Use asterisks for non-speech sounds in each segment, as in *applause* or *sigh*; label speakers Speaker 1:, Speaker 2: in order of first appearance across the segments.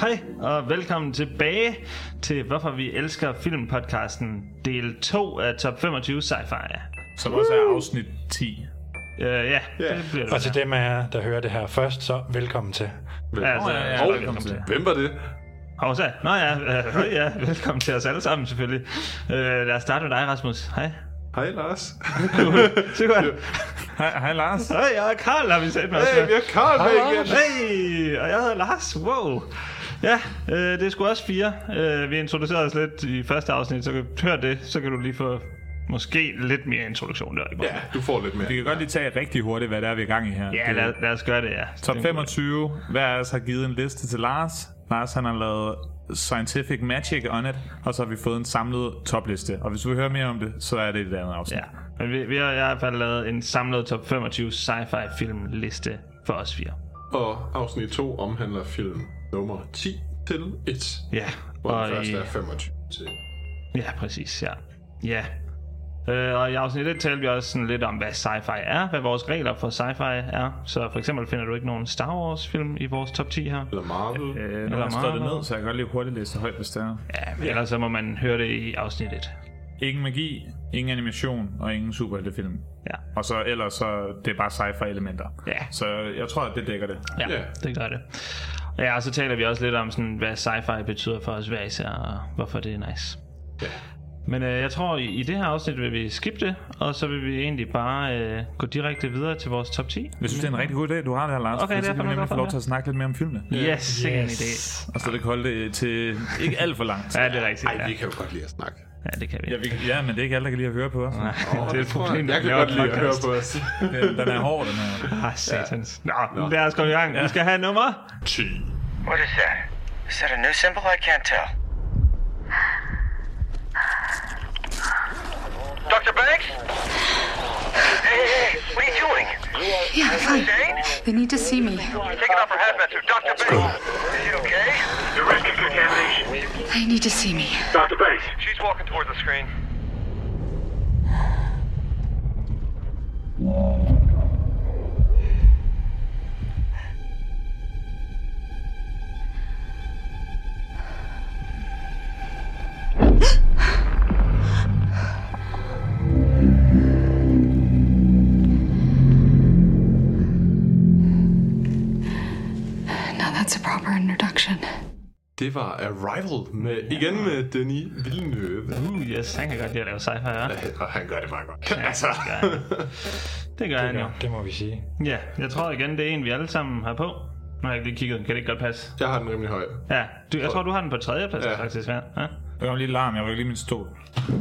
Speaker 1: Hej og velkommen tilbage til Hvorfor vi elsker filmpodcasten del 2 af top 25 sci-fi.
Speaker 2: Som også er afsnit 10.
Speaker 1: Øh, ja,
Speaker 3: Ja.
Speaker 1: det bliver det.
Speaker 4: Og til dem af jer, der hører det her først, så velkommen til.
Speaker 1: Ja, altså,
Speaker 2: Nå, ja, ja,
Speaker 1: og-
Speaker 2: velkommen til.
Speaker 3: Hvem var det?
Speaker 1: Hovsa. Nå ja, øh, ja, velkommen til os alle sammen selvfølgelig. Øh, lad os starte med dig, Rasmus. Hej.
Speaker 3: Hej Lars.
Speaker 1: *laughs* Super.
Speaker 2: Hej, hej Lars.
Speaker 1: Hej, jeg er Karl, har vi set med os.
Speaker 3: Hey, vi har Karl med igen.
Speaker 1: Hey, og jeg hedder Lars. Wow. Ja, øh, det er sgu også fire. Øh, vi introducerede os lidt i første afsnit, så kan du høre det, så kan du lige få måske lidt mere introduktion der. Ikke?
Speaker 3: Ja, du får lidt mere.
Speaker 2: Vi kan godt lige tage rigtig hurtigt, hvad det er, vi er i gang i her.
Speaker 1: ja
Speaker 2: Det er
Speaker 1: lad, lad os gøre det, ja.
Speaker 2: Top
Speaker 1: Det-
Speaker 2: 25. Hver af os har givet en liste til Lars. Lars han har lavet Scientific Magic on it, og så har vi fået en samlet topliste. Og hvis du vil høre mere om det, så er det i det andet afsnit.
Speaker 1: Ja, Øh, men vi, vi har i hvert fald lavet en samlet top 25 sci-fi filmliste for os fire.
Speaker 3: Og afsnit 2 omhandler film nummer 10 til 1.
Speaker 1: Ja,
Speaker 3: Hvor den første
Speaker 1: i-
Speaker 3: er 25 til.
Speaker 1: Ja, præcis, ja. Ja. Øh, og i afsnit 1 talte vi også sådan lidt om, hvad sci-fi er, hvad vores regler for sci-fi er. Så for eksempel finder du ikke nogen Star Wars-film i vores top 10 her.
Speaker 3: Eller Marvel.
Speaker 2: Øh, nu
Speaker 1: Eller
Speaker 2: har jeg skrevet det
Speaker 1: meget.
Speaker 2: ned, så jeg kan godt lige hurtigt læse det højt, hvis det er.
Speaker 1: Ja, men ellers så må man høre det i afsnit 1.
Speaker 2: Ingen magi, ingen animation og ingen superheltefilm.
Speaker 1: Ja,
Speaker 2: Og så ellers så det er bare sci-fi elementer.
Speaker 1: Ja.
Speaker 2: Så jeg tror, at det dækker det.
Speaker 1: ja
Speaker 3: Ja.
Speaker 1: det gør det. Ja, og så taler vi også lidt om, sådan, hvad sci-fi betyder for os hver især, og hvorfor det er nice.
Speaker 3: Ja.
Speaker 1: Men øh, jeg tror, i, i det her afsnit vil vi skippe det, og så vil vi egentlig bare øh, gå direkte videre til vores top 10.
Speaker 2: Jeg synes, det er en rigtig god idé, du har det her, Lars.
Speaker 1: Okay,
Speaker 2: for
Speaker 1: det er
Speaker 2: så kan vi
Speaker 1: fandme
Speaker 2: nemlig
Speaker 1: godt
Speaker 2: få
Speaker 1: for
Speaker 2: lov
Speaker 1: mig.
Speaker 2: til at snakke lidt mere om filmene.
Speaker 1: Yes, sikkert en idé.
Speaker 2: Og så det kan holde det til ikke alt for langt.
Speaker 1: Ja, det er rigtigt.
Speaker 3: Ej,
Speaker 1: ja.
Speaker 3: vi kan jo godt lide at snakke.
Speaker 1: ja, det kan vi.
Speaker 2: *laughs* Ja, vi, ja, men det er ikke alle, der kan lide at høre på os.
Speaker 1: *laughs* det er et problem,
Speaker 3: Jeg
Speaker 1: når
Speaker 3: kan
Speaker 1: vi laver
Speaker 3: godt lide at
Speaker 1: podcast.
Speaker 3: høre på os. *laughs*
Speaker 2: Den, den er hård, den her.
Speaker 1: Ah, satans. Nå, Nå, lad os komme i gang. Vi skal have nummer.
Speaker 3: 10.
Speaker 5: What is that? Is that a new symbol? I can't tell. Dr. Banks? Hey, hey, hey, what are you doing?
Speaker 6: Yeah, fine.
Speaker 5: Jane?
Speaker 6: They need to see me.
Speaker 5: Taking off her hazmat suit. Dr. Banks! Is it okay? The risk of contamination.
Speaker 6: They need to see me.
Speaker 5: Dr. Banks. She's walking toward the screen.
Speaker 6: Now that's a proper introduction.
Speaker 3: Det var Arrival med, igen med Denis Villeneuve.
Speaker 1: Uh, yes, han kan godt lide at lave sci-fi, ja.
Speaker 3: Og han gør det meget godt. Altså.
Speaker 1: Det gør han jo.
Speaker 4: Ja, det må vi sige.
Speaker 1: Ja, jeg tror igen, det er en, vi alle sammen har på. Nu har jeg ikke lige kigget, kan det ikke godt passe?
Speaker 3: *laughs* Jeg har den rimelig høj.
Speaker 1: Ja, du, jeg tror, du har den på tredje plads,
Speaker 3: Ja.
Speaker 1: faktisk. Ja. ja.
Speaker 2: Jeg kom lige larm, jeg var lige min stol.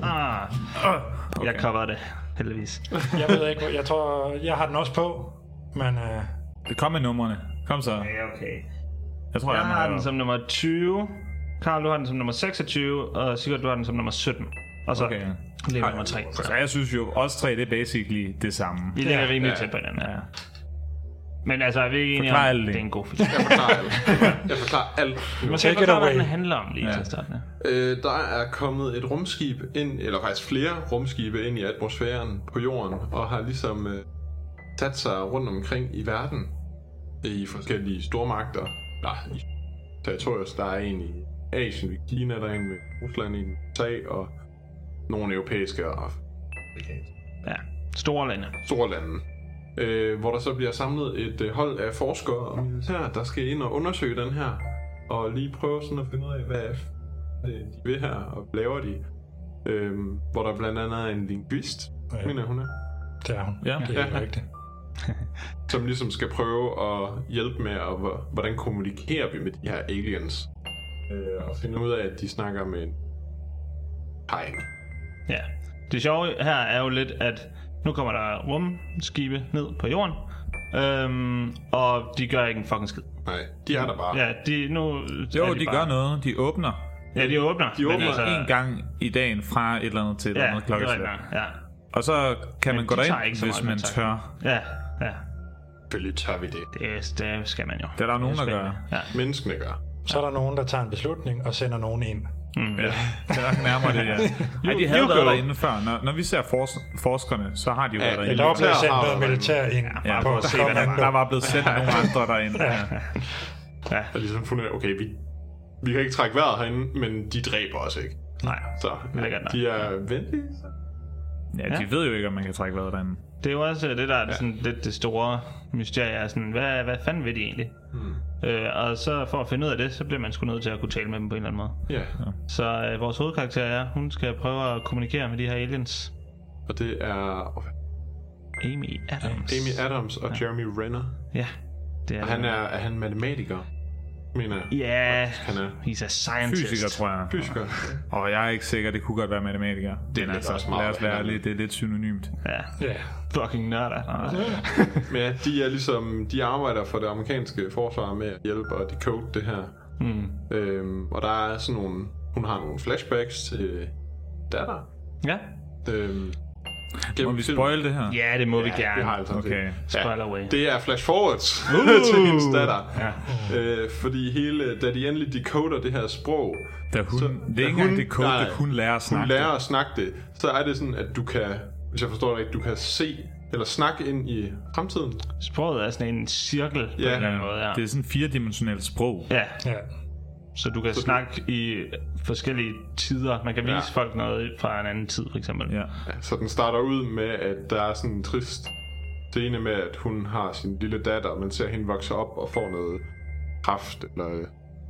Speaker 1: Ah, okay. Jeg cover det, heldigvis.
Speaker 4: Jeg ved ikke, hvor- jeg tror, jeg har den også på, men øh,
Speaker 2: Det kom med numrene. Kom så.
Speaker 1: Ja, okay.
Speaker 2: Jeg tror,
Speaker 1: Jeg
Speaker 2: den
Speaker 1: har
Speaker 2: højere.
Speaker 1: den som nummer 20. Karl, du har den som nummer 26, og Sigurd, du har den som nummer 17. Og så
Speaker 2: Okay, ja.
Speaker 1: okay. lige nummer 3.
Speaker 2: Så jeg synes jo, os tre, det er basically det samme.
Speaker 1: Vi ligger rimelig
Speaker 3: Ja.
Speaker 1: tæt på hinanden. Ja. Men altså, er vi ikke enige om,
Speaker 2: Forklar
Speaker 1: at
Speaker 2: alt det.
Speaker 1: det er en god film?
Speaker 3: Jeg forklarer alt. Jeg forklarer alt. nu.
Speaker 1: Man skal
Speaker 4: Take it
Speaker 1: forklare, hvad
Speaker 4: away.
Speaker 1: den handler om lige ja. til at starte med.
Speaker 3: Øh, der er kommet et rumskib ind, eller faktisk flere rumskibe ind i atmosfæren på jorden, og har ligesom øh, sat sig rundt omkring i verden i forskellige stormagter. Nej, i territorier. Så Der er en i Asien, i Kina, der er en med Rusland, en med USA og nogle europæiske og afrikanske
Speaker 1: Ja. Store lande.
Speaker 3: store lande. Øh, hvor der så bliver samlet et øh, hold af forskere og militær, der skal ind og undersøge den her, og lige prøve sådan at finde ud af, hvad f- det, de vil her, og hvad laver de. Øh, hvor der blandt andet er en linguist, ja.
Speaker 4: Ja.
Speaker 3: mener jeg, hun er,
Speaker 4: det er hun.
Speaker 2: Ja.
Speaker 4: Det er helt rigtigt.
Speaker 3: som ligesom skal prøve at hjælpe med, og hvor- hvordan kommunikerer vi med de her aliens. Øh, og finde ud af, at de snakker med en tegn.
Speaker 1: Ja. Det sjove her er jo lidt, at nu kommer der rumskibe ned på jorden, øhm, og de gør ikke en fucking skid.
Speaker 3: Nej, de er der bare.
Speaker 1: Ja, de, nu
Speaker 2: Jo,
Speaker 1: er
Speaker 2: de
Speaker 1: bare,
Speaker 2: gør noget. De åbner.
Speaker 1: Ja, de åbner.
Speaker 3: De åbner
Speaker 2: Altså, en gang i dagen fra et eller andet til et eller
Speaker 1: Ja,
Speaker 2: andet
Speaker 1: det er
Speaker 2: klokkeslæt.
Speaker 1: rigtigt. nok, Ja,
Speaker 2: Og så kan
Speaker 1: Men
Speaker 2: man
Speaker 1: de
Speaker 2: gå
Speaker 1: tager
Speaker 2: derind,
Speaker 1: ikke så
Speaker 2: hvis
Speaker 1: meget
Speaker 2: man
Speaker 1: kontakt.
Speaker 2: tør.
Speaker 1: ja, ja.
Speaker 3: Selvfølgelig tør vi det.
Speaker 1: Det, det skal man jo.
Speaker 2: Det er der jo nogen, der gør.
Speaker 1: Ja.
Speaker 3: Menneskene gør.
Speaker 4: Så er der nogen, der tager en beslutning og sender nogen ind.
Speaker 2: Det er nok nærmere det, ja. Ej, de
Speaker 1: you
Speaker 2: havde været
Speaker 1: go.
Speaker 2: derinde før. Når, når vi ser fors- forskerne, så har de jo været derinde.
Speaker 3: det
Speaker 4: Der var
Speaker 3: Militær
Speaker 4: blevet sendt
Speaker 3: har
Speaker 4: noget
Speaker 3: været
Speaker 4: militær ind
Speaker 2: Ja,
Speaker 4: på
Speaker 2: for at se, hvad der var. Der
Speaker 4: kommando.
Speaker 2: var blevet sendt nogle andre derinde. Ja.
Speaker 3: Og ligesom fundet ud af, okay, vi Vi kan ikke trække vejret herinde, men de dræber os ikke.
Speaker 1: Nej.
Speaker 3: Så øh,
Speaker 1: Lækkert nok.
Speaker 3: de er venlige.
Speaker 2: Ja, de
Speaker 1: Ja.
Speaker 2: ved jo ikke, om man kan trække vejret derinde.
Speaker 1: Det er jo også det, der er sådan lidt det store mysterie. Er sådan, hvad, hvad fanden vil de egentlig? Hmm. Øh, og så for at finde ud af det, så bliver man sgu nødt til at kunne tale med dem på en eller anden måde.
Speaker 3: Ja,
Speaker 1: Så øh, vores hovedkarakter er, hun skal prøve at kommunikere med de her aliens.
Speaker 3: og det er åh,
Speaker 1: Amy Adams.
Speaker 3: Amy Adams og Jeremy Renner.
Speaker 1: Ja, det er
Speaker 3: Og han er, er han matematiker, mener jeg.
Speaker 1: Ja,
Speaker 3: Han er
Speaker 1: he's a scientist.
Speaker 2: Fysiker, tror jeg.
Speaker 3: fysiker.
Speaker 2: Og jeg er ikke sikker, det kunne godt være matematiker. Det
Speaker 3: ligger også meget
Speaker 2: lad os være
Speaker 3: hinanden.
Speaker 2: lidt, det er lidt synonymt.
Speaker 1: Ja,
Speaker 3: Ja.
Speaker 1: fucking altså. nørder.
Speaker 3: Men ja, de er ligesom, de arbejder for det amerikanske forsvar med at hjælpe og decode det her.
Speaker 1: Hmm.
Speaker 3: Mm. Øhm, og der er sådan nogle, hun har nogle flashbacks til datter.
Speaker 1: Ja.
Speaker 3: Øhm,
Speaker 2: Må
Speaker 3: gennem
Speaker 2: vi
Speaker 3: filmen.
Speaker 2: spoil det her?
Speaker 1: ja, det må vi gerne.
Speaker 3: Det har jeg sådan set.
Speaker 2: Okay.
Speaker 1: Spoiler away.
Speaker 3: Det er flash forwards uh! *laughs* til hendes datter. Ja. Øh, fordi hele, da de endelig decoder det her sprog,
Speaker 2: Da hun,
Speaker 3: Så-
Speaker 2: så, det er ikke
Speaker 3: da hun-
Speaker 2: engang det kode,
Speaker 3: nej,
Speaker 2: da hun lærer at snakke.
Speaker 3: hun lærer at snakke det, så er det sådan, at du kan, hvis jeg forstår det rigtigt, du kan se eller snakke ind i fremtiden.
Speaker 1: Sproget er sådan en cirkel på en
Speaker 3: Ja.
Speaker 1: eller anden måde. Ja.
Speaker 2: Det er sådan et firedimensionelt sprog.
Speaker 1: ja.
Speaker 4: Ja.
Speaker 1: Så du kan så snakke du... i forskellige tider. Man kan vise
Speaker 3: Ja.
Speaker 1: ja. folk noget fra en anden tid, for eksempel.
Speaker 2: Ja.
Speaker 3: Så den starter ud med, at der er sådan en trist scene med, at hun har sin lille datter, og man ser hende vokse op og får noget kraft eller et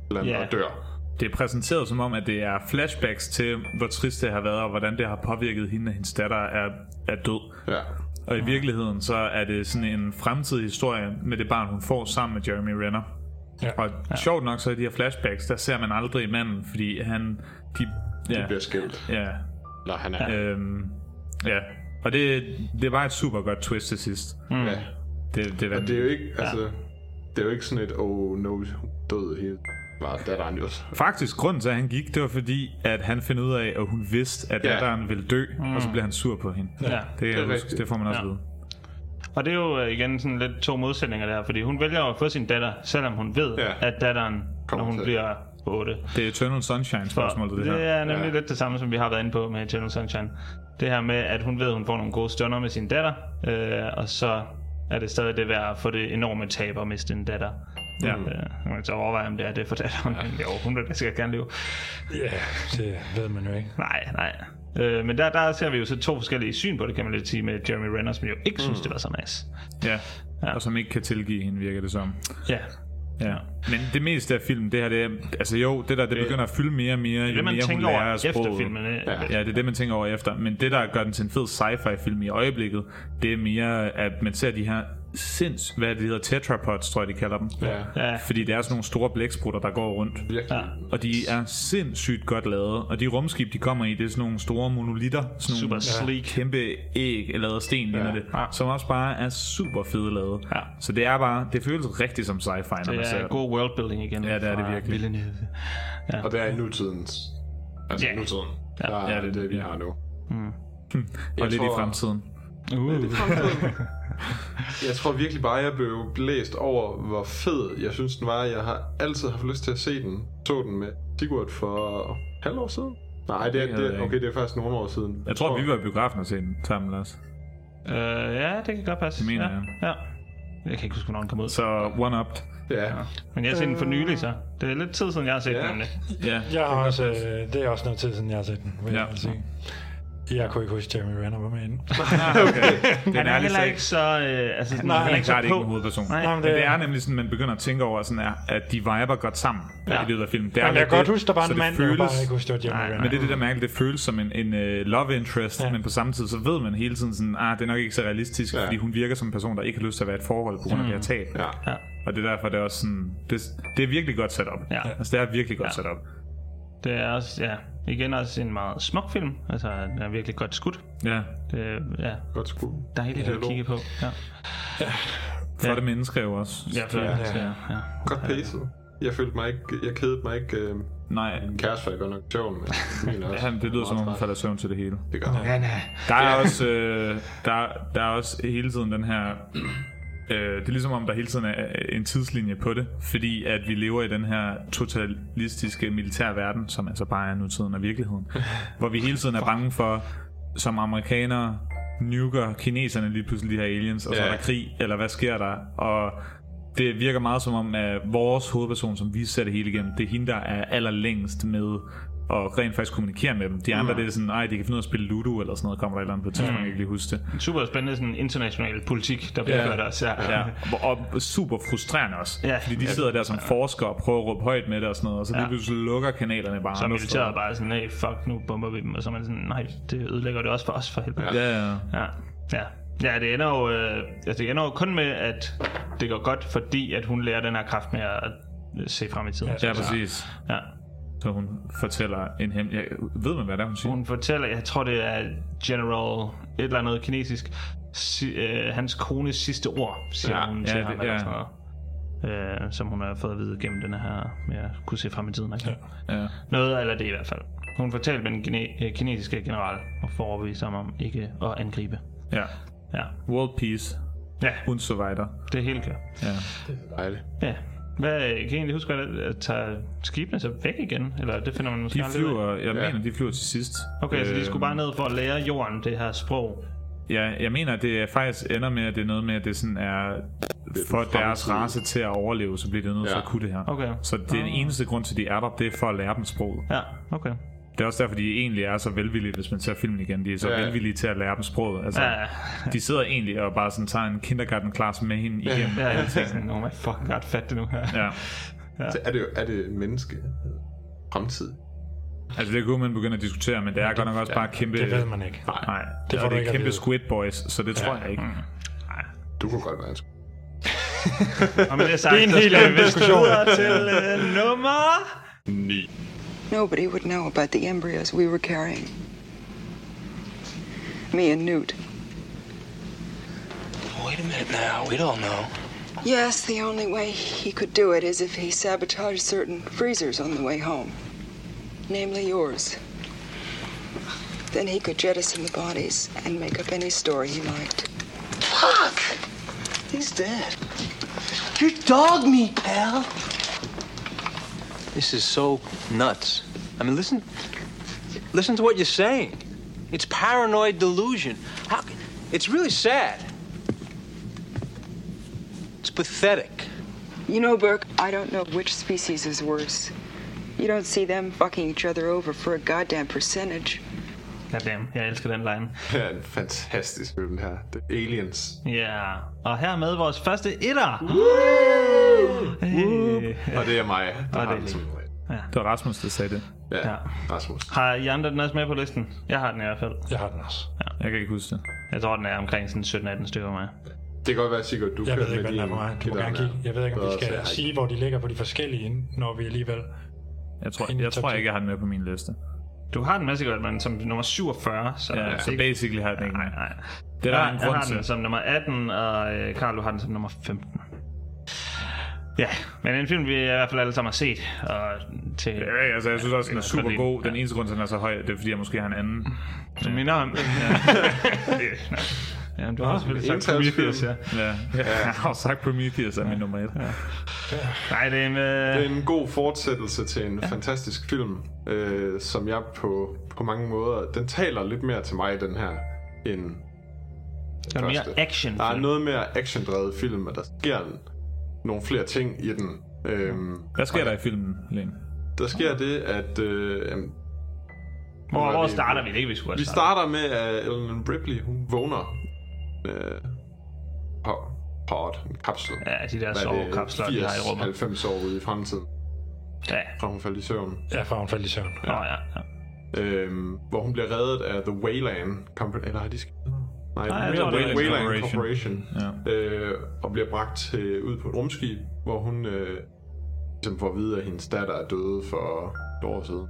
Speaker 3: eller andet,
Speaker 1: Ja.
Speaker 3: og dør.
Speaker 2: Det er præsenteret som om, at det er flashbacks til, hvor trist det har været, og hvordan det har påvirket hende, at hendes datter er, er død.
Speaker 3: Ja.
Speaker 2: Og i virkeligheden, så er det sådan en fremtidig historie med det barn, hun får sammen med Jeremy Renner.
Speaker 4: Ja.
Speaker 2: Og ja. sjovt nok, så i de her flashbacks, der ser man aldrig manden, fordi han... De, ja,
Speaker 3: Bliver skilt.
Speaker 2: ja,
Speaker 3: Eller han er.
Speaker 2: øhm, ja. Og det, det var et super godt twist til sidst.
Speaker 3: Mm. Ja.
Speaker 2: Det, det, var,
Speaker 3: Og det er jo ikke, altså, det er jo ikke sådan et, oh no, hun døde helt. Var datteren jo også.
Speaker 2: Faktisk, grunden til, at han gik, det var fordi, at han finder ud af, at hun vidste, at
Speaker 3: Ja.
Speaker 2: ja. datteren ville dø, mm. og så bliver han sur på hende.
Speaker 1: Ja.
Speaker 2: Det,
Speaker 3: er
Speaker 2: det,
Speaker 3: rigtigt.
Speaker 2: huske, det får man også
Speaker 1: Ja.
Speaker 2: ja. vide.
Speaker 1: Og det er jo øh, igen sådan lidt to modsætninger der, fordi hun vælger jo at få sin datter, selvom hun ved,
Speaker 3: Ja.
Speaker 1: at datteren,
Speaker 3: Kommer
Speaker 1: Kommer når hun
Speaker 3: til.
Speaker 1: til. bliver 8,
Speaker 2: Det er Eternal Sunshine-spørgsmålet, det her.
Speaker 1: Det er nemlig
Speaker 3: Ja.
Speaker 1: ja. lidt det samme, som vi har været inde på med Eternal Sunshine. Det her med, at hun ved, at hun får nogle gode stunder med sin datter, øh, og så er det stadig det værd at få det enorme tab at miste en datter.
Speaker 2: Ja.
Speaker 1: Øh, man kan så overveje, om det er det for datteren. Ja. Jo, hun vil da sikkert gerne leve.
Speaker 4: ja, det ved man jo ikke.
Speaker 1: Nej, nej. Øh, men der, der ser vi jo så to forskellige syn på det, kan man lidt sige, med Jeremy Renner, som jo ikke mm. synes, det var så nice.
Speaker 2: Ja. ja, og som ikke kan tilgive hende, virker det som.
Speaker 1: Ja,
Speaker 2: Ja. Men det meste af filmen, det her, det er, altså jo, det der, det begynder at fylde mere og mere,
Speaker 1: det
Speaker 2: jo
Speaker 1: man
Speaker 2: mere hun
Speaker 1: tænker
Speaker 2: lærer
Speaker 1: over
Speaker 2: af
Speaker 1: efter
Speaker 2: sproget.
Speaker 1: filmen. Ja.
Speaker 2: Ja, det er det, man tænker over efter. Men det, der gør den til en fed sci-fi-film i øjeblikket, det er mere, at man ser de her sinds... Hvad er det, de hedder? Tetrapods, tror jeg, de kalder dem.
Speaker 3: Ja.
Speaker 1: Ja.
Speaker 2: Fordi det er sådan nogle store blæksprutter, der går rundt.
Speaker 3: Virkelig. Ja.
Speaker 2: Og de er sindssygt godt lavet. Og de rumskib, de kommer i, det er sådan nogle store monolitter. Sådan
Speaker 1: Super
Speaker 2: nogle
Speaker 1: sleek.
Speaker 2: kæmpe æg eller lavet sten, ligner
Speaker 3: Ja.
Speaker 2: det. Som også bare er super fede lavet.
Speaker 1: Ja.
Speaker 2: Så det er bare... Det føles rigtig som sci-fi, når man
Speaker 1: Det
Speaker 2: ser
Speaker 1: er god worldbuilding igen.
Speaker 2: Ja, det er det
Speaker 1: fra
Speaker 2: virkelig.
Speaker 1: Villeneuve.
Speaker 3: Og det er i nutidens. Altså
Speaker 1: Ja.
Speaker 3: yeah. nutiden.
Speaker 1: Ja.
Speaker 3: Der er
Speaker 2: Ja,
Speaker 3: det,
Speaker 2: det-
Speaker 3: det, vi
Speaker 2: ja.
Speaker 3: har nu.
Speaker 2: det. Og lidt i
Speaker 3: tror-
Speaker 2: fremtiden.
Speaker 1: Uh.
Speaker 3: *laughs* Jeg tror virkelig bare, jeg blev blæst over, hvor fed jeg synes, den var. Jeg har altid haft lyst til at se den. Så den med Sigurd for et halvt år siden. Nej, det er,
Speaker 2: havde
Speaker 3: det,
Speaker 2: jeg
Speaker 3: okay, det er faktisk nogle år siden.
Speaker 2: Jeg tror, vi var i biografen og se den sammen, Lars.
Speaker 1: Øh, ja, det kan godt passe.
Speaker 2: Det mener
Speaker 1: ja.
Speaker 2: jeg.
Speaker 1: Ja. Jeg kan ikke huske, hvornår den kom ud.
Speaker 2: Så one-up.
Speaker 3: Ja,
Speaker 1: Men jeg har set den for nylig, så. Det er lidt tid siden, jeg har set
Speaker 3: Ja.
Speaker 1: den. nemlig.
Speaker 2: Ja.
Speaker 4: Jeg har også, øh, det er også noget tid siden, jeg har set den, vil
Speaker 2: Ja.
Speaker 4: ja.
Speaker 2: *laughs*
Speaker 4: jeg altså sige. Jeg kunne ikke huske, at Jeremy Renner var med i den.
Speaker 2: Det er en
Speaker 1: Han er
Speaker 2: ærlig
Speaker 1: heller
Speaker 2: sag.
Speaker 1: ikke så... Øh, altså, sådan,
Speaker 4: Nej,
Speaker 1: han er ikke
Speaker 2: Klart
Speaker 1: så
Speaker 2: ikke en
Speaker 1: på.
Speaker 2: hovedperson.
Speaker 1: Nej.
Speaker 4: Nå,
Speaker 2: Men
Speaker 4: men
Speaker 2: det er nemlig sådan, man begynder at tænke over, sådan, at- at de viber godt sammen ja. i løbet af filmen. Det er
Speaker 4: Jamen, jeg
Speaker 2: lidt
Speaker 4: kan godt
Speaker 2: det.
Speaker 4: huske, der var
Speaker 2: Så det
Speaker 4: en mand, føles... jeg kunne bare ikke huske, det var Jeremy
Speaker 1: Nej,
Speaker 4: Renner.
Speaker 2: Men det er det der mærkeligt, det føles som en, en uh, love interest, ja. men på samme tid, så ved man hele tiden sådan, ah, det er nok ikke så realistisk,
Speaker 3: Ja.
Speaker 2: ja. fordi hun virker som en person, der ikke har lyst til at være i et forhold på grund af mm. det her tab.
Speaker 3: ja.
Speaker 1: Ja.
Speaker 2: Og det er derfor, det er også sådan, det, det er virkelig godt sat op.
Speaker 1: Ja.
Speaker 2: Altså, det er virkelig godt
Speaker 1: Ja.
Speaker 2: ja. sat op.
Speaker 1: Det er også, ja, igen også en meget smuk film. Altså, den er virkelig godt skudt.
Speaker 2: Ja.
Speaker 1: Det, ja,
Speaker 3: godt sgu.
Speaker 1: dejligt at
Speaker 3: Dialog.
Speaker 1: kigge på. Ja,
Speaker 2: Flotte ja. mennesker jo også.
Speaker 1: ja, flot. ja. ja. ja.
Speaker 3: Godt pacet. Jeg følte mig ikke, jeg kedede mig ikke. Øh,
Speaker 2: Nej,
Speaker 3: min kæreste var godt nok i søvn,
Speaker 4: *laughs*
Speaker 3: men Emil er også
Speaker 2: han, det lyder som om, hun
Speaker 3: meget træt.
Speaker 2: falder i søvn til det hele.
Speaker 3: Det gør han.
Speaker 2: Der er, også, øh, der, der er også hele tiden den her... Øh, det er ligesom om, der hele tiden er en tidslinje på det, fordi at vi lever i den her totalistiske militære verden, som altså bare er nutiden og *laughs* virkeligheden, hvor vi hele tiden er bange for, som amerikanere, nuker kineserne lige pludselig de her aliens, og så
Speaker 3: Ja.
Speaker 2: er der krig, eller hvad sker der? Og det virker meget som om, at vores hovedperson, som vi ser det hele igennem, det er hende, der er allerlængst med og rent faktisk kommunikere med dem. De andre, mm. det er sådan, ej, de kan finde ud af at spille Ludo eller sådan noget, kommer der et eller andet på et tidspunkt, mm. jeg kan ikke lige huske det.
Speaker 1: Super spændende sådan international politik, der bliver
Speaker 2: Ja.
Speaker 1: yeah. ført os her.
Speaker 2: Ja, og og super frustrerende også,
Speaker 1: Ja.
Speaker 2: fordi de sidder der som forskere og prøver at råbe højt med det og sådan noget, og så lige pludselig lukker kanalerne bare.
Speaker 1: Så er
Speaker 2: andre
Speaker 1: militæret bare sådan, hey, fuck, nu bomber vi dem, og så er man sådan, nej, det ødelægger det også for os for helvede.
Speaker 2: steder. Ja, ja.
Speaker 1: Ja, ja. Ja, det ender, jo, øh, altså det ender jo kun med, at det går godt, fordi at hun lærer den her kraft med at øh, se frem i tiden.
Speaker 2: Ja, præcis.
Speaker 1: ja.
Speaker 2: Så hun fortæller en hemmelig... Ja, ved man, hvad det er, hun siger?
Speaker 1: Hun fortæller, jeg tror det er General et eller andet kinesisk, si, øh, hans kones sidste ord, siger
Speaker 2: Ja,
Speaker 1: hun
Speaker 2: ja,
Speaker 1: til
Speaker 2: det-
Speaker 1: ham, eller
Speaker 2: ja.
Speaker 1: sådan noget. Øh, som hun har fået at vide gennem den her med at kunne se frem i tiden. Ikke? Ja.
Speaker 2: Ja.
Speaker 1: Noget eller det i hvert fald. Hun fortalte med den gene- øh, kinesiske general og får overbevist ham om ikke at angribe.
Speaker 2: ja.
Speaker 1: Ja,
Speaker 2: World Peace.
Speaker 1: ja
Speaker 2: Hun survivor.
Speaker 1: det hele kører.
Speaker 2: Ja.
Speaker 3: Dejligt.
Speaker 1: Ja. Hvad, kan I egentlig huske, at, at tage skibene så væk igen? Eller det finder man måske
Speaker 2: De
Speaker 1: aldrig ud af?
Speaker 2: flyver... Jeg
Speaker 3: Ja.
Speaker 2: mener, de flyver til sidst.
Speaker 1: Okay, så de
Speaker 2: Øhm,
Speaker 1: skulle bare ned for at lære jorden det her sprog.
Speaker 2: Ja, jeg mener, at det faktisk ender med, at det er noget med, at det sådan er... For
Speaker 3: fremtid.
Speaker 2: deres race til at overleve, så bliver det nødt til
Speaker 3: Ja.
Speaker 2: at kunne det her.
Speaker 1: Okay. Ah.
Speaker 2: Så det er den eneste grund til, at de er der, det er for at lære dem sproget.
Speaker 1: Ja, okay.
Speaker 2: Det er også derfor, de egentlig er så velvillige, hvis man ser filmen igen. De er så
Speaker 3: Ja,
Speaker 2: ja.
Speaker 3: ja.
Speaker 2: velvillige til at lære dem sproget. Altså,
Speaker 1: Ja, ja.
Speaker 2: De sidder egentlig og bare sådan tager en kindergarten class med hende igennem.
Speaker 1: Ja, jeg tænkte sådan, oh my fucking god, fat det nu her.
Speaker 2: Ja.
Speaker 3: Så er det jo er det menneske fremtid?
Speaker 2: Altså det kunne man begynde at diskutere, men det er godt nok også bare kæmpe...
Speaker 4: Det ved man ikke.
Speaker 2: Nej,
Speaker 4: Det
Speaker 2: det,
Speaker 4: får
Speaker 2: og
Speaker 4: du
Speaker 2: det
Speaker 4: ikke
Speaker 2: er
Speaker 4: at
Speaker 2: kæmpe
Speaker 4: vide.
Speaker 2: Squid Boys, så det tror jeg ikke.
Speaker 1: Mm.
Speaker 3: Du kunne godt være en
Speaker 1: Og med det sagt, det er
Speaker 4: en
Speaker 1: så
Speaker 4: helt
Speaker 1: skal vi
Speaker 4: anden
Speaker 1: vist
Speaker 4: diskussion.
Speaker 1: videre til øh, nummer...
Speaker 7: Nobody would know about the embryos we were carrying. Me and Newt.
Speaker 8: Wait a minute now. We don't know.
Speaker 7: Yes, the only way he could do it is if he sabotaged certain freezers on the way home, namely yours. Then he could jettison the bodies and make up any story he liked.
Speaker 8: Fuck! He's dead. You dog me, pal. This is so nuts. I mean, listen. Listen to what you're saying. It's paranoid delusion. How, c- it's really sad. It's pathetic.
Speaker 7: You know, Burke, I don't know which species is worse. You don't see them fucking each other over for a goddamn percentage.
Speaker 1: Goddamn, jeg elsker den line.
Speaker 3: Det er en fantastisk film her. The Aliens.
Speaker 1: Ja, og her med vores første etter. Øh,
Speaker 3: Og det er mig, der
Speaker 1: Og
Speaker 3: har
Speaker 1: det
Speaker 3: den
Speaker 1: er
Speaker 3: som
Speaker 2: Det var Rasmus, der sagde det.
Speaker 3: Ja,
Speaker 1: Ja.
Speaker 3: Rasmus.
Speaker 1: Har I andre den også med på listen? Jeg har den i hvert fald.
Speaker 4: Jeg har den også.
Speaker 2: Jeg kan ikke huske det.
Speaker 1: Jeg tror, den er omkring sådan 17-18 stykker med.
Speaker 3: Det kan godt være, Sigurd, du
Speaker 4: Jeg ved
Speaker 3: kørte
Speaker 4: ikke, hvad
Speaker 3: med
Speaker 4: den er for mig.
Speaker 3: din
Speaker 4: Du må
Speaker 3: guitar
Speaker 4: gerne
Speaker 3: der.
Speaker 4: kigge. Jeg ved ikke, om
Speaker 3: Så
Speaker 4: vi
Speaker 3: jeg
Speaker 4: skal
Speaker 3: har
Speaker 4: sige, hvor de ligger på de forskellige, når vi alligevel...
Speaker 2: Jeg tror,
Speaker 4: Inden
Speaker 2: jeg,
Speaker 4: top
Speaker 2: tror
Speaker 4: ti.
Speaker 2: ikke, jeg har den med på min liste.
Speaker 1: Du har den masse godt, men som nummer 47, så,
Speaker 2: Ja,
Speaker 1: det
Speaker 2: så
Speaker 1: er ikke...
Speaker 2: basically har jeg den ikke med.
Speaker 1: Nej,
Speaker 2: Det er der
Speaker 1: Jeg,
Speaker 2: er en
Speaker 1: jeg har
Speaker 2: grund
Speaker 1: den
Speaker 2: til.
Speaker 1: som nummer 18, og øh, Carl, du har den som nummer 15. Ja, men en film, vi i hvert fald alle sammen har set. Og til,
Speaker 2: Ja, altså, jeg synes også, den
Speaker 1: Ja,
Speaker 2: er
Speaker 1: det er
Speaker 2: super
Speaker 1: det.
Speaker 2: god. Den eneste grund til, at den er så høj, det er fordi, jeg måske har en anden.
Speaker 1: *laughs* som minder *laughs* om... ja, du har selvfølgelig sagt
Speaker 3: entalsfilm.
Speaker 1: Prometheus, ja.
Speaker 2: Ja. Jeg *laughs* har jo sagt Prometheus er min nummer et.
Speaker 1: Nej, det er en...
Speaker 3: Det
Speaker 1: Øh,
Speaker 3: er en god fortsættelse til en fantastisk film, øh, som jeg på, på mange måder... Den taler lidt mere til mig, den her, end
Speaker 1: det er en
Speaker 3: første.
Speaker 1: mere action
Speaker 3: Der er noget mere actiondrevet film, og der sker en- nogle flere ting i den. Øhm,
Speaker 2: Hvad sker der i filmen, Len?
Speaker 3: der sker det, at... Øh, jamen,
Speaker 1: Hvor,
Speaker 3: er
Speaker 1: hvor
Speaker 3: vi-
Speaker 1: starter vi? Det er ikke, vi skulle have
Speaker 3: vi
Speaker 1: startet.
Speaker 3: starter med, at Ellen Ripley hun vågner øh, på, på et- en kapsel.
Speaker 1: Ja, de der
Speaker 3: Hvad er det,
Speaker 1: sovekapsler, vi har i
Speaker 3: 80,
Speaker 1: rummet.
Speaker 3: 90 år ude i fremtiden,
Speaker 1: Ja,
Speaker 3: fra hun faldt i søvn.
Speaker 4: Ja, for hun faldt i søvn.
Speaker 1: Nå, ja. ja.
Speaker 3: Øhm, hvor hun bliver reddet af The Wayland Company. Eller har de skrevet? Nej,
Speaker 1: Nej, jeg
Speaker 3: The
Speaker 1: tror, det er
Speaker 3: Wayland,
Speaker 2: Wayland
Speaker 3: Wayland Corporation.
Speaker 2: Corporation.
Speaker 3: Ja. Øh, og bliver bragt til, ud på et rumskib, hvor hun øh, ligesom får at vide, at hendes datter er døde for et år siden.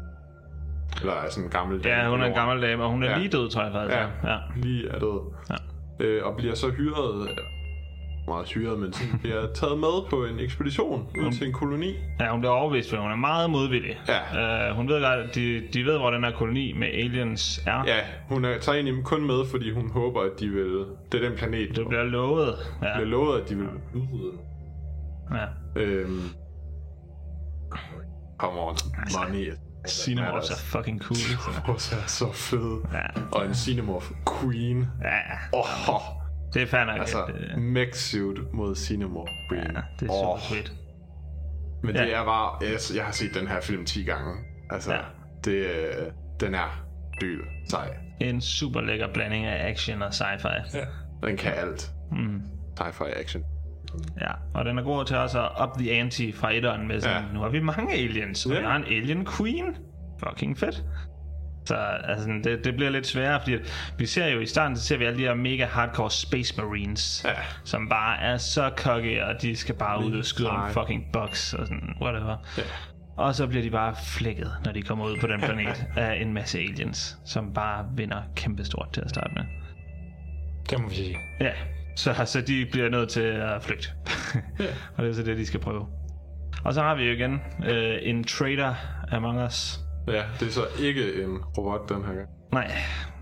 Speaker 3: Eller er sådan en gammel dame
Speaker 1: ja, hun er en
Speaker 3: på jorden.
Speaker 1: gammel dame, og hun er
Speaker 3: Ja.
Speaker 1: lige død, tror jeg faktisk.
Speaker 3: Ja,
Speaker 1: ja.
Speaker 3: ja. lige er død.
Speaker 1: Ja.
Speaker 3: Øh, og bliver så hyret, eller meget hyret, men sådan, bliver taget med på en ekspedition ud til en koloni.
Speaker 1: Ja, hun bliver overbevist, for hun er meget modvillig.
Speaker 3: Ja.
Speaker 1: Uh, hun ved godt, de, de ved, hvor den her koloni med aliens er.
Speaker 3: Ja, hun er, tager egentlig kun med, fordi hun håber, at de vil... Det er den planet,
Speaker 1: Det bliver lovet. Ja.
Speaker 3: bliver lovet, at de vil udrydde.
Speaker 1: ja.
Speaker 3: Øhm, come on, money.
Speaker 1: Cinemorphs er fucking cool.
Speaker 3: Cinemorphs er så fed.
Speaker 1: Ja.
Speaker 3: Og en Cinemorph Queen.
Speaker 1: Ja,
Speaker 3: Åh, oh,
Speaker 1: det er fair nok.
Speaker 3: altså,
Speaker 1: at, øh,
Speaker 3: Mexsuit mod Cinemorph. Green.
Speaker 1: Ja, det er super
Speaker 3: Åh,
Speaker 1: oh. fedt.
Speaker 3: Men
Speaker 1: Ja.
Speaker 3: det er bare... Yes, jeg har set den her film 10 gange. Altså,
Speaker 1: Ja.
Speaker 3: ja. det, øh, den er dyr. Sej.
Speaker 1: En super lækker blanding af action og sci-fi.
Speaker 3: Den kan alt.
Speaker 1: Mm.
Speaker 3: Sci-fi action.
Speaker 1: Ja, og den er god til også at up the ante fra etteren med sådan, ja.
Speaker 3: Ja.
Speaker 1: nu har vi mange aliens, og
Speaker 3: Ja.
Speaker 1: vi har en alien queen. Fucking fedt. Så altså, det, det bliver lidt sværere, fordi at vi ser jo i starten, så ser vi alle de her mega hardcore space marines,
Speaker 3: Ja.
Speaker 1: som bare er så kokke, og de skal bare ud og skyde nogle
Speaker 3: sej.
Speaker 1: fucking bugs og sådan, whatever.
Speaker 3: Ja.
Speaker 1: Og så bliver de bare flækket, når de kommer ud på den
Speaker 3: *laughs*
Speaker 1: planet af en masse aliens, som bare vinder kæmpestort til at starte med.
Speaker 4: Det må vi sige.
Speaker 1: Ja, så, så de bliver nødt til at flygte. *laughs* og det er så det, de skal prøve. Og så har vi jo igen øh, en trader among us.
Speaker 3: Ja, det er så ikke en robot den her gang.
Speaker 1: Nej,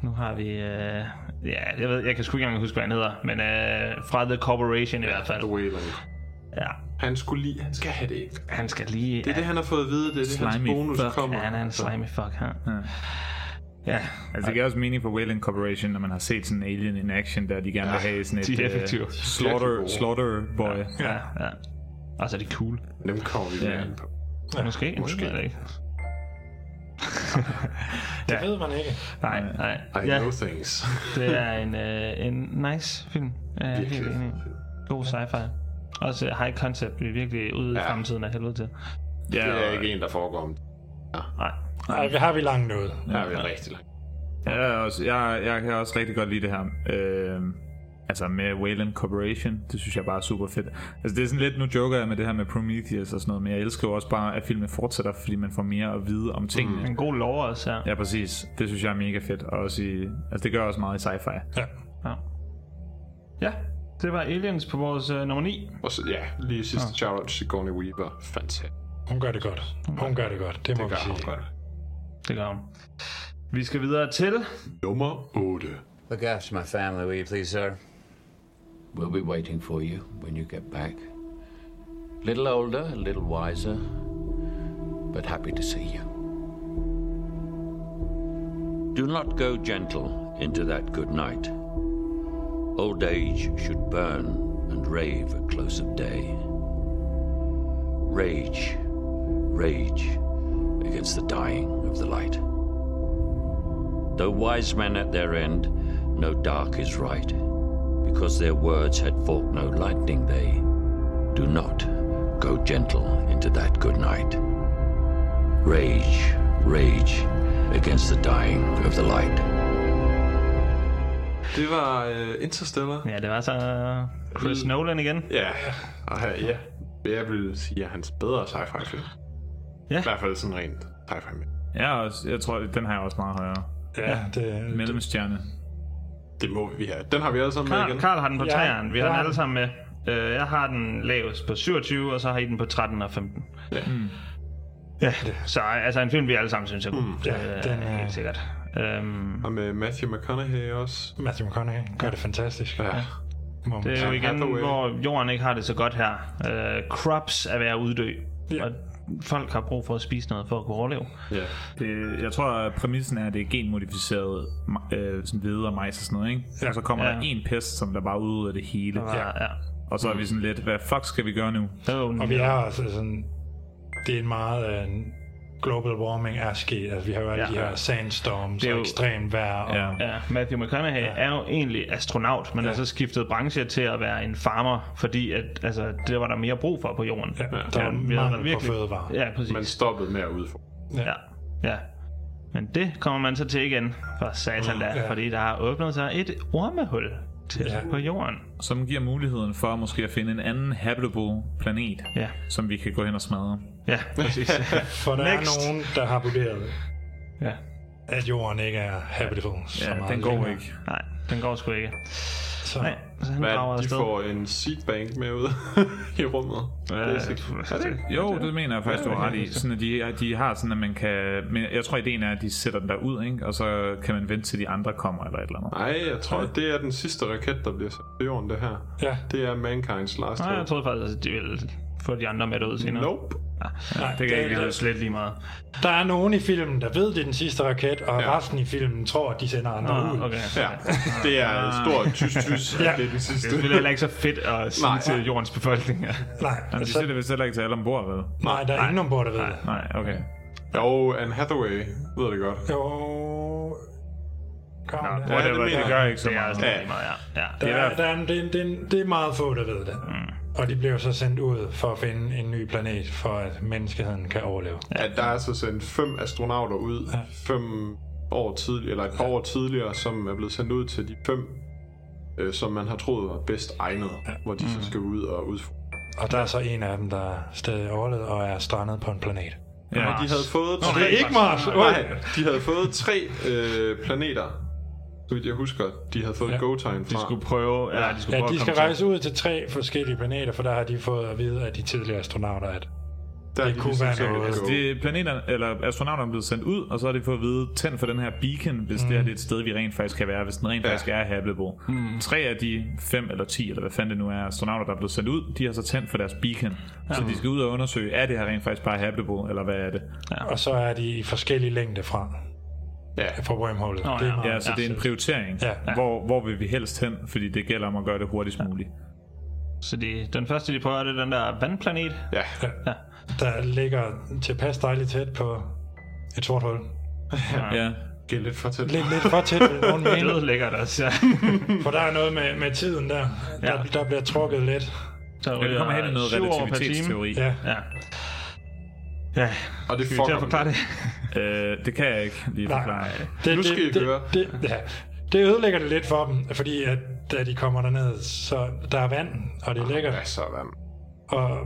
Speaker 1: nu har vi... Øh, ja, jeg, ved, jeg kan sgu ikke engang huske, hvad han hedder, men øh, fra The Corporation i hvert fald.
Speaker 3: Wayland.
Speaker 1: Ja,
Speaker 3: Han skulle lige... Han skal have det ikke. Det
Speaker 1: han skal lige...
Speaker 3: er ja. det, han har fået at vide. Det er det, hans
Speaker 2: Slimy
Speaker 3: bonus
Speaker 2: fuck.
Speaker 3: kommer.
Speaker 1: ja, han er en slimy fuck her. Ja,
Speaker 2: Altså, det giver også mening for Wayland Corporation, når man har set sådan en alien in action, der de gerne vil have sådan et...
Speaker 1: de er
Speaker 2: øh,
Speaker 1: effektive.
Speaker 3: Virkelig
Speaker 2: Slaughter,
Speaker 3: gode.
Speaker 2: slaughter boy.
Speaker 1: ja, ja. ja. Og så er de cool.
Speaker 3: Dem kommer vi
Speaker 2: Ja.
Speaker 3: mere ind på.
Speaker 1: Måske, måske.
Speaker 3: Måske.
Speaker 1: Det ikke.
Speaker 4: Det ved man ikke.
Speaker 1: Nej, nej.
Speaker 3: I
Speaker 1: Ja,
Speaker 3: know things.
Speaker 1: det er en, øh, en nice film. Ja, jeg er helt enig. i. God sci-fi. Også øh, high concept bliver virkelig ude i
Speaker 3: Ja.
Speaker 1: fremtiden af helvede til.
Speaker 2: Ja,
Speaker 3: *laughs* Det er
Speaker 2: og-
Speaker 3: ikke en, der foregår om.
Speaker 1: Nej.
Speaker 4: Ej, vi har vi langt noget.
Speaker 3: Der er vi rigtig langt.
Speaker 2: Ja, jeg, er også, jeg, jeg kan også rigtig godt lide det her. Øh, altså med Wayland Corporation, det synes jeg bare er super fedt. Altså det er sådan lidt, nu joker jeg med det her med Prometheus og sådan noget, men jeg elsker jo også bare, at filmen fortsætter, fordi man får mere at vide om tingene. Mm.
Speaker 1: En god lov også, ja.
Speaker 2: Ja, præcis. Det synes jeg er mega fedt. Og også i, altså det gør også meget i sci-fi.
Speaker 4: Ja.
Speaker 1: ja. Ja, det var Aliens på vores øh, nummer 9.
Speaker 3: Og så, ja, lige sidste ah. shout-out til Sigourney Weaver. Fantastisk.
Speaker 4: Hun gør det godt. Hun gør det godt. Det, må
Speaker 3: Det
Speaker 4: vi
Speaker 3: gør hun
Speaker 4: sige.
Speaker 3: godt.
Speaker 1: Det gør hun. Vi skal videre til...
Speaker 3: Nummer 8.
Speaker 9: Look after my family, will you please, sir? We'll be waiting for you when you get back. Little older, a little wiser, but happy to see you. Do not go gentle into that good night. Old age should burn and rave at close of day. Rage, rage against the dying of the light. Though wise men at their end know dark is right, because their words had forked no lightning, they do not go gentle into that good night. Rage, rage against the dying of the light.
Speaker 3: Det var uh, Interstellar.
Speaker 1: Ja, det var så Mm. Chris Nolan igen.
Speaker 3: Ja, og her, ja. Jeg vil sige, at hans bedre sci-fi film.
Speaker 1: Ja.
Speaker 3: I hvert fald sådan rent sci-fi med.
Speaker 2: Jeg, er også, jeg tror, den har jeg også meget højere.
Speaker 4: Ja, det,
Speaker 2: Mellemstjerne.
Speaker 3: Det må vi have. Den har vi alle sammen med
Speaker 1: Karl,
Speaker 3: igen.
Speaker 1: Karl har den på
Speaker 4: Ja,
Speaker 1: 3'eren. Vi har
Speaker 4: jeg
Speaker 1: den
Speaker 4: har
Speaker 1: alle
Speaker 4: den.
Speaker 1: sammen med. Øh, jeg har den lavest på 27, og så har I den på 13 og 15.
Speaker 3: Ja.
Speaker 4: Mm.
Speaker 1: Ja, så altså en film, vi alle sammen synes er god. Mm,
Speaker 4: ja, den er-
Speaker 1: helt sikkert. Øhm,
Speaker 3: Og med Matthew McConaughey også.
Speaker 4: Matthew McConaughey gør det fantastisk.
Speaker 3: Ja.
Speaker 4: Må man
Speaker 1: Det er jo
Speaker 4: sige.
Speaker 1: igen,
Speaker 3: Hathaway.
Speaker 1: hvor jorden ikke har det så godt her. Uh, crops er ved at uddø,
Speaker 4: Ja.
Speaker 1: og folk har brug for at spise noget for at kunne overleve.
Speaker 3: ja.
Speaker 2: Det, jeg tror, at præmissen er, at det er genmodificeret øh, sådan hvede og majs og sådan noget, ikke?
Speaker 4: Ja.
Speaker 2: Ja. Og så kommer
Speaker 1: Ja.
Speaker 2: ja. der en pest, som der bare udrydder det hele.
Speaker 1: Og, ja. ja.
Speaker 2: Og så er vi sådan lidt, hvad fuck skal vi gøre nu?
Speaker 1: Oh,
Speaker 4: Og vi er også altså, sådan... Det er en meget... Øh, global warming er sket. Altså, vi har jo alle
Speaker 1: Ja.
Speaker 4: ja. de her sandstorms
Speaker 1: Det er
Speaker 4: og
Speaker 1: jo-
Speaker 4: ekstrem vejr. Og,
Speaker 2: Ja.
Speaker 1: Ja, Matthew McConaughey ja. er jo egentlig astronaut, men ja. har så skiftet branche til at være en farmer, fordi at, altså, det var der mere brug for på jorden.
Speaker 4: Ja, der er
Speaker 1: vi havde
Speaker 4: mangel på fødevarer.
Speaker 1: Ja, præcis.
Speaker 3: Man stoppede med at udfordre.
Speaker 1: Ja. ja. Men det kommer man så til igen, for satan da, ja.
Speaker 4: ja.
Speaker 1: fordi der har åbnet sig et ormehul til ja.
Speaker 4: Ja.
Speaker 1: på jorden.
Speaker 2: som giver muligheden for måske at finde en anden habitable planet,
Speaker 1: Ja,
Speaker 2: som vi kan gå hen og smadre.
Speaker 1: ja, *laughs* præcis.
Speaker 4: For der
Speaker 1: Next.
Speaker 4: er nogen, der har vurderet,
Speaker 1: ja.
Speaker 4: at jorden ikke er habitable. så
Speaker 2: Ja,
Speaker 4: meget
Speaker 2: den går
Speaker 4: længere.
Speaker 2: ikke.
Speaker 1: Nej, den går sgu ikke.
Speaker 4: Så,
Speaker 1: Nej, så han drager
Speaker 3: Hvad, de
Speaker 1: afsted.
Speaker 3: får en seatbank med ud *laughs* i rummet.
Speaker 1: Ja,
Speaker 3: det er sikkert.
Speaker 1: er det ikke?
Speaker 2: Jo, det mener jeg faktisk, du har ret i. Sådan, at de, de har sådan, at man kan... Men jeg tror, ideen er, at de sætter den der ud, ikke? og så kan man vente til de andre kommer eller et eller andet.
Speaker 3: Nej, jeg tror, det er den sidste raket, der bliver sat på jorden, det her.
Speaker 4: Ja.
Speaker 3: Det er Mankind's Last
Speaker 1: Nej, jeg
Speaker 3: Hope.
Speaker 1: troede faktisk, at de ville få de andre med derud senere.
Speaker 3: Nope.
Speaker 1: Ja, det kan
Speaker 4: det-
Speaker 1: jeg ikke
Speaker 4: det-
Speaker 1: det, slet lige meget.
Speaker 4: Der er nogen i filmen, der ved, det er den sidste raket, og
Speaker 3: Ja.
Speaker 4: ja. resten i filmen tror, at de sender andre
Speaker 1: Ah,
Speaker 4: ud.
Speaker 1: okay. *laughs*
Speaker 3: Uh, Ja, det er et stort tys-tys, ja.
Speaker 4: Ja.
Speaker 3: det er den
Speaker 1: Det er
Speaker 3: sidste.
Speaker 1: selvfølgelig heller ikke så fedt
Speaker 3: *laughs*
Speaker 1: at sige
Speaker 3: Nej.
Speaker 1: til jordens befolkning. Ja.
Speaker 4: Nej,
Speaker 2: Men de
Speaker 4: så,
Speaker 2: siger det vist heller ikke til alle ombord, vel?
Speaker 4: nej, der er ingen ombord, der ved det.
Speaker 2: Nej, okay.
Speaker 3: Jo, Anne Hathaway ved det godt.
Speaker 4: Jo... Kom,
Speaker 1: Nå,
Speaker 4: der,
Speaker 3: det
Speaker 2: Whatever,
Speaker 3: mener
Speaker 2: det
Speaker 3: jeg.
Speaker 2: gør ikke så
Speaker 1: Det er
Speaker 2: meget.
Speaker 1: også
Speaker 3: Ja.
Speaker 1: lige meget, ja. ja.
Speaker 4: der,
Speaker 2: i hvert
Speaker 4: er, der, er, det, det, det er meget få, der ved det. Mm. Og de bliver så sendt ud for at finde en ny planet, for at menneskeheden kan overleve.
Speaker 3: At der er så sendt fem astronauter ud, fem år tidligere, eller et par år tidligere, som er blevet sendt ud til de fem, øh, som man har troet var bedst egnet, hvor de så skal ud og udfordre.
Speaker 4: Og der er så en af dem, der stadig overlevede og er strandet på en planet.
Speaker 2: Ja,
Speaker 3: De havde fået
Speaker 4: Og det er ikke Mars!
Speaker 3: Nej, de havde fået tre øh, planeter, så vidt jeg husker, de havde fået ja.
Speaker 4: Ja.
Speaker 3: go-time
Speaker 1: De
Speaker 3: fra.
Speaker 1: skulle prøve, ja, de skulle
Speaker 4: Ja,
Speaker 1: prøve
Speaker 4: de
Speaker 1: at komme til-
Speaker 4: skal rejse ud til tre forskellige planeter, for der har de fået at vide af de tidligere astronauter, at
Speaker 3: Der er
Speaker 4: det
Speaker 3: de
Speaker 4: kunne
Speaker 3: ligesom
Speaker 4: være
Speaker 3: sådan,
Speaker 4: noget.
Speaker 3: at go.
Speaker 2: Det er planeterne, eller astronauterne er blevet sendt ud, og så har de fået at vide, tænd for den her beacon, hvis mm. det her det er et sted, vi rent faktisk kan være, hvis den rent
Speaker 3: Ja.
Speaker 2: faktisk er habitable. Mm. Tre af de fem eller ti, eller hvad fanden det nu er, astronauter, der er blevet sendt ud, de har så tændt for deres beacon. Så de skal ud og undersøge, er det her rent faktisk bare habitable, eller hvad er det?
Speaker 4: Og så er de i forskellige længde fra,
Speaker 3: Ja.
Speaker 4: fra wormholet.
Speaker 1: Nå,
Speaker 4: det
Speaker 1: ja.
Speaker 4: er meget,
Speaker 2: Ja, så det er en prioritering.
Speaker 4: Ja. Ja.
Speaker 2: Hvor, hvor vil vi helst hen? Fordi det gælder om at gøre det hurtigst muligt.
Speaker 1: Så de, den første, de prøver, det er den der vandplanet.
Speaker 3: Ja,
Speaker 4: Der ligger tilpas dejligt tæt på et sort hul.
Speaker 2: Ja.
Speaker 3: det er lidt for tæt.
Speaker 4: Lidt, lidt for tæt, vil nogen
Speaker 1: Det
Speaker 4: mene,
Speaker 1: *laughs* lød lækkert også, ja.
Speaker 4: for der er noget med, med tiden der. der.
Speaker 1: Ja.
Speaker 4: Der bliver trukket lidt.
Speaker 1: Så
Speaker 2: Ja, det kommer hen i noget
Speaker 1: syv år per time.
Speaker 2: relativitetsteori.
Speaker 4: Ja.
Speaker 1: Ja. Ja,
Speaker 3: Og det
Speaker 1: skal vi til
Speaker 3: fucker
Speaker 1: at forklare det?
Speaker 2: Øh, det kan jeg ikke lige
Speaker 4: Nej.
Speaker 2: forklare.
Speaker 4: Det,
Speaker 3: Nu skal I
Speaker 4: det,
Speaker 3: høre.
Speaker 4: Det, det, ja. det ødelægger det lidt for dem, fordi at da de kommer derned, så der er vand, og det er lækkert.
Speaker 3: Ja, sådan.
Speaker 4: Og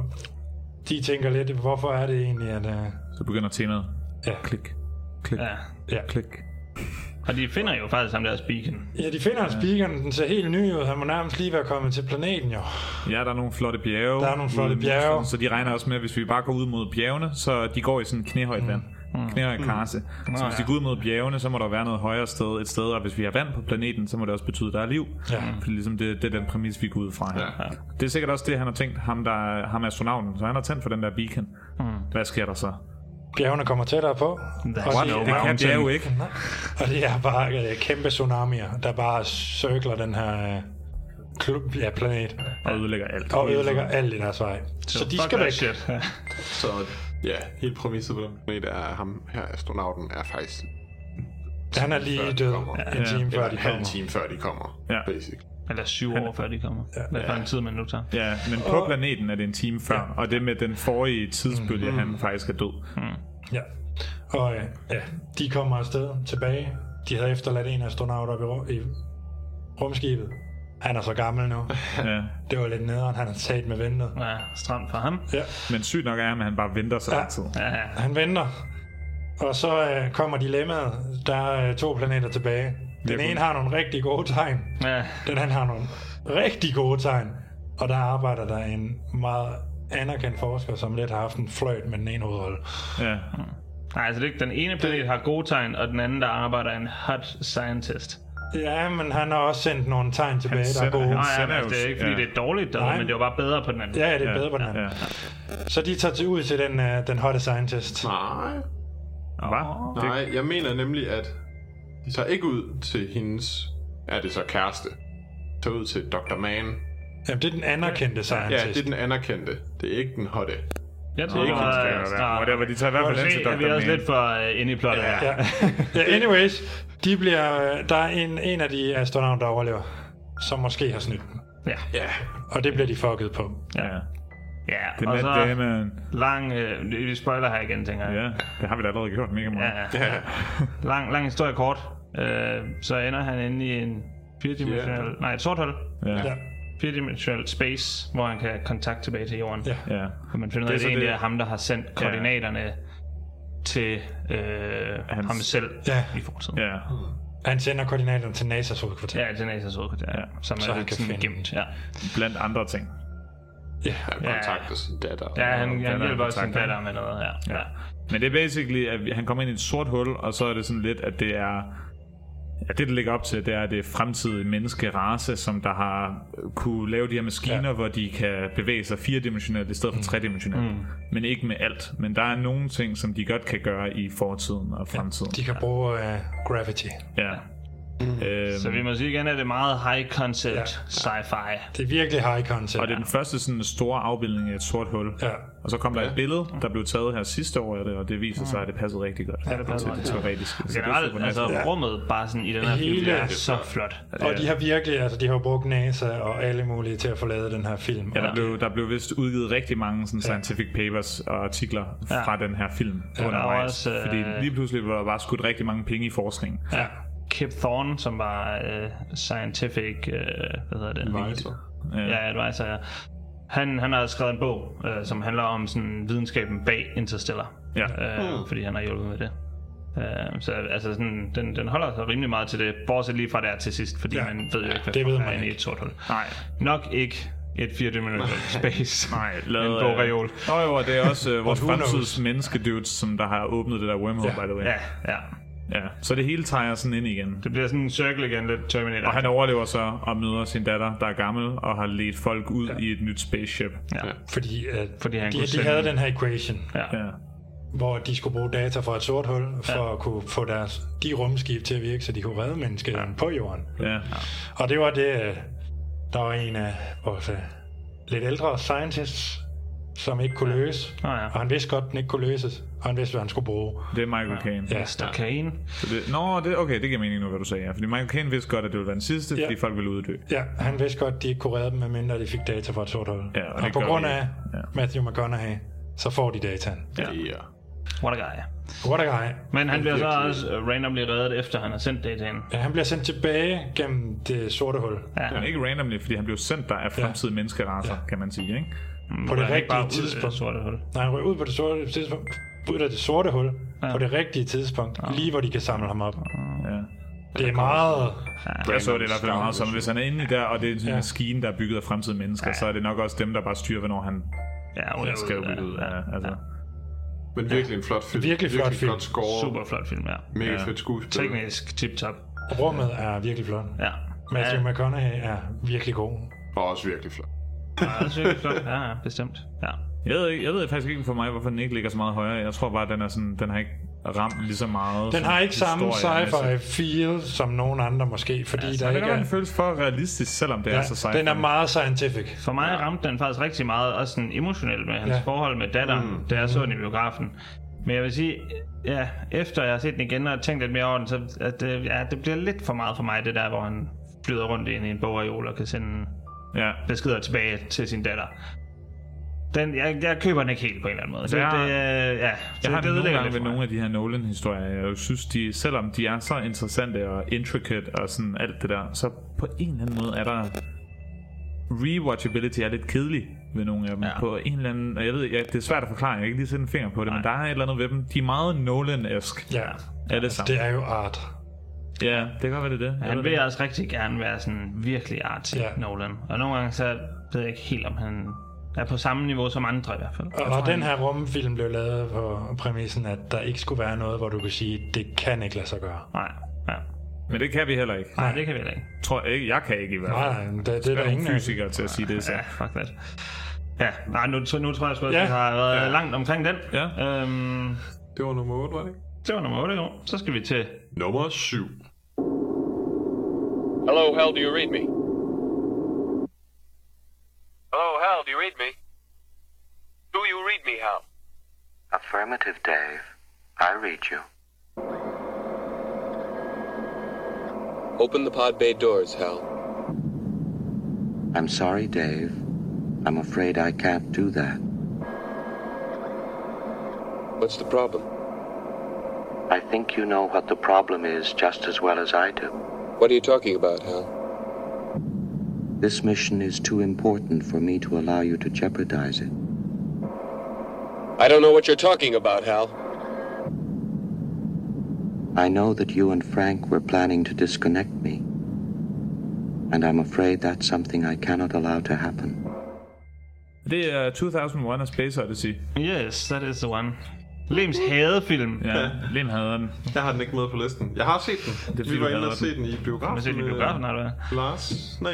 Speaker 4: de tænker lidt, hvorfor er det egentlig, at... Uh,
Speaker 2: Så begynder temaet.
Speaker 4: ja.
Speaker 2: Klik, klik,
Speaker 1: Ja.
Speaker 4: ja.
Speaker 2: klik.
Speaker 1: Og de finder jo faktisk ham der beacon.
Speaker 4: ja, de finder ja. speakeren, den ser helt ny ud. Han må nærmest lige være kommet til planeten, jo.
Speaker 2: Ja, der er nogle flotte bjerge.
Speaker 4: Der er nogle flotte
Speaker 2: Mm,
Speaker 4: bjerge.
Speaker 2: Så de regner også med, at hvis vi bare går ud mod bjergene, så de går i sådan knæhøjt vand. Mm. Knæhøj karse. Så hvis de går ud mod bjergene, så må der være noget højere sted et sted, og hvis vi har vand på planeten, så må det også betyde, at der er liv.
Speaker 4: Ja.
Speaker 2: Fordi ligesom det, det er den præmis, vi går ud fra her. Ja. Det er sikkert også det, han har tænkt, ham, der, ham astronauten. Så han har tændt for den der beacon. Mm. Hvad sker der så?
Speaker 4: Bjergene kommer tættere på.
Speaker 1: That's
Speaker 4: og, de,
Speaker 1: no
Speaker 2: Det
Speaker 1: Mountain.
Speaker 2: kan bjerge ikke.
Speaker 4: og det er bare øh, kæmpe tsunamier, der bare cirkler den her øh, klub, ja, planet
Speaker 2: Og ødelægger alt.
Speaker 4: og ødelægger alt i deres vej. Så, de
Speaker 1: fuck
Speaker 4: skal
Speaker 1: that
Speaker 4: væk.
Speaker 1: Shit. Ja.
Speaker 3: Så ja, hele præmisset på den planet er, at ham her astronauten er faktisk
Speaker 4: Han er lige død en time
Speaker 3: eller
Speaker 4: før de
Speaker 3: en halv
Speaker 4: kommer.
Speaker 3: time før de kommer,
Speaker 2: Ja.
Speaker 3: basic.
Speaker 1: Eller syv år før de kommer. Hvad for en tid man nu tager.
Speaker 2: Ja, men på planeten er det en time før, ja. og det med den forrige tidsbølge, mm. han faktisk er død.
Speaker 4: Ja. Og øh, ja, de kommer afsted tilbage. De havde efterladt en astronaut op i, ru- i rumskibet. Han er så gammel nu.
Speaker 2: Ja.
Speaker 4: Det var lidt nederen, han har sat med ventet.
Speaker 1: Ja, stramt for ham.
Speaker 4: Ja,
Speaker 2: Men sygt nok er, ham, at han bare venter så
Speaker 4: Ja.
Speaker 2: lang tid.
Speaker 1: Ja, ja.
Speaker 4: han venter. Og så øh, kommer dilemmaet. Der er øh, to planeter tilbage. Den ene har nogle rigtig gode tegn.
Speaker 1: ja.
Speaker 4: Den anden har nogle rigtig gode tegn. Og der arbejder der en meget anerkendt forsker, som lidt har haft en fløjt med den ene hovedrolle.
Speaker 2: Ja.
Speaker 1: Nej, altså det er ikke den ene planet har gode tegn, og den anden, der arbejder en hot scientist.
Speaker 4: Ja, men han har også sendt nogle tegn tilbage, der er
Speaker 2: sender-
Speaker 4: gode.
Speaker 2: han
Speaker 1: Nå ja, men
Speaker 2: sender
Speaker 1: altså, det er
Speaker 2: jo-
Speaker 1: ikke fordi,
Speaker 2: ja.
Speaker 1: det er dårligt, der,
Speaker 4: Nej.
Speaker 1: men det var bare bedre på den anden.
Speaker 4: Ja, ja, det er bedre på den anden.
Speaker 2: ja.
Speaker 4: Så de tager til ud til den, uh, den hotte scientist.
Speaker 3: Nej,
Speaker 2: Hva?
Speaker 3: nej, jeg mener nemlig, at de tager ikke ud til hendes, er det så kæreste, De tager ud til Dr. Man.
Speaker 4: Jamen, det er den anerkendte
Speaker 3: Ja,
Speaker 4: scientist.
Speaker 3: det er den anerkendte, det er ikke den hotte.
Speaker 1: Jeg tror,
Speaker 2: Det
Speaker 1: det
Speaker 2: kan måske være,
Speaker 1: var... Ah.
Speaker 2: Whatever, de tager i hvert fald hen til
Speaker 1: Måske er
Speaker 2: Dr.
Speaker 1: vi også
Speaker 2: Man.
Speaker 1: lidt for uh, inde i plottet her.
Speaker 4: Ja. ja, anyways, de bliver, øh, der er en, en af de astronauter, der overlever, som måske har snydt dem.
Speaker 1: Ja.
Speaker 3: Ja,
Speaker 4: Og det bliver de fucket på.
Speaker 2: Ja.
Speaker 1: Ja,
Speaker 2: Det er
Speaker 1: og
Speaker 2: Matt
Speaker 1: så
Speaker 2: Damon.
Speaker 1: lang... Øh, vi spoiler her igen, tænker jeg.
Speaker 2: Ja, det har vi da allerede gjort mega meget.
Speaker 1: Ja, ja. Lang, lang historie kort. Øh, så ender han inde i en firedimensionel... Yeah. Nej, et sort hul.
Speaker 2: Ja.
Speaker 4: Ja.
Speaker 1: Firedimensionel space, hvor han kan kontakte tilbage til jorden.
Speaker 4: Ja.
Speaker 2: ja.
Speaker 1: Og man finder ud af, at
Speaker 2: er
Speaker 1: det
Speaker 2: så
Speaker 1: egentlig
Speaker 2: det-
Speaker 1: er ham, der har sendt koordinaterne til øh,
Speaker 2: Hans-
Speaker 1: ham selv
Speaker 4: Ja.
Speaker 1: i fortiden.
Speaker 2: ja.
Speaker 4: Han sender koordinaterne til NASA's hovedkvarter.
Speaker 1: Ja, til NASA's hovedkvarter, ja. som
Speaker 4: Så
Speaker 1: er
Speaker 4: han
Speaker 1: lidt
Speaker 4: kan
Speaker 1: sådan
Speaker 4: finde-
Speaker 1: gemt. Ja,
Speaker 2: Blandt andre ting.
Speaker 3: han kontakter sin datter.
Speaker 1: ja han,
Speaker 2: der er
Speaker 1: han
Speaker 2: en
Speaker 1: hjælper også sin
Speaker 2: kontakt,
Speaker 1: datter med noget. Ja. ja.
Speaker 2: Men det er basically, at vi- han kommer ind i et sort hul, og så er det sådan lidt, at det er Ja, det, der ligger op til, det er det fremtidige menneskerace, som der har kunne lave de her maskiner, ja. hvor de kan bevæge sig firedimensionelt i stedet for tredimensionelt. Mm. Men ikke med alt. Men der er nogle ting, som de godt kan gøre i fortiden og fremtiden.
Speaker 4: De kan bruge uh, gravity.
Speaker 2: Ja. Mm. Øhm,
Speaker 1: Så vi må sige igen, at det er meget high concept
Speaker 4: Ja.
Speaker 1: sci-fi.
Speaker 4: Det er virkelig high concept.
Speaker 2: Og det er den første sådan store afbildning af et sort hul.
Speaker 4: Ja.
Speaker 2: Og så kom der et billede, der blev taget her sidste år af det, og det viser sig, at det passede rigtig godt. Ja,
Speaker 1: Mm. det passede
Speaker 2: til
Speaker 1: rigtig
Speaker 2: det
Speaker 1: godt.
Speaker 2: teoretiske. Så det er
Speaker 1: Generelt,
Speaker 2: super
Speaker 1: altså
Speaker 2: nice.
Speaker 1: rummet bare sådan i den her film,
Speaker 4: Hele-
Speaker 1: det er så flot.
Speaker 4: Og de har virkelig, altså de har jo brugt NASA og alle mulige til at få lavet den her film.
Speaker 2: Ja, der
Speaker 4: Og
Speaker 2: blev, der blev vist udgivet rigtig mange sådan, scientific papers og artikler
Speaker 1: Ja.
Speaker 2: fra den her film ja,
Speaker 1: var
Speaker 2: undervejs.
Speaker 1: også, øh,
Speaker 2: Fordi lige pludselig var der bare skudt rigtig mange penge i forskning.
Speaker 1: Ja. Kip Thorne, som var øh, scientific, øh, hvad hedder det?
Speaker 3: Advisor.
Speaker 1: Ja, advisor, ja. Han, han har skrevet en bog, øh, som handler om sådan, videnskaben bag Interstellar.
Speaker 2: Ja.
Speaker 1: Øh, fordi han har hjulpet med det. Øh, så altså, sådan, den, den holder sig rimelig meget til det, bortset lige fra der til sidst, fordi ja.
Speaker 4: Ja.
Speaker 1: man ved jo ikke, hvad
Speaker 4: Det ved
Speaker 1: fuck
Speaker 4: man
Speaker 1: er inde i
Speaker 4: ikke.
Speaker 1: et sort hul.
Speaker 2: Nej,
Speaker 1: Nok ikke et 24 minutter *laughs* space.
Speaker 2: nej.
Speaker 1: en bogreol.
Speaker 2: Nå jo, og det er
Speaker 1: *laughs*
Speaker 2: også øh, vores
Speaker 4: who knows?
Speaker 2: fremtids menneskedudes, som der har åbnet det der wormhole, ja. by the way.
Speaker 1: Ja, ja.
Speaker 2: ja. Så det hele tager sådan ind igen.
Speaker 1: Det bliver sådan en cirkel igen, lidt Terminator.
Speaker 2: Og han overlever så og møder sin datter, der er gammel, og har ledt folk ud ja. i et nyt spaceship.
Speaker 1: ja.
Speaker 4: Fordi, at
Speaker 1: Fordi han
Speaker 4: de,
Speaker 1: kunne
Speaker 4: de
Speaker 1: sende-
Speaker 4: havde den her equation,
Speaker 1: Ja.
Speaker 2: Ja.
Speaker 4: hvor de skulle bruge data fra et sort hul, for ja. at kunne få deres, de rumskib til at virke, så de kunne redde menneskeheden ja. på jorden.
Speaker 2: Ja.
Speaker 4: Og det var det, øh, der var en af vores øh, lidt ældre scientists, som ikke kunne løse.
Speaker 1: Nå ja.
Speaker 4: Og han vidste godt, den ikke kunne løses, og han vidste, hvad han skulle bruge.
Speaker 2: Det er Michael Caine.
Speaker 4: Ja.
Speaker 1: Mr. Kane.
Speaker 2: Så det, nå, det, okay, det giver mening nu, hvad du sagde. Ja. Fordi Michael Caine vidste godt, at det ville være den sidste,
Speaker 4: Ja.
Speaker 2: fordi folk ville uddø.
Speaker 4: Ja, han vidste godt, de ikke kunne redde dem, medmindre de fik data fra et sort hul.
Speaker 2: Ja, og
Speaker 4: og
Speaker 2: det
Speaker 4: på
Speaker 2: gør
Speaker 4: grund
Speaker 2: de
Speaker 4: af
Speaker 2: ikke. Ja.
Speaker 4: Matthew McConaughey, så får de dataen.
Speaker 2: Ja.
Speaker 3: Ja.
Speaker 1: What a guy.
Speaker 4: What a guy.
Speaker 1: Men han bliver så også øh, randomly reddet, efter han har sendt dataen.
Speaker 4: Ja, han bliver sendt tilbage gennem det sorte hul.
Speaker 1: Ja.
Speaker 2: Men ikke randomly, fordi han blev sendt der af fremtidige ja. menneskeraser, ja. kan man sige, ikke?
Speaker 4: På det
Speaker 1: Han er ikke bare
Speaker 4: rigtige
Speaker 1: ude af det
Speaker 4: tidspunkt.
Speaker 1: sorte hul.
Speaker 4: Nej, han ryger ud på det sorte tidspunkt. Ud af det sorte hul. Ja. På det rigtige tidspunkt. Ja. Lige hvor de kan samle ham op.
Speaker 2: Ja.
Speaker 4: Det er meget...
Speaker 2: Jeg så det i hvert fald meget som, hvis han er inde i der, og det er en ja.
Speaker 4: Ja.
Speaker 2: maskine, der er bygget af fremtidige mennesker, ja. så er det nok også dem, der bare styrer, hvornår han
Speaker 1: Ja, ude,
Speaker 2: ja, skal
Speaker 1: ude,
Speaker 2: ud.
Speaker 1: ude.
Speaker 2: Ja, altså.
Speaker 3: Men virkelig en flot film.
Speaker 4: Virkelig flot film.
Speaker 3: Godt score.
Speaker 1: Super flot film, ja.
Speaker 3: Mega fedt skuespil.
Speaker 1: Teknisk tip-top.
Speaker 4: Rummet er virkelig flot.
Speaker 1: Ja.
Speaker 4: Matthew ja. McConaughey er virkelig god.
Speaker 3: Og også virkelig flot.
Speaker 1: Ja, det synes flot. Ja, ja, bestemt. Ja.
Speaker 2: jeg, ved, ikke- jeg ved faktisk ikke for mig, hvorfor den ikke ligger så meget højere. Jeg tror bare, at den, er sådan, den har ikke ramt lige så meget.
Speaker 4: Den har ikke samme
Speaker 2: Ja,
Speaker 4: sci-fi feel som nogen andre måske, fordi ja, der
Speaker 2: det
Speaker 4: ikke
Speaker 2: kan godt
Speaker 4: er...
Speaker 2: være, føles for realistisk, selvom det ja, er så altså, sci-fi.
Speaker 4: den er meget scientific.
Speaker 1: For mig ramte den faktisk rigtig meget, også sådan emotionelt med hans ja.
Speaker 4: Ja.
Speaker 1: forhold med datteren, mm. da jeg så den i biografen. Men jeg vil sige, ja, efter jeg har set den igen og tænkt lidt mere over den, så at, øh, ja, det bliver lidt for meget for mig, det der, hvor han flyder rundt ind i en bogreol og kan sende
Speaker 2: Ja.
Speaker 1: beskeder tilbage til sin datter. Den, jeg, jeg køber den ikke helt på en eller anden måde. Så
Speaker 2: Jeg-
Speaker 1: det, øh, ja,
Speaker 2: Jeg har det, nogle
Speaker 1: ødelægger
Speaker 2: gange
Speaker 1: lidt
Speaker 2: ved
Speaker 1: for mig.
Speaker 2: nogle af de her Nolan-historier, jeg synes, de, selvom de er så interessante og intricate og sådan alt det der, så på en eller anden måde er der... Rewatchability er lidt kedelig ved nogle af dem. Ja. På en eller anden... og Jeg ved, jeg, det er svært at forklare, jeg kan ikke lige sætte en finger på det, men der er et eller andet ved dem. De er meget Nolan-esk,
Speaker 4: Ja, Altså,
Speaker 2: alle sammen.
Speaker 4: det er jo art.
Speaker 2: Ja, det kan godt være, det er det. Jeg ved
Speaker 1: Han
Speaker 2: det.
Speaker 1: vil også rigtig gerne være sådan virkelig artsy,
Speaker 4: Ja.
Speaker 1: yeah. Nolan. Og nogle gange så ved jeg ikke helt, om han er på samme niveau som andre i hvert fald.
Speaker 4: Og, og den her rumfilm blev lavet på præmissen, at der ikke skulle være noget, hvor du kunne sige, det kan ikke lade sig gøre.
Speaker 1: Nej, ja.
Speaker 2: Men det kan vi heller ikke.
Speaker 1: Nej, det kan vi heller ikke.
Speaker 2: Tror jeg, ikke. jeg kan ikke i hvert fald.
Speaker 4: Nej, nej, men det, det er
Speaker 2: Jeg
Speaker 4: der
Speaker 2: er
Speaker 4: ingen
Speaker 2: ingen
Speaker 4: af.
Speaker 2: fysiker til at sige det, så.
Speaker 1: Ja, fuck that. Ja, nej, nu, så nu tror jeg sgu også,
Speaker 4: Ja.
Speaker 1: yeah. vi har været yeah. langt omkring den.
Speaker 2: Ja.
Speaker 1: Øhm,
Speaker 3: Det var nummer 8, var det ikke?
Speaker 1: det var nummer 8 i år. Så skal vi til...
Speaker 3: Nummer 7.
Speaker 5: Hello, hell, do you read me? Hello, hell, do you read me? Do you read me, hell?
Speaker 10: Affirmative, Dave. I read you.
Speaker 5: Open the pod bay doors, hell.
Speaker 10: I'm sorry, Dave. I'm afraid I can't do that.
Speaker 5: What's the problem?
Speaker 10: I think you know what the problem is just as well as I do.
Speaker 5: What are you talking about, hell?
Speaker 10: This mission is too important for me to allow you to jeopardize it.
Speaker 5: I don't know what you're talking about, hell.
Speaker 10: I know that you and Frank were planning to disconnect me. And I'm afraid that's something I cannot allow to happen.
Speaker 2: Det er 2001 A Space Odyssey.
Speaker 1: Yes, that is the one. Lems hadefilm.
Speaker 2: Ja, Lem hader den.
Speaker 3: Jeg har den ikke med på listen. Jeg har set den.
Speaker 2: Det er, fordi
Speaker 3: Vi
Speaker 2: du
Speaker 3: var inde
Speaker 2: hader
Speaker 3: og se den i biografen. øh,
Speaker 1: Man ser det i
Speaker 3: med
Speaker 1: biografen, eller hvad?
Speaker 3: Lars? Nej.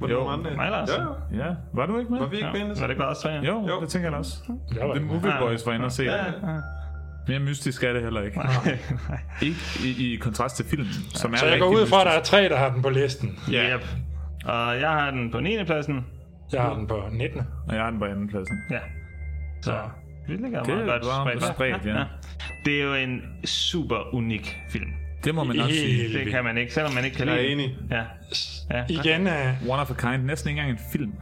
Speaker 3: Var det
Speaker 2: Jo,
Speaker 3: nogen andre?
Speaker 1: mig, Lars.
Speaker 3: Ja, ja.
Speaker 2: Ja, var du ikke med?
Speaker 3: Var vi ikke
Speaker 1: Ja.
Speaker 3: ja. med
Speaker 1: Var det ikke bare os tre?
Speaker 2: Jo,
Speaker 3: Jo.
Speaker 2: jo, det tænker jeg da også.
Speaker 4: Jeg
Speaker 2: The
Speaker 4: var ikke med.
Speaker 2: Movie
Speaker 1: Nej.
Speaker 2: Boys var inde og se
Speaker 3: Ja,
Speaker 2: den.
Speaker 1: *laughs* ja.
Speaker 2: Mere mystisk er det heller ikke.
Speaker 1: Nej.
Speaker 2: Ikke i, i kontrast til filmen, som er
Speaker 4: Så jeg
Speaker 2: rigtig
Speaker 4: går ud fra, at der
Speaker 2: mystisk.
Speaker 4: er tre, der har den på listen.
Speaker 1: Ja. Yep. Og jeg har den på 9. pladsen.
Speaker 4: Jeg har den på 19.
Speaker 2: Og jeg har den på anden pladsen.
Speaker 1: Ja. Så vi ligger
Speaker 2: Det
Speaker 1: meget godt
Speaker 2: var
Speaker 1: spredt. hva'?
Speaker 2: spredt, ja.
Speaker 1: Det er jo en super unik film.
Speaker 2: Det må man nok
Speaker 4: Helt
Speaker 2: sige.
Speaker 1: Det kan man ikke, selvom man ikke kan
Speaker 3: Jeg
Speaker 1: lide
Speaker 3: er
Speaker 1: den.
Speaker 3: enig.
Speaker 1: Ja. ja.
Speaker 4: Igen, øh,
Speaker 2: One of a kind, næsten ikke engang en film.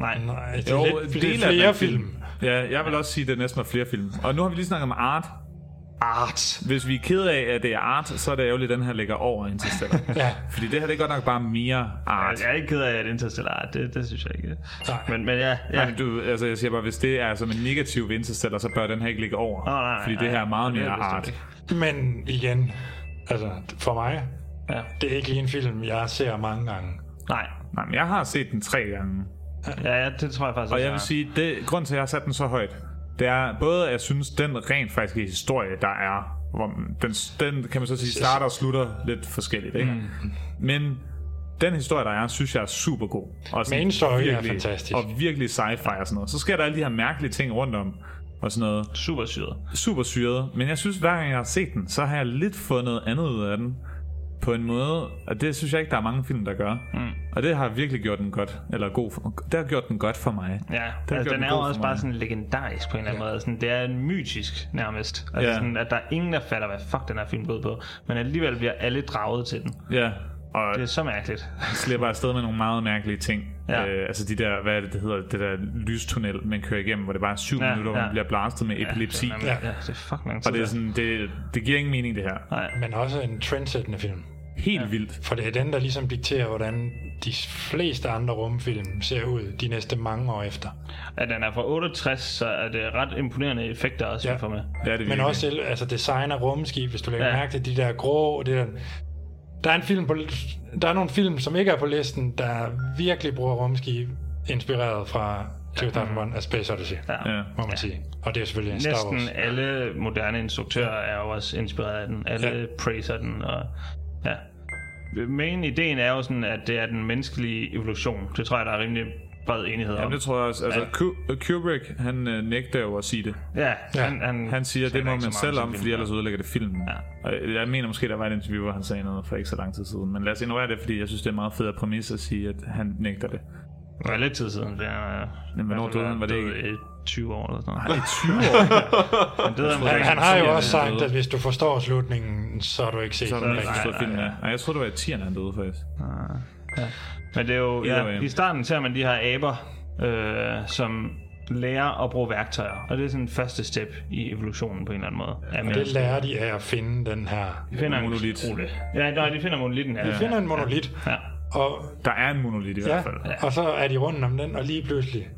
Speaker 1: Nej.
Speaker 4: nej, det er
Speaker 2: Jo,
Speaker 4: lidt,
Speaker 2: dele
Speaker 4: lidt
Speaker 2: af
Speaker 4: flere
Speaker 2: den film.
Speaker 4: film.
Speaker 2: Ja, jeg vil også sige, at det næsten var flere film. Og nu har vi lige snakket om art.
Speaker 1: Art.
Speaker 2: Hvis vi er ked af, at det er art, så er det ærgerligt, at den her ligger over Interstellar.
Speaker 4: Ja.
Speaker 2: Fordi det her det er godt nok bare mere art.
Speaker 1: Jeg er ikke ked af, at Interstellar er art. Det, det synes jeg ikke.
Speaker 4: Nej.
Speaker 1: Men, men ja,
Speaker 2: Ja.
Speaker 1: ja.
Speaker 2: Nej, men du, altså jeg siger bare, hvis det er som en negativ ved Interstellar, så bør den her ikke ligge over.
Speaker 1: Åh, nej, nej,
Speaker 2: fordi
Speaker 1: nej.
Speaker 2: det her er meget
Speaker 1: Det er
Speaker 2: mere
Speaker 1: bestemt
Speaker 2: art.
Speaker 1: ikke.
Speaker 4: Men igen, altså for mig,
Speaker 1: ja.
Speaker 4: det er ikke lige en film, jeg ser mange gange.
Speaker 1: Nej.
Speaker 2: Nej, men jeg har set den tre gange.
Speaker 1: Ja, ja, det tror jeg faktisk
Speaker 2: Og
Speaker 1: også,
Speaker 2: jeg vil sige, det, grund til, at jeg har sat den så højt, det er både, at jeg synes, den rent faktiske historie, der er, hvor den, den kan man så sige, starter og slutter lidt forskelligt, ikke? Mm. Men den historie, der er, synes jeg er super god. Og sådan
Speaker 4: Main story er fantastisk.
Speaker 2: Og virkelig sci-fi og sådan noget. Så sker der alle de her mærkelige ting rundt om, og sådan noget.
Speaker 1: Super syret.
Speaker 2: Super syret. Men jeg synes, hver gang jeg har set den, så har jeg lidt fået noget andet ud af den. På en måde, og det synes jeg ikke, der er mange film, der gør. Mm. Og det har virkelig gjort den godt, eller god, for- det har gjort den godt for mig.
Speaker 1: Ja, altså,
Speaker 2: Det gør
Speaker 1: den
Speaker 2: den
Speaker 1: er jo
Speaker 2: god for
Speaker 1: også bare
Speaker 2: mig.
Speaker 1: sådan legendarisk på en eller anden måde. Sådan, det er en mytisk nærmest. Altså
Speaker 2: Ja.
Speaker 1: sådan, at der er ingen, der fatter, hvad fuck den her film går ud på. Men alligevel bliver alle draget til den.
Speaker 2: Ja, og
Speaker 1: Det er så mærkeligt.
Speaker 2: slipper afsted med nogle meget mærkelige ting.
Speaker 1: Ja.
Speaker 2: Ja. Øh, altså de der, hvad er det, det hedder, det der lystunnel, man kører igennem, hvor det bare er syv
Speaker 1: Ja,
Speaker 2: ja, minutter, hvor
Speaker 1: ja.
Speaker 2: man bliver blastet med
Speaker 1: *laughs*
Speaker 2: epilepsi.
Speaker 1: Ja, det, er,
Speaker 4: Ja.
Speaker 1: ja. ja, det er fucking lang tid.
Speaker 2: og det er sådan, det, det giver ingen mening det her.
Speaker 1: Nej,
Speaker 4: Men også en trendsættende film.
Speaker 2: Helt ja. vildt.
Speaker 4: For det er den, der ligesom dikterer, hvordan de fleste andre rumfilm ser ud de næste mange år efter.
Speaker 1: at den er fra 68, så er det ret imponerende effekter også, ja.
Speaker 4: Ja.
Speaker 1: vi får med.
Speaker 2: Det er det
Speaker 4: Men
Speaker 2: virkelig.
Speaker 4: også selv, altså design af rumskib, hvis du lægger
Speaker 1: Ja.
Speaker 4: ja. mærke til de der grå, det der... Der er, en film på, der er nogle film, som ikke er på listen, der virkelig bruger rumskib, inspireret fra 2001 af Space Odyssey,
Speaker 1: Ja.
Speaker 2: Ja.
Speaker 4: må man sige. Og det er selvfølgelig en Star
Speaker 1: Næsten
Speaker 4: Wars.
Speaker 1: alle moderne instruktører er jo også inspireret af den. Alle ja.
Speaker 4: Ja.
Speaker 1: praiser den. Og, ja. Men ideen er jo sådan, at det er den menneskelige evolution. Det tror jeg, der er rimelig bred enighed om.
Speaker 2: Jamen, det tror jeg også. Altså, Ku- Kubrick, han øh, nægter jo at sige det.
Speaker 1: Ja,
Speaker 4: Ja.
Speaker 1: han, han,
Speaker 2: Han siger, at det må
Speaker 1: ikke så
Speaker 2: man
Speaker 1: meget
Speaker 2: selv
Speaker 1: sin
Speaker 2: om,
Speaker 1: film.
Speaker 2: fordi ellers ødelægger det filmen.
Speaker 1: Ja.
Speaker 2: Og Jeg mener måske, der var et interview, hvor han sagde noget for ikke så lang tid siden. Men lad os ignorere det, fordi jeg synes, det er en meget fed præmis at sige, at han nægter det.
Speaker 1: Det var lidt tid siden. Det er, øh,
Speaker 2: Men hvornår døde han? Var det ikke-
Speaker 1: i 20 år eller sådan noget.
Speaker 2: I 20 år,
Speaker 1: Han døde om
Speaker 4: Han, han
Speaker 1: omkring-
Speaker 4: har jo
Speaker 2: Ja,
Speaker 4: også
Speaker 2: ja,
Speaker 4: sagt,
Speaker 2: ja.
Speaker 4: at hvis du forstår slutningen, så har du ikke
Speaker 2: *laughs*
Speaker 4: set
Speaker 2: så har
Speaker 4: den
Speaker 2: man ikke
Speaker 4: rigtig.
Speaker 2: forstået filmen. Ja. Og jeg troede, det var i 10'erne, han døde faktisk.
Speaker 1: Men det er jo,
Speaker 2: Either
Speaker 1: ja,
Speaker 2: way.
Speaker 1: i starten ser man de her aber, øh, som lærer at bruge værktøjer. Og det er sådan første step i evolutionen på en eller anden måde. Ja,
Speaker 4: Det lærer de af at finde den her.
Speaker 1: de finder en
Speaker 2: Monolit.
Speaker 1: Rulle. Ja, nej, de finder monolitten. Ja.
Speaker 4: De finder en monolit,
Speaker 1: Ja.
Speaker 4: og
Speaker 2: Der er en monolit i
Speaker 4: Ja,
Speaker 2: hvert fald.
Speaker 4: og så er de rundt om den, og lige pludselig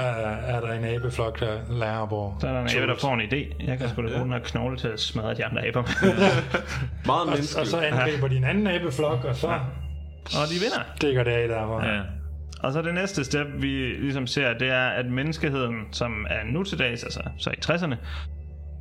Speaker 4: øh, er der en abeflok, der lærer at bruge
Speaker 1: Så er der en abe, der får en idé. Jeg kan sgu da bruge den her knogle til at smadre de andre
Speaker 2: *laughs*
Speaker 1: aber.
Speaker 3: Meget
Speaker 4: og,
Speaker 3: menneskeligt.
Speaker 4: og så angriber de en anden abeflok, og så
Speaker 1: og de vinder.
Speaker 4: stikker det af derfra.
Speaker 2: Ja.
Speaker 1: Og så det næste step, vi ligesom ser, det er, at menneskeheden, som er nu til dags, altså så i 60'erne,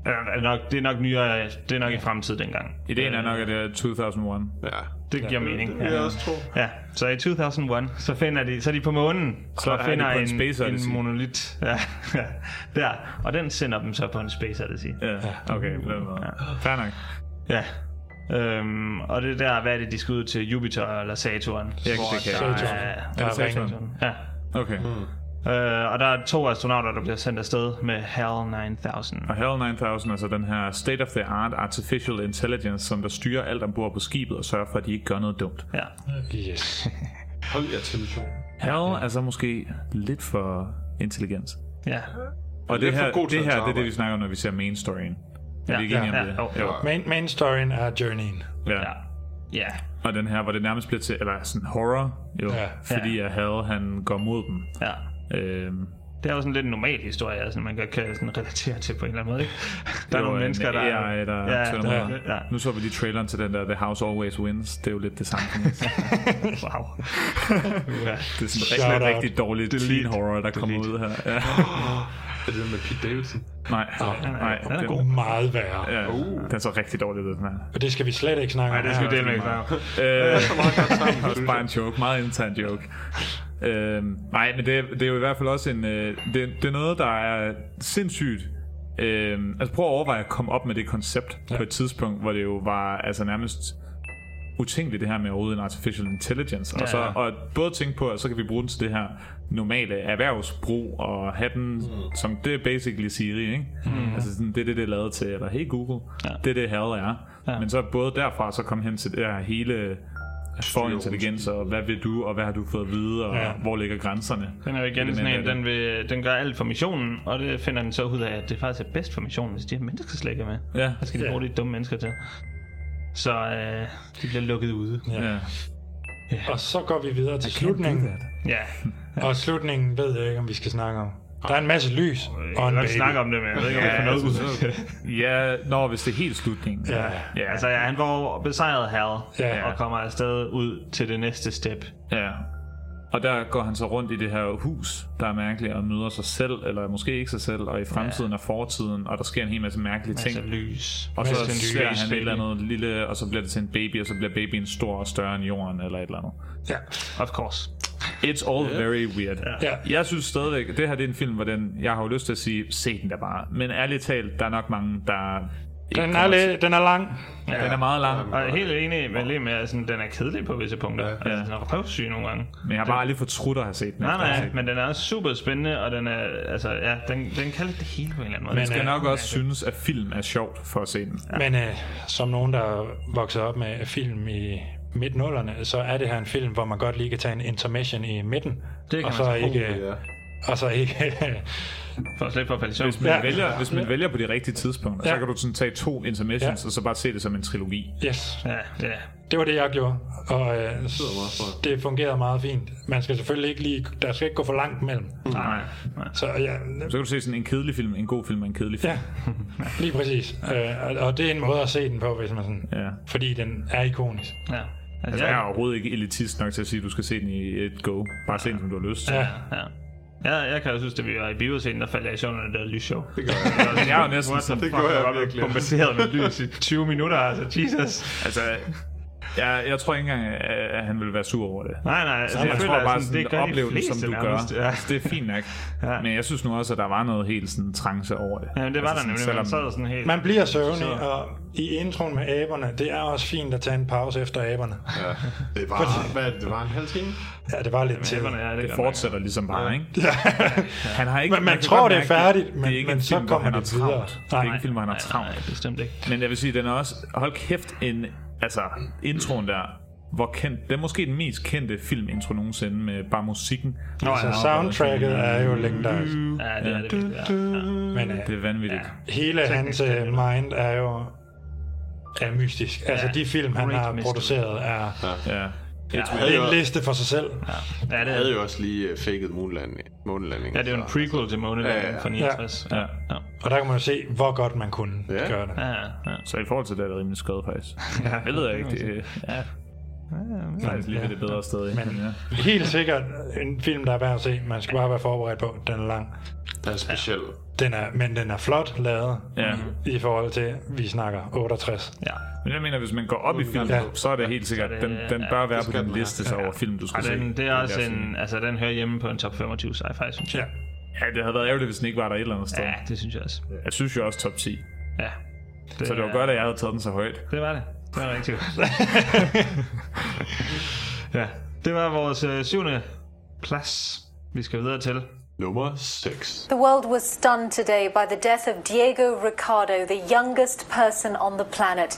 Speaker 1: er er nok, det er nok nyere, det er nok i fremtid dengang.
Speaker 2: Ideen er nok, at det er 2001.
Speaker 3: Ja.
Speaker 1: Det giver mening.
Speaker 3: Det vil jeg også tro.
Speaker 1: Ja, så i 2001, så finder de, så er de på månen, så
Speaker 2: er de
Speaker 1: finder
Speaker 2: på en
Speaker 1: en,
Speaker 2: Space
Speaker 1: en,
Speaker 2: Odyssey.
Speaker 1: monolit. Ja, *laughs* ja, der. Og den sender dem så på en Space Odyssey.
Speaker 2: Ja, okay. På den måde. Fair nok.
Speaker 1: Ja. Øhm, og det er der, hvad er det, de skal ud til Jupiter eller Saturn?
Speaker 2: Jeg kan ikke
Speaker 1: der
Speaker 2: det
Speaker 4: Saturn.
Speaker 1: er,
Speaker 4: Der
Speaker 2: det
Speaker 4: er ringen.
Speaker 2: Saturn?
Speaker 1: ja.
Speaker 2: Okay.
Speaker 1: Øh, og der er to astronauter, der bliver sendt afsted med HAL 9000.
Speaker 2: Og HAL 9000, altså den her state-of-the-art artificial intelligence, som der styrer alt ombord på skibet og sørger for, at de ikke gør noget dumt.
Speaker 1: Ja.
Speaker 4: Yes.
Speaker 3: Hold jer til missionen.
Speaker 2: HAL er så altså måske lidt for intelligens.
Speaker 1: ja.
Speaker 2: Og det
Speaker 3: Lidt for
Speaker 2: her,
Speaker 3: god til
Speaker 2: det
Speaker 3: at
Speaker 2: her det er
Speaker 3: arbejde.
Speaker 2: det, vi snakker om, når vi ser main storyen. Er
Speaker 1: Ja,
Speaker 2: vi ikke enige
Speaker 1: ja,
Speaker 2: om det?
Speaker 1: ja, jo, jo.
Speaker 4: Main, main storyen er journeyen.
Speaker 2: Ja.
Speaker 1: Ja. Ja.
Speaker 2: Og den her, hvor det nærmest bliver til, eller sådan horror, jo,
Speaker 4: Ja.
Speaker 2: fordi at HAL, han går mod dem.
Speaker 1: ja.
Speaker 2: Øhm,
Speaker 1: Det er jo sådan lidt en normal historie, altså, man godt kan sådan relatere til på en eller anden måde. Ikke? Der
Speaker 2: Det
Speaker 1: er
Speaker 2: var
Speaker 1: nogle
Speaker 2: en
Speaker 1: mennesker, der...
Speaker 2: AI, der
Speaker 1: ja,
Speaker 2: tønder
Speaker 1: ja,
Speaker 2: mig.
Speaker 1: ja.
Speaker 2: Nu så vi lige traileren til den der The House Always Wins. Det er jo lidt det samme.
Speaker 1: Wow.
Speaker 2: det er sådan
Speaker 4: Shout
Speaker 2: rigtig,
Speaker 4: out.
Speaker 1: Ah.
Speaker 2: rigtig dårlig teen horror, der kommer ud her. Ja.
Speaker 3: Er det den med Pete Davidson?
Speaker 2: Nej,
Speaker 4: den er-
Speaker 2: nej.
Speaker 4: den er god. Meget værre.
Speaker 2: Ja, den er så rigtig dårlig, den her.
Speaker 4: Og det skal vi slet ikke snakke om. her.
Speaker 2: Øh, også bare en joke, meget intern joke. Øh, nej, men det, er- det er jo i hvert fald også en... Øh, det, det er noget, der er sindssygt... Øh, altså prøv at overveje at komme op med det koncept ja. på et tidspunkt, hvor det jo var altså nærmest utænkeligt det her med overhovedet en artificial intelligence. Og,
Speaker 1: Ja,
Speaker 2: så,
Speaker 1: ja.
Speaker 2: og både tænke på, at så kan vi bruge den til det her normale erhvervsbrug, og have den, mm. som det er basically Siri, ikke? Mm. Altså sådan, det er det, det er lavet til, eller hey Google, ja. det er det hell er. Ja. Men så både derfra, så komme hen til det her hele for intelligens, og hvad vil du, og hvad har du fået at vide, og
Speaker 1: Ja.
Speaker 2: ja. hvor ligger grænserne?
Speaker 1: Den er jo igen
Speaker 2: Element
Speaker 1: sådan
Speaker 2: af
Speaker 1: en,
Speaker 2: det.
Speaker 1: den, vil, den gør alt for missionen, og det finder den så ud af, at det faktisk er bedst for missionen, hvis de her mennesker slet ikke er med.
Speaker 2: Ja.
Speaker 1: Hvad skal de
Speaker 2: Ja.
Speaker 1: bruge de dumme mennesker til? Så øh, de bliver lukket ude.
Speaker 2: Ja.
Speaker 4: Og så går vi videre til slutningen.
Speaker 1: Ja.
Speaker 4: Og slutningen ved jeg ikke, om vi skal snakke om. Der er en masse lys og en baby.
Speaker 2: Ja, når hvis det er helt slutningen.
Speaker 4: Ja.
Speaker 1: Ja, altså ja, han var besejret Hal
Speaker 2: Ja.
Speaker 1: og kommer afsted ud til det næste step.
Speaker 2: Ja. Og der går han så rundt i det her hus, der er mærkeligt, og møder sig selv, eller måske ikke sig selv, og i fremtiden ja. og fortiden, og der sker en hel masse mærkelige
Speaker 1: Masser
Speaker 2: ting.
Speaker 1: af lys.
Speaker 2: Og så
Speaker 1: Masser af
Speaker 2: ser
Speaker 1: lys,
Speaker 2: han et eller
Speaker 1: baby.
Speaker 2: andet lille, og så bliver det til en baby, og så bliver babyen stor og større end jorden, eller et eller andet.
Speaker 4: Ja.
Speaker 1: Of course.
Speaker 2: It's all yeah. very weird.
Speaker 4: Ja.
Speaker 2: Jeg synes stadigvæk, det her det er en film, hvor den, jeg har jo lyst til at sige, se den der bare. Men ærligt talt, der er nok mange, der... ikke
Speaker 4: Den er,
Speaker 2: kommer til-
Speaker 4: lidt, den er lang.
Speaker 2: Ja, den er meget lang.
Speaker 1: Og jeg er helt enig med Lem, at sådan, den er kedelig på visse punkter. Ja. Altså, den er røvsyg nogle gange.
Speaker 2: Men jeg har bare aldrig fortrudt at have set den.
Speaker 1: Nej,
Speaker 2: efter at have set
Speaker 1: nej,
Speaker 2: den.
Speaker 1: men den er super spændende, og den er, altså, ja, den, den kan lidt det hele på en eller anden måde.
Speaker 2: Man skal
Speaker 1: Den er-
Speaker 2: nok også synes, at film er sjovt for at se den.
Speaker 4: Men øh, som nogen, der voksede op med film i midt så er det her en film, hvor man godt lige kan tage en intermission i midten.
Speaker 1: Det kan
Speaker 4: og
Speaker 1: man
Speaker 4: så
Speaker 1: så.
Speaker 4: ikke,
Speaker 1: Uh, ja.
Speaker 4: Og så ikke... *laughs*
Speaker 1: For at slippe for at falde i søvn.
Speaker 2: Hvis man, ja. vælger, hvis man ja. vælger på de rigtige tidspunkter, ja. så
Speaker 4: Ja.
Speaker 2: kan du sådan tage to intermissions, ja. og så bare se det som en trilogi.
Speaker 4: yes.
Speaker 1: Ja, ja.
Speaker 4: Det var det, jeg gjorde, og øh, det,
Speaker 2: meget smart.
Speaker 4: det fungerede meget fint. Man skal selvfølgelig ikke lige... Der skal ikke gå for langt mellem.
Speaker 1: Nej, nej.
Speaker 4: Så ja,
Speaker 2: Så kan du se sådan en kedelig film, en god film og en kedelig film.
Speaker 4: Ja. lige præcis. Øh, og, og det er en måde at se den på, hvis man sådan...
Speaker 2: Ja.
Speaker 4: Fordi den er ikonisk.
Speaker 1: Ja.
Speaker 2: Altså, jeg er overhovedet ikke elitist nok til at sige, at du skal se den i et go. Bare se den, som du har lyst til.
Speaker 4: Ja.
Speaker 1: Ja. Ja, jeg kan jo synes, at vi var i bioscenen, der faldt jeg i søvn, og det var lysshow. Det gør *laughs*
Speaker 2: Men jeg er jo næsten sådan,
Speaker 1: det gør jeg virkelig. bombarderet med lys i 20 minutter, altså Jesus.
Speaker 2: Altså, jeg, jeg tror ikke engang, at at han vil være sur over det.
Speaker 1: Nej, nej, altså,
Speaker 2: altså, jeg,
Speaker 1: jeg
Speaker 2: tror
Speaker 1: føler, sådan,
Speaker 2: bare, sådan,
Speaker 1: det
Speaker 2: det
Speaker 1: gør de
Speaker 2: oplevelsen,
Speaker 1: fleste
Speaker 2: som du
Speaker 1: nærmest,
Speaker 2: gør,
Speaker 1: ja.
Speaker 2: ja. det er
Speaker 1: *laughs*
Speaker 2: fint nok. ja. Men jeg synes nu også, at der var noget helt sådan trance over det. Altså
Speaker 1: Ja, det var der nemlig. Man sad sådan helt...
Speaker 4: Man bliver søvnig, og i introen med aberne, det er også fint at tage en pause efter aberne.
Speaker 3: Ja. Det var, hvad, er det, det var en halv time?
Speaker 4: Ja, det var lidt til. *laughs*
Speaker 1: Æberne, ja, det,
Speaker 2: Det
Speaker 1: gør man.
Speaker 2: fortsætter ligesom bare, ikke? Ja. Han har ikke,
Speaker 4: Men man
Speaker 2: kan
Speaker 4: tror,
Speaker 2: godt
Speaker 4: det er
Speaker 2: mærke,
Speaker 4: færdigt,
Speaker 2: det
Speaker 4: men-
Speaker 2: er ikke
Speaker 4: men
Speaker 2: en
Speaker 4: så
Speaker 2: film, hvor
Speaker 4: kommer
Speaker 2: han har
Speaker 4: det videre.
Speaker 2: travlt. Det er ikke en
Speaker 1: Nej.
Speaker 2: film, hvor han har
Speaker 1: Nej, nej,
Speaker 2: travlt.
Speaker 1: bestemt ikke.
Speaker 2: Men jeg vil sige, den er også, hold kæft, en, altså, introen der, hvor kendt, den er måske den mest kendte filmintro nogensinde med bare musikken. Altså,
Speaker 1: Nå, ja.
Speaker 4: Så soundtracket er jo legendarisk.
Speaker 1: Ja, det er det. virkelig, Ja.
Speaker 4: Men øh,
Speaker 2: Det er vanvittigt.
Speaker 4: hele hans øh, mind er jo er mystisk. Altså
Speaker 1: Ja,
Speaker 4: de film, han
Speaker 1: great
Speaker 4: har
Speaker 1: mystery.
Speaker 4: produceret, er
Speaker 2: Ja. ja.
Speaker 4: det er en liste for sig selv.
Speaker 1: Ja, det
Speaker 3: Jeg
Speaker 1: er
Speaker 3: havde
Speaker 1: det.
Speaker 3: jo også lige øh, faked månelanding. månelanding
Speaker 1: Ja, det er jo en
Speaker 2: altså.
Speaker 1: prequel til
Speaker 3: Ja, ja.
Speaker 1: Måneland fra 69. Ja, ja.
Speaker 4: Og der kan man jo se, hvor godt man kunne
Speaker 3: Ja.
Speaker 4: gøre det.
Speaker 1: Ja, ja, ja.
Speaker 2: Så i forhold til det er det rimelig skød, faktisk.
Speaker 1: *laughs* Ja,
Speaker 2: Jeg ved jeg
Speaker 1: det
Speaker 2: ikke,
Speaker 1: må man
Speaker 2: det, ja,
Speaker 1: Ja,
Speaker 2: faktisk lige ved det bedre sted. ikke?
Speaker 4: Men-
Speaker 2: ja.
Speaker 4: Helt sikkert en film, der er værd at se. Man skal bare være forberedt på, den er lang.
Speaker 3: Den er speciel.
Speaker 4: Den er, men den er flot lavet
Speaker 2: Ja.
Speaker 4: i forhold til, vi snakker 68.
Speaker 1: ja.
Speaker 2: Men jeg mener, hvis man går op i film,
Speaker 4: Ja.
Speaker 2: så er det helt sikkert,
Speaker 1: det-
Speaker 2: den, den
Speaker 1: ja,
Speaker 2: bør være
Speaker 3: det
Speaker 2: på
Speaker 3: skal
Speaker 2: din
Speaker 3: den
Speaker 2: liste så over film, du skal
Speaker 1: Og
Speaker 2: se.
Speaker 1: den, det er
Speaker 2: Den
Speaker 1: også
Speaker 2: der
Speaker 1: en,
Speaker 2: film.
Speaker 1: altså den hører hjemme på en top 25 sci-fi, synes jeg.
Speaker 4: Ja.
Speaker 2: Ja, det havde været ærgerligt, hvis den ikke var der et eller andet sted.
Speaker 1: Ja, det synes jeg også.
Speaker 2: Jeg synes jo også top 10.
Speaker 1: Ja.
Speaker 2: Så det var
Speaker 1: er-
Speaker 2: godt, at jeg havde taget den så højt.
Speaker 1: Det var det. Det var rigtig godt. ja, det var vores øh, syvende plads, vi skal videre til.
Speaker 3: Nummer 6.
Speaker 11: The world was stunned today by the death of Diego Ricardo, the youngest person on the planet.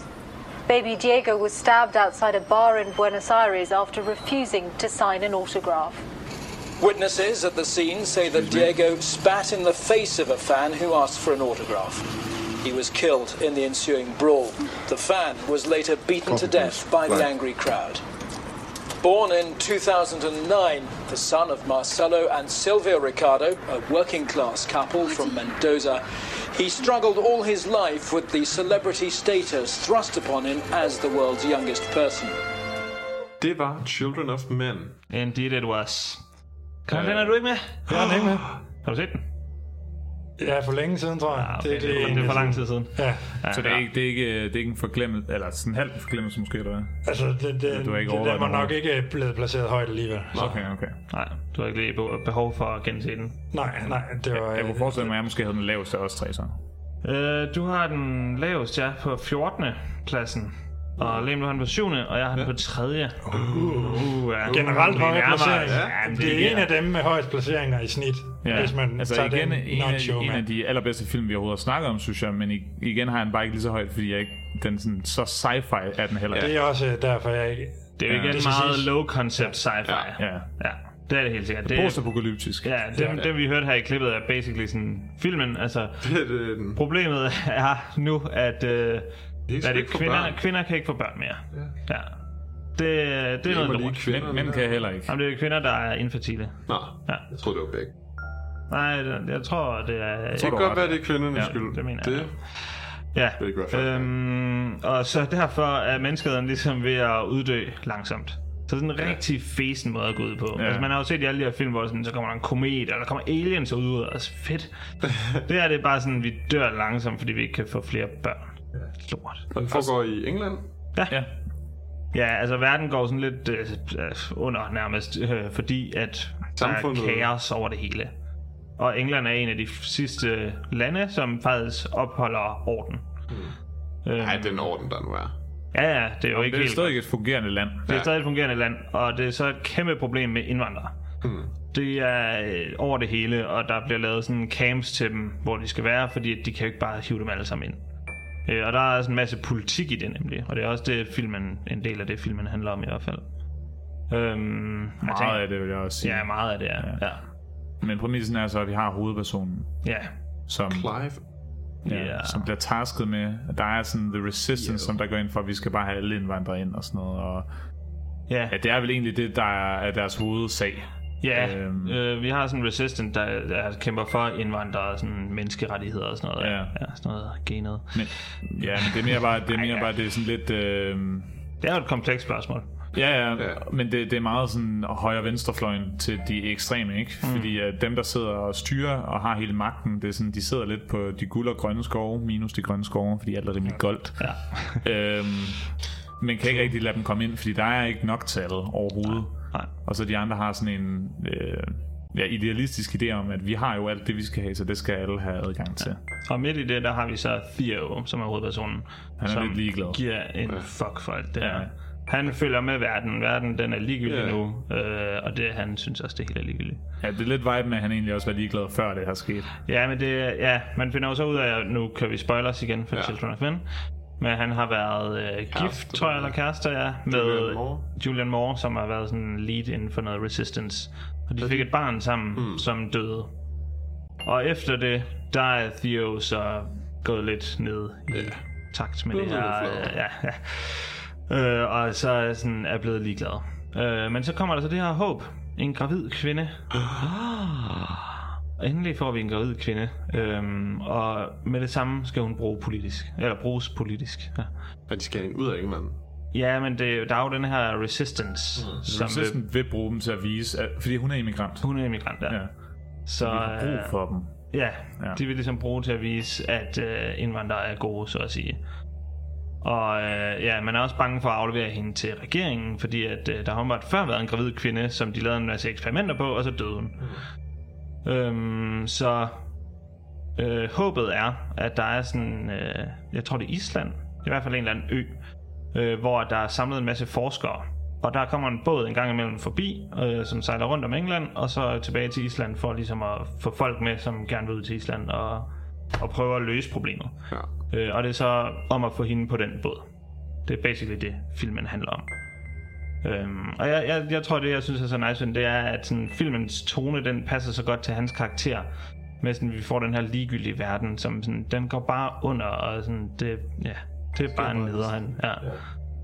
Speaker 11: Baby Diego was stabbed outside a bar in Buenos Aires after refusing to sign an autograph.
Speaker 12: Witnesses at the scene say that Diego spat in the face of a fan who asked for an autograph. He was killed in the ensuing brawl. The fan was later beaten to death by the angry crowd. Born in 2009, the son of Marcelo and Silvia Ricardo, a working class couple from Mendoza, he struggled all his life with the celebrity status thrust upon him as the world's youngest person.
Speaker 3: Det var Children of Men.
Speaker 1: Indeed it was. Kom, den er du ikke med?
Speaker 4: Jeg er ikke med.
Speaker 1: Har du set den?
Speaker 4: Ja, for længe siden, tror jeg. Ja,
Speaker 1: okay, det er for- det er for lang tid siden.
Speaker 4: Ja.
Speaker 2: Så det er, ikke, det, er ikke, det er ikke en forglemmelse, eller sådan en halv forglemmelse måske, eller hvad?
Speaker 4: Altså, det, det,
Speaker 2: du har ikke
Speaker 4: det,
Speaker 2: overvejet
Speaker 4: den var
Speaker 2: noget?
Speaker 4: nok ikke blevet placeret højt alligevel. Så.
Speaker 2: Okay, okay.
Speaker 1: Nej, du har ikke lige be- behov for at gense den.
Speaker 4: Nej, nej, det var... øh,
Speaker 2: Jeg, jeg kunne forestille mig, at jeg måske havde den laveste af os tre, så.
Speaker 1: Øh, du har den laveste, ja, på 14. pladsen. Og Lem, du har den på 7. og jeg har den på 3. Uh, uh, ja.
Speaker 4: Generelt
Speaker 1: Vi
Speaker 4: høje
Speaker 1: nærmer os.
Speaker 4: placeringer.
Speaker 1: Ja, men
Speaker 4: det er en
Speaker 1: giver-
Speaker 4: af dem med højst placeringer i snit, ja. hvis man
Speaker 2: altså
Speaker 4: tager
Speaker 2: igen,
Speaker 4: den
Speaker 2: en,
Speaker 4: not
Speaker 2: af,
Speaker 4: show
Speaker 2: en
Speaker 4: med.
Speaker 2: af de allerbedste film, vi overhovedet har snakket om, synes jeg, men i, igen har jeg den bare ikke lige så højt, fordi jeg ikke, den er sådan, så sci-fi er den heller ikke.
Speaker 4: Det er også øh, derfor, jeg ikke...
Speaker 1: Det er jo igen
Speaker 4: skal
Speaker 1: meget
Speaker 4: siges.
Speaker 1: low concept sci-fi.
Speaker 2: Ja. ja.
Speaker 1: ja. Det er det helt sikkert. Det er,
Speaker 2: Postapokalyptisk.
Speaker 1: ja, det, det, vi hørte her i klippet er basically sådan filmen. Altså,
Speaker 3: øh,
Speaker 1: problemet *laughs* er nu, at, øh,
Speaker 2: kan
Speaker 1: er det
Speaker 2: ikke få
Speaker 1: kvinder,
Speaker 2: børn.
Speaker 1: kvinder kan ikke få børn mere. Ja. ja. Det, det, er noget lort.
Speaker 2: Mænd, mænd kan heller ikke.
Speaker 1: Jamen, det er kvinder, der er infertile.
Speaker 3: Nå,
Speaker 1: ja.
Speaker 3: jeg troede, det var begge.
Speaker 1: Nej, det- jeg tror, det er...
Speaker 3: Det kan godt være, det er kvindernes
Speaker 1: ja,
Speaker 3: skyld.
Speaker 1: Det mener
Speaker 3: Det-
Speaker 1: jeg. Ja,
Speaker 3: Det er ikke i hvert fald.
Speaker 1: øhm, og så derfor er menneskeheden ligesom ved at uddø langsomt. Så sådan en rigtig fesen måde at gå ud på. Ja.
Speaker 2: Ja.
Speaker 1: Altså, man har jo set i alle de her film, hvor sådan, så kommer der en komet, eller der kommer aliens ud, og altså,
Speaker 3: *laughs*
Speaker 1: fedt. det er det er bare sådan, vi dør langsomt, fordi vi ikke kan få flere børn. Lort.
Speaker 3: Og den foregår i England?
Speaker 1: Ja. ja. Ja, altså verden går sådan lidt øh, øh, under nærmest, øh, fordi at
Speaker 3: Samfundet-
Speaker 1: der er kaos over det hele. Og England er en af de f- sidste lande, som faktisk opholder orden. Øh,
Speaker 3: Nej, det er den orden, der nu er.
Speaker 1: Ja, ja, det er jo
Speaker 2: Mm. Det
Speaker 1: ikke
Speaker 2: er
Speaker 1: helt
Speaker 2: stadig et fungerende land.
Speaker 1: det er stadig et fungerende land, og det er så et kæmpe problem med indvandrere.
Speaker 3: Hmm.
Speaker 1: Det er øh, over det hele, og der bliver lavet sådan camps til dem, hvor de skal være, fordi at de kan jo ikke bare hive dem alle sammen ind. Øh, og der er sådan en masse politik i det nemlig, og det er også det filmen, en del af det filmen handler om i hvert fald. Øhm, jeg
Speaker 2: Meget
Speaker 1: tænker-
Speaker 2: af det, vil jeg også sige.
Speaker 1: Ja, meget af det er. Ja.
Speaker 2: Men præmissen er så, at vi har hovedpersonen,
Speaker 1: ja.
Speaker 2: som,
Speaker 3: Clive.
Speaker 2: ja,
Speaker 1: Ja.
Speaker 2: som bliver tasket med. Der er sådan The Resistance, som der går ind for, at vi skal bare have alle indvandrere ind og sådan noget. Og,
Speaker 1: Ja.
Speaker 2: ja, det er vel egentlig det, der er er deres hovedsag.
Speaker 1: Ja, øhm. øh, vi har sådan en resistant, der, der kæmper for indvandrere, sådan menneskerettigheder og sådan noget.
Speaker 2: Ja.
Speaker 1: ja sådan noget genet.
Speaker 2: Men, ja, men det er mere bare, det er mere bare det er sådan lidt... Øh,
Speaker 1: det er jo et komplekst spørgsmål.
Speaker 2: Ja, ja, ja. men det, det er meget sådan højre-venstrefløjen til de ekstreme, ikke? Mm. Fordi at dem, der sidder og styrer og har hele magten, det er sådan, de sidder lidt på de guld og grønne skove, minus de grønne skove, fordi alt er rimelig goldt. Ja. *laughs* øhm, men kan ikke rigtig lade dem komme ind, fordi der er ikke nok tallet overhovedet.
Speaker 1: Nej.
Speaker 2: Og så de andre har sådan en øh, ja, idealistisk idé om, at vi har jo alt det, vi skal have, så det skal alle have adgang til.
Speaker 1: Og midt i det, der har vi så Theo, som er hovedpersonen.
Speaker 2: Han er
Speaker 1: som
Speaker 2: lidt ligeglad.
Speaker 1: giver en fuck for alt det her. Han følger med verden. Verden, den er ligegyldig
Speaker 2: Ja.
Speaker 1: yeah. nu. Øh, og det, han synes også, det hele er ligegyldigt.
Speaker 2: Ja, det er lidt viben, at han egentlig også var ligeglad, før det her skete.
Speaker 1: Ja, men det, ja, man finder jo så ud af, at nu kan vi spoilers igen for ja. Children of Men. Men han har været øh, gift,
Speaker 2: Kæreste.
Speaker 1: tror jeg, eller kærester, ja, med
Speaker 2: Julianne Moore.
Speaker 1: Julian Moore, som har været sådan lead inden for noget Resistance. Og de fik et barn sammen, mm. som døde. Og efter det, der er Theo så gået lidt ned i yeah. takt med
Speaker 2: Blevet
Speaker 1: det her.
Speaker 2: lidt flad.
Speaker 1: øh, Ja, ja. Øh, og så er sådan er blevet ligeglad. Øh, men så kommer der så det her håb. En gravid kvinde.
Speaker 2: Ah.
Speaker 1: Og Endelig får vi en gravid kvinde, øhm, og med det samme skal hun bruge politisk, eller bruges polisk. Ja,
Speaker 3: Og de skal ind ud af England.
Speaker 1: ja men det, der er jo den her resistance, mm.
Speaker 2: Som Resistance vil, vil bruge dem til at vise, at, fordi hun er immigrant.
Speaker 1: Hun er immigrant, ja.
Speaker 2: ja.
Speaker 1: Så,
Speaker 2: vi har brug
Speaker 1: øh,
Speaker 2: for dem.
Speaker 1: Ja, ja,
Speaker 2: Ja.
Speaker 1: de vil ligesom bruge til at vise, at øh, indvandrere er gode, så at sige. Og øh, ja, man er også bange for at aflevere hende til regeringen, fordi at, øh, der har åbenbart før været en gravid kvinde, som de lavede en masse eksperimenter på, og så døde hun. Mm. Øhm, så øh, håbet er, at der er sådan, øh, jeg tror det er Island, det er i hvert fald en eller anden ø, øh, hvor der er samlet en masse forskere. Og der kommer en båd en gang imellem forbi, øh, som sejler rundt om England, og så tilbage til Island for ligesom at få folk med, som gerne vil ud til Island og, og prøve at løse problemet. Ja. Øh, og det er så om at få hende på den båd. Det er basically det, filmen handler om. Øhm, og jeg, jeg, jeg tror, det jeg synes er så nice, ved den, det er, at sådan, filmens tone, den passer så godt til hans karakter. Med sådan, vi får den her ligegyldige verden, som sådan, den går bare under, og sådan, det, ja, det er bare en leder, han. Ja.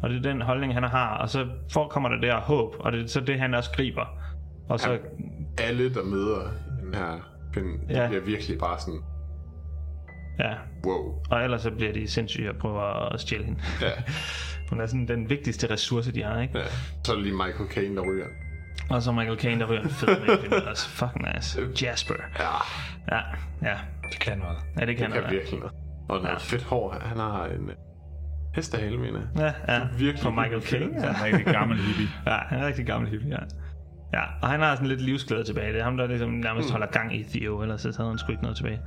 Speaker 1: Og det er den holdning, han har, og så forekommer der det her håb, og det er så det, han også griber. Og så,
Speaker 3: Alle, der møder den her kvinde,
Speaker 1: Ja.
Speaker 3: ja. bliver virkelig bare sådan,
Speaker 1: ja.
Speaker 3: wow.
Speaker 1: Og ellers så bliver de sindssyge og prøver at stjæle hende.
Speaker 3: Ja.
Speaker 1: Hun er sådan den vigtigste ressource, de har, ikke?
Speaker 3: ja. Så er det lige Michael Caine, der ryger.
Speaker 1: Og så Michael Caine, der ryger en fed med altså, fuck nice. Jasper.
Speaker 3: Ja.
Speaker 1: Ja, ja.
Speaker 4: Det kan noget.
Speaker 1: Ja, det kan
Speaker 3: det
Speaker 1: noget,
Speaker 3: kan
Speaker 1: ja.
Speaker 3: virkelig noget. Og noget fedt hår. Han har en øh, hestehale, mener jeg.
Speaker 1: Ja, ja.
Speaker 3: Virkelig
Speaker 1: Fra Michael
Speaker 3: hyggelig
Speaker 1: Caine.
Speaker 3: film.
Speaker 1: Ja.
Speaker 3: Så han er en rigtig gammel
Speaker 1: *laughs*
Speaker 3: hippie.
Speaker 1: ja, han er en rigtig gammel hippie, ja. Ja, og han har sådan lidt livsglæde tilbage. Det er ham, der ligesom nærmest
Speaker 3: Mm.
Speaker 1: holder gang i Theo, ellers så havde han sgu ikke noget tilbage.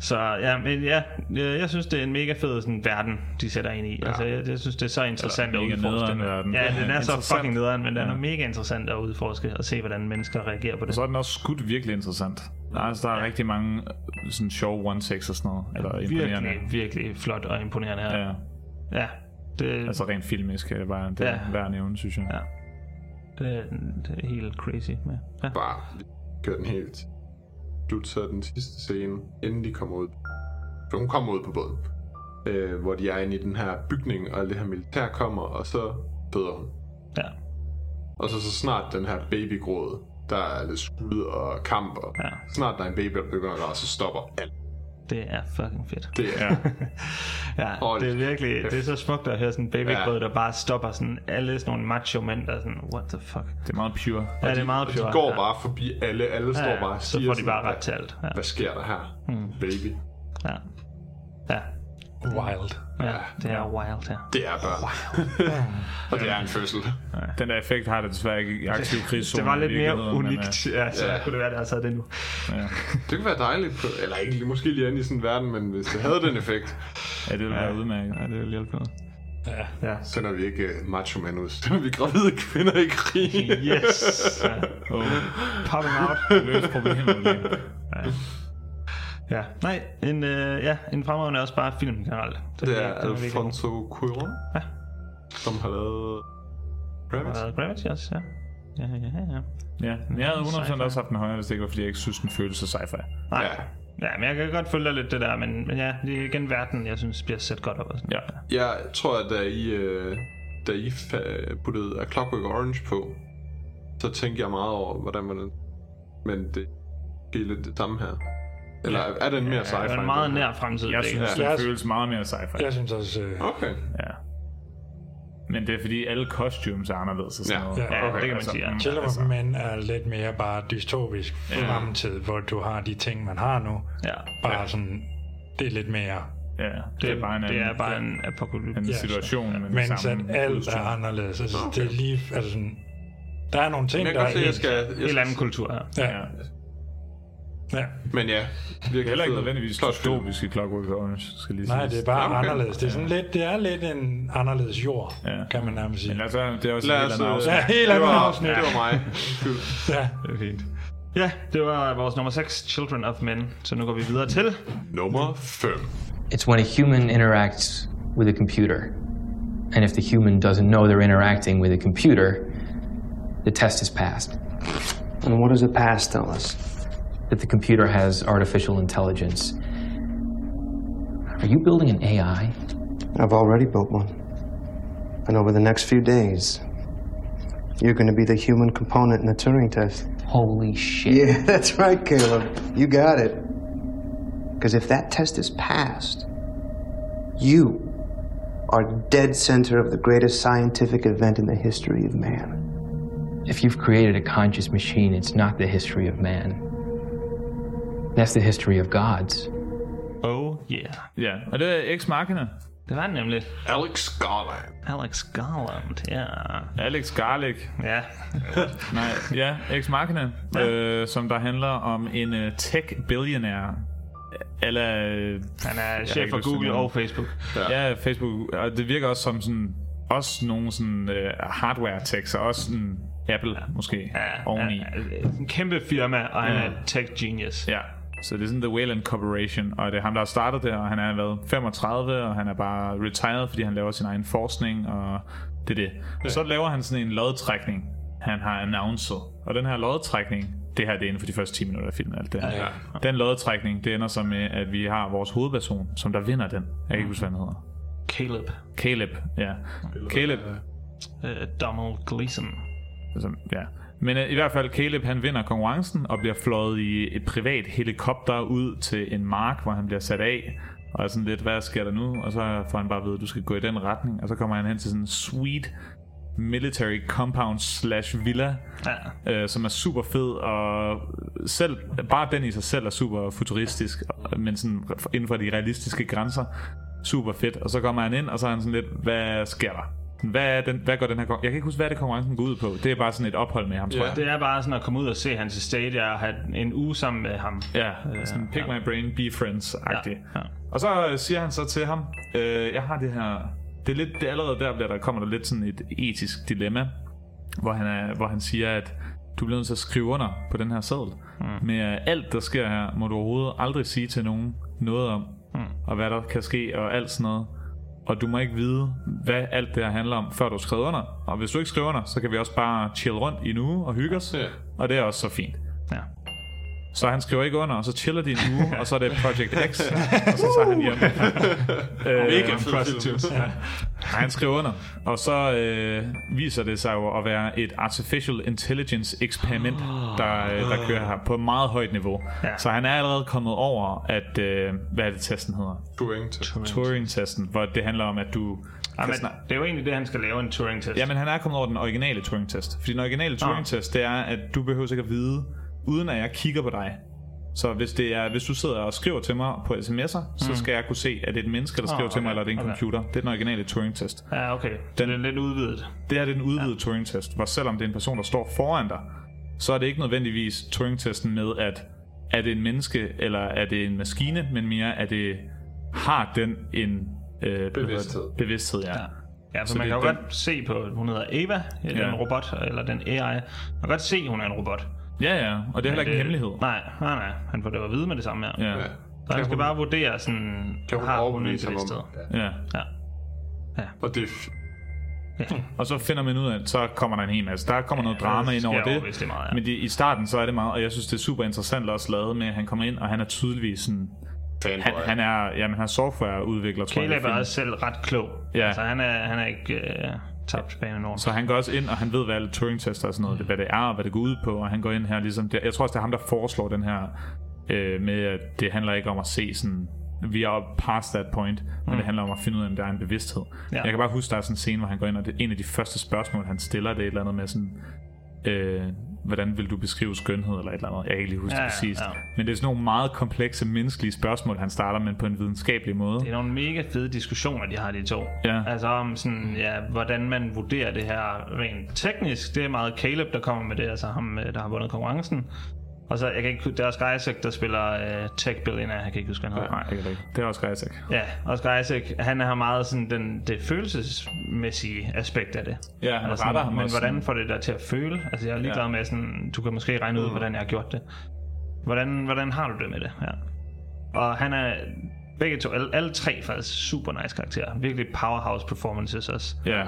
Speaker 1: Så ja, men ja, øh, jeg synes, det er en mega fed sådan, verden, de sætter ind i. Ja. Altså, jeg, jeg, synes, det er så interessant at
Speaker 2: mega
Speaker 1: udforske.
Speaker 2: nederen verden.
Speaker 1: Ja, den er så
Speaker 2: Interessant.
Speaker 1: fucking nederen, men den er
Speaker 2: Ja.
Speaker 1: mega interessant at udforske og se, hvordan mennesker reagerer på
Speaker 2: Og
Speaker 1: det.
Speaker 2: så er den også skudt virkelig interessant. Der er, altså, der er rigtig mange øh, sådan sjove one-takes og sådan noget. Eller imponerende.
Speaker 1: Virkelig, virkelig flot og imponerende her.
Speaker 2: Ja.
Speaker 1: ja det,
Speaker 2: Altså rent filmisk er det bare det ja.
Speaker 1: Ja.
Speaker 2: værd at nævne, synes jeg.
Speaker 1: Ja. det, er, det er helt crazy med. Ja.
Speaker 3: Bare kør den helt. Slut så den sidste scene, inden de kommer ud. For hun kommer ud på båden. Øh, hvor de er inde i den her bygning, og det her militær kommer, og så døder hun.
Speaker 1: Ja.
Speaker 3: Og så, så snart den her babygråd, der er lidt skud og kamp, og
Speaker 1: ja.
Speaker 3: snart der er en baby, der begynder at græde, så stopper alt.
Speaker 1: Det er fucking fedt.
Speaker 3: Det er
Speaker 1: ja, det er virkelig, det er så smukt at høre sådan en babygrød,
Speaker 3: Ja.
Speaker 1: der bare stopper sådan alle sådan nogle macho mænd, der er sådan, what the fuck.
Speaker 2: Det er meget pure.
Speaker 1: Ja,
Speaker 3: Og
Speaker 1: det er
Speaker 3: de-
Speaker 1: meget
Speaker 3: og
Speaker 1: pure.
Speaker 3: De går
Speaker 1: ja.
Speaker 3: bare forbi alle. Alle
Speaker 1: Ja,
Speaker 3: står
Speaker 1: ja,
Speaker 3: bare og
Speaker 1: så
Speaker 3: siger
Speaker 1: får de
Speaker 3: sådan,
Speaker 1: bare ret
Speaker 3: "Hvad-
Speaker 1: til alt." Ja.
Speaker 3: Hvad sker der her,
Speaker 1: Hmm.
Speaker 3: baby?
Speaker 1: Ja. Ja.
Speaker 4: Wild.
Speaker 1: Ja, det er wild her.
Speaker 3: Det er børn. *laughs* og det er en fødsel.
Speaker 2: Den der effekt har det desværre ikke i aktiv krigszone.
Speaker 1: Det var
Speaker 2: i
Speaker 1: lidt mere
Speaker 2: virkeligheden, men,
Speaker 1: unikt, ja, så
Speaker 3: øh, ja.
Speaker 1: kunne det være, der havde taget det nu.
Speaker 2: øh, ja.
Speaker 3: Det kunne være dejligt, på, eller ikke lige- måske lige andet i sådan en verden, men hvis det havde den effekt,
Speaker 2: ja, det ville være udmærket.
Speaker 1: Ja, det ville hjælpe noget.
Speaker 4: Ja.
Speaker 1: Ja.
Speaker 3: så er vi ikke uh, macho mænd ud. Så er vi gravide kvinder i
Speaker 1: *laughs*
Speaker 3: krig.
Speaker 1: Yes! Ja.
Speaker 2: Oh,
Speaker 1: Pop him out.
Speaker 2: løs problemet. lige.
Speaker 1: Ja. ja. Nej, en, øh, ja, en fremragende også bare film generelt. Den
Speaker 3: Det er
Speaker 1: den virkelig god.
Speaker 3: Alfonso Cuarón,
Speaker 1: Ja.
Speaker 3: som har lavet Gravity.
Speaker 1: Og Gravity også, ja. Ja, ja, ja, ja.
Speaker 2: Ja, men jeg havde 100%
Speaker 1: Sci-fi.
Speaker 2: også haft den højere, hvis det ikke var, fordi jeg ikke synes, den føltes så sci-fi.
Speaker 1: Nej.
Speaker 3: Ja.
Speaker 1: Ja, men jeg kan godt følge dig lidt det der, men, men ja, det er igen verden, jeg synes bliver sat godt op. Og sådan.
Speaker 2: Ja.
Speaker 3: Jeg tror, at da I, øh, da I fa- puttede A Clockwork Orange på, så tænkte jeg meget over, hvordan var den. Men det er lidt det samme her. Eller
Speaker 2: Ja.
Speaker 3: er den mere sci-fi?
Speaker 1: det er
Speaker 3: end
Speaker 1: en meget
Speaker 3: den her?
Speaker 1: nær fremtid.
Speaker 2: Jeg
Speaker 1: begge.
Speaker 2: synes,
Speaker 4: Ja.
Speaker 2: den føles meget mere sci-fi.
Speaker 4: Jeg synes også... Øh,
Speaker 3: Okay.
Speaker 2: Ja. Men det er fordi alle costumes er anderledes og sådan
Speaker 3: Ja.
Speaker 2: noget.
Speaker 4: Ja,
Speaker 1: det kan man sige, ja.
Speaker 2: mm,
Speaker 4: Children
Speaker 2: altså,
Speaker 4: of Men er lidt mere bare dystopisk fremtid, hvor du har de ting, man har nu.
Speaker 1: Ja.
Speaker 4: Bare sådan, det er lidt mere...
Speaker 2: Ja, det, det er bare en,
Speaker 1: det er
Speaker 2: anden,
Speaker 1: bare en apokalypse.
Speaker 2: en
Speaker 4: Ja.
Speaker 2: situation. Ja.
Speaker 4: Men at alt er anderledes. Altså, okay. det er lige... Altså sådan, der er nogle ting,
Speaker 3: Men jeg
Speaker 4: der
Speaker 3: kan
Speaker 4: er
Speaker 3: godt se, at jeg
Speaker 4: helt...
Speaker 3: skal... Jeg
Speaker 1: Helt
Speaker 3: skal
Speaker 1: anden kultur, ja.
Speaker 4: Ja,
Speaker 2: Ja.
Speaker 4: ja.
Speaker 3: Men ja,
Speaker 2: Det er
Speaker 3: virkelig
Speaker 2: heller ikke
Speaker 3: fed
Speaker 2: nødvendigvis
Speaker 3: plot film.
Speaker 2: dystopisk i Clockwork Orange, skal lige
Speaker 4: Nej,
Speaker 2: siges.
Speaker 4: det er bare
Speaker 3: Ja, okay.
Speaker 4: anderledes. Det er, sådan lidt, det er lidt en anderledes jord,
Speaker 2: Ja.
Speaker 4: kan man nærmest sige.
Speaker 2: Men
Speaker 3: altså-
Speaker 2: lad os, det er også
Speaker 3: Lad
Speaker 2: en
Speaker 3: os,
Speaker 2: helt anden
Speaker 3: øh,
Speaker 2: afsnit.
Speaker 4: Ja, helt
Speaker 3: det
Speaker 4: andet
Speaker 3: var,
Speaker 4: afsnit.
Speaker 3: Det var mig. Skyld.
Speaker 4: Ja.
Speaker 1: Det er fint. Ja, det var vores nummer 6, Children of Men. Så nu går vi videre til...
Speaker 3: Nummer 5.
Speaker 13: It's when a human interacts with a computer. And if the human doesn't know they're interacting with a computer, the test is passed. And what does the past tell us? That the computer has artificial intelligence. Are you building an AI?
Speaker 10: I've already built one. And over the next few days, you're going to be the human component in the Turing test.
Speaker 13: Holy shit.
Speaker 10: Yeah, *laughs* that's right, Caleb. You got it. Because if that test is passed, you are dead center of the greatest scientific event in the history of man.
Speaker 13: If you've created a conscious machine, it's not the history of man. That's the history of gods.
Speaker 1: Oh yeah.
Speaker 2: Ja, og det er x markerne
Speaker 1: Det var den nemlig.
Speaker 3: Alex Garland.
Speaker 1: Alex Garland, ja.
Speaker 2: Alex Garlic.
Speaker 1: Ja,
Speaker 2: Nej, ja, x markerne øh, som der handler om en øh, tech-billionaire. Eller... øh,
Speaker 1: han
Speaker 2: *laughs* jeg har
Speaker 1: er
Speaker 2: ikke
Speaker 1: chef for
Speaker 2: lyst til
Speaker 1: Google
Speaker 2: at nævne-
Speaker 1: og Facebook.
Speaker 2: Ja, Facebook, og det virker også som sådan, også nogle sådan øh, hardware tech, så også sådan Apple måske
Speaker 1: Ja,
Speaker 2: oveni.
Speaker 1: ja, ja. En kæmpe firma, og han er tech genius.
Speaker 2: Ja, så det er sådan The Wayland Corporation, og det er ham, der har startet det, og han er været 35, og han er bare retired, fordi han laver sin egen forskning, og det er det. Og så laver han sådan en lodtrækning, han har announced, og den her lodtrækning, det her det er inden for de første 10 minutter af filmen, alt det her.
Speaker 4: Ja.
Speaker 2: Den lodtrækning, det ender så med, at vi har vores hovedperson, som der vinder den. Jeg
Speaker 1: Mm.
Speaker 2: kan ikke huske, hvad han hedder.
Speaker 1: Caleb.
Speaker 2: Caleb, ja. Caleb,
Speaker 1: Øh, Donald Gleason.
Speaker 2: Altså, ja. Men øh, i hvert fald, Caleb han vinder konkurrencen og bliver fløjet i et privat helikopter ud til en mark, hvor han bliver sat af. Og er sådan lidt, hvad sker der nu? Og så får han bare at vide, at du skal gå i den retning. Og så kommer han hen til sådan en sweet military compound slash villa, ja. øh, som er super fed, og selv, bare den i sig selv er super futuristisk, men sådan inden for de realistiske grænser, super fedt. Og så kommer han ind, og så er han sådan lidt, hvad sker der? Hvad, er den, hvad går den her kon- Jeg kan ikke huske, hvad det konkurrencen går ud på. Det er bare sådan et ophold med ham, tror
Speaker 1: Ja.
Speaker 2: jeg.
Speaker 1: Det er bare sådan at komme ud og se hans stadia og have en uge sammen med ham.
Speaker 2: Ja, sådan pick my brain, be friends-agtig.
Speaker 1: Ja.
Speaker 2: Og så øh, siger han så til ham, øh, jeg har det her... Det er, lidt, det er allerede der, bliver der kommer der lidt sådan et etisk dilemma, hvor han, er, hvor han siger, at du bliver nødt til at skrive under på den her seddel. Mm. Med øh, alt, der sker her, må du overhovedet aldrig sige til nogen noget om, mm. og hvad der kan ske, og alt sådan noget. Og du må ikke vide, hvad alt det her handler om, før du har skrevet under. Og hvis du ikke skriver under, så kan vi også bare chill rundt i en uge og hygge os. Yeah. Og det er også så fint.
Speaker 1: Ja.
Speaker 2: Så han skriver ikke under, og så chiller de en uge, og så er det Project X, og så tager han hjem.
Speaker 3: Mega fed film.
Speaker 2: prostitutes. Ja. Nej, han skriver under. Og så øh, viser det sig jo at være et artificial intelligence eksperiment, der, øh, der kører her på meget højt niveau. Ja. Så han er allerede kommet over, at øh, hvad er det testen hedder?
Speaker 3: Turing-testen.
Speaker 2: Turing-testen, hvor det handler om, at du...
Speaker 1: Jamen,
Speaker 2: kan snak-
Speaker 1: det er jo egentlig det, han skal lave en Turing-test.
Speaker 2: Ja, men han er kommet over den originale Turing-test. Fordi den
Speaker 1: Ah.
Speaker 2: originale Turing-test, det er, at du behøver ikke at vide, uden at jeg kigger på dig. Så hvis, det er, hvis du sidder og skriver til mig på sms'er, så
Speaker 1: Mm.
Speaker 2: skal jeg kunne se, at det er et menneske,
Speaker 1: Ah,
Speaker 2: der skriver til mig,
Speaker 1: okay,
Speaker 2: eller er det en
Speaker 1: okay.
Speaker 2: computer. Det er den originale Turing-test.
Speaker 1: Ja, okay.
Speaker 2: Den, er lidt udvidet. Det her det er den udvidede ja. Turing-test, hvor selvom det er en person, der står foran dig, så er det ikke nødvendigvis Turing-testen med, at er det en menneske, eller er det en maskine, men mere, er det, har den en øh,
Speaker 1: Bevidsthed.
Speaker 2: bevidsthed ja.
Speaker 1: Ja, for
Speaker 2: Så
Speaker 1: så man kan
Speaker 2: det er
Speaker 1: jo
Speaker 2: den-
Speaker 1: godt se på, hun hedder Eva, eller
Speaker 2: Ja.
Speaker 1: ja. en robot, eller den AI. Man kan godt se, hun er en robot.
Speaker 2: Ja, ja, og det er heller ikke en hemmelighed.
Speaker 1: Nej, nej, nej. Han får det jo at vide med det samme her.
Speaker 2: Ja. Ja.
Speaker 1: Så han
Speaker 3: Kan
Speaker 1: skal
Speaker 3: hun-
Speaker 1: bare vurdere, sådan,
Speaker 3: kan hun
Speaker 1: har hun en
Speaker 3: overbevise ham om-
Speaker 1: bevidsthed.
Speaker 2: Ja.
Speaker 1: ja. ja.
Speaker 3: Og det
Speaker 2: Og så finder man ud af, at så kommer der en hel masse. Der kommer noget
Speaker 1: Ja,
Speaker 2: drama
Speaker 1: det
Speaker 2: ind
Speaker 1: sker
Speaker 2: over det.
Speaker 1: overvist, det er meget, ja.
Speaker 2: Men det, i starten, så er det meget, og jeg synes, det er super interessant også lavet med, at han kommer ind, og han er tydeligvis sådan... Han, han, er, jamen, han er softwareudvikler, tror jeg. i
Speaker 1: Caleb er
Speaker 2: filmen.
Speaker 1: også selv ret klog.
Speaker 2: Ja.
Speaker 1: Altså, han er, han er ikke øh, tabt bag nogen.
Speaker 2: Så han går også ind, og han ved, hvad alle Turing-tester og sådan noget, hvad det er, og hvad det går ud på, og han går ind her ligesom... Det, jeg tror også, det er ham, der foreslår den her øh, med, at det handler ikke om at se sådan... Vi er past that point, men
Speaker 1: Mm.
Speaker 2: det handler om at finde ud af, om der er en bevidsthed.
Speaker 1: Ja.
Speaker 2: Jeg kan bare huske, der er sådan en scene, hvor han går ind, og det, en af de første spørgsmål, han stiller, det er et eller andet med sådan... Øh, hvordan vil du beskrive skønhed, eller et eller andet. Jeg kan ikke lige huske
Speaker 1: Ja,
Speaker 2: ja,
Speaker 1: ja,
Speaker 2: det præcist.
Speaker 1: ja.
Speaker 2: Ja. Men det er sådan nogle meget komplekse menneskelige spørgsmål, han starter, men på en videnskabelig måde.
Speaker 1: Det er nogle mega fede diskussioner, de har de to.
Speaker 2: Ja.
Speaker 1: Altså om sådan, ja, hvordan man vurderer det her rent teknisk. Det er meget Caleb, der kommer med det, altså ham, øh, der har vundet konkurrencen. Og så, jeg kan ikke, hu- det er også Isaac, der spiller øh, Tech Billionaire, jeg kan ikke huske, hvad han hedder.
Speaker 2: Nej, det kan det ikke. Det er også Isaac.
Speaker 1: Ja, Oscar Isaac, han har meget sådan den, det følelsesmæssige aspekt af det.
Speaker 2: Ja, han
Speaker 1: Altså,
Speaker 2: retter ham
Speaker 1: Men
Speaker 2: også
Speaker 1: hvordan
Speaker 2: sådan.
Speaker 1: får det dig til at føle? Altså, jeg er ligeglad
Speaker 2: Ja.
Speaker 1: ja. med sådan, du kan måske regne ud,
Speaker 2: Mm.
Speaker 1: hvordan jeg har gjort det. Hvordan, hvordan har du det med det? Ja. Og han er begge to, alle, alle tre faktisk super nice karakterer. Virkelig powerhouse performances også.
Speaker 2: Ja,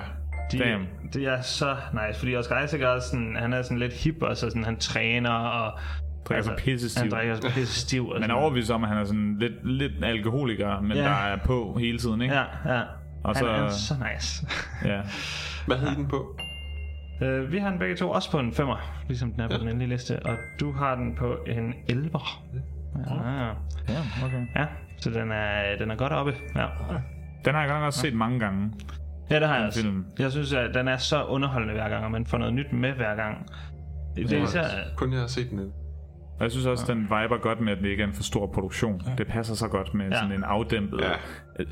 Speaker 1: De,
Speaker 2: damn.
Speaker 1: det er så nice, fordi Oscar Isaac er også sådan, han er sådan lidt hip, og så sådan, han træner og... altså,
Speaker 2: drikker sig altså, pisse stiv.
Speaker 1: Han drikker sig pisse stiv.
Speaker 2: *laughs*
Speaker 1: og
Speaker 2: Man er
Speaker 1: sådan.
Speaker 2: overbevist om, at han er sådan lidt, lidt alkoholiker, men
Speaker 1: Ja.
Speaker 2: ja. der er på hele tiden, ikke?
Speaker 1: Ja, ja.
Speaker 2: Og
Speaker 1: han
Speaker 2: så-
Speaker 1: er så nice. *laughs*
Speaker 2: ja.
Speaker 3: Hvad hed den på?
Speaker 1: Øh, vi har den begge to også på en femmer, ligesom den er på ja. den endelige liste, og du har den på en elver. Ja,
Speaker 2: ja, okay.
Speaker 1: ja så den er, den er godt oppe. Ja.
Speaker 2: Den har jeg godt nok også set mange gange.
Speaker 1: Ja, det har jeg
Speaker 2: Den
Speaker 1: også.
Speaker 2: film.
Speaker 1: Jeg synes, at den er så underholdende hver gang, og man får noget nyt med hver gang. Det er
Speaker 2: Ja.
Speaker 1: især,
Speaker 3: Kun jeg har set den.
Speaker 2: Og jeg synes også, ja. den viber godt med, at det ikke er en for stor produktion. Ja. Det passer så godt med ja. sådan en afdæmpet... Ja.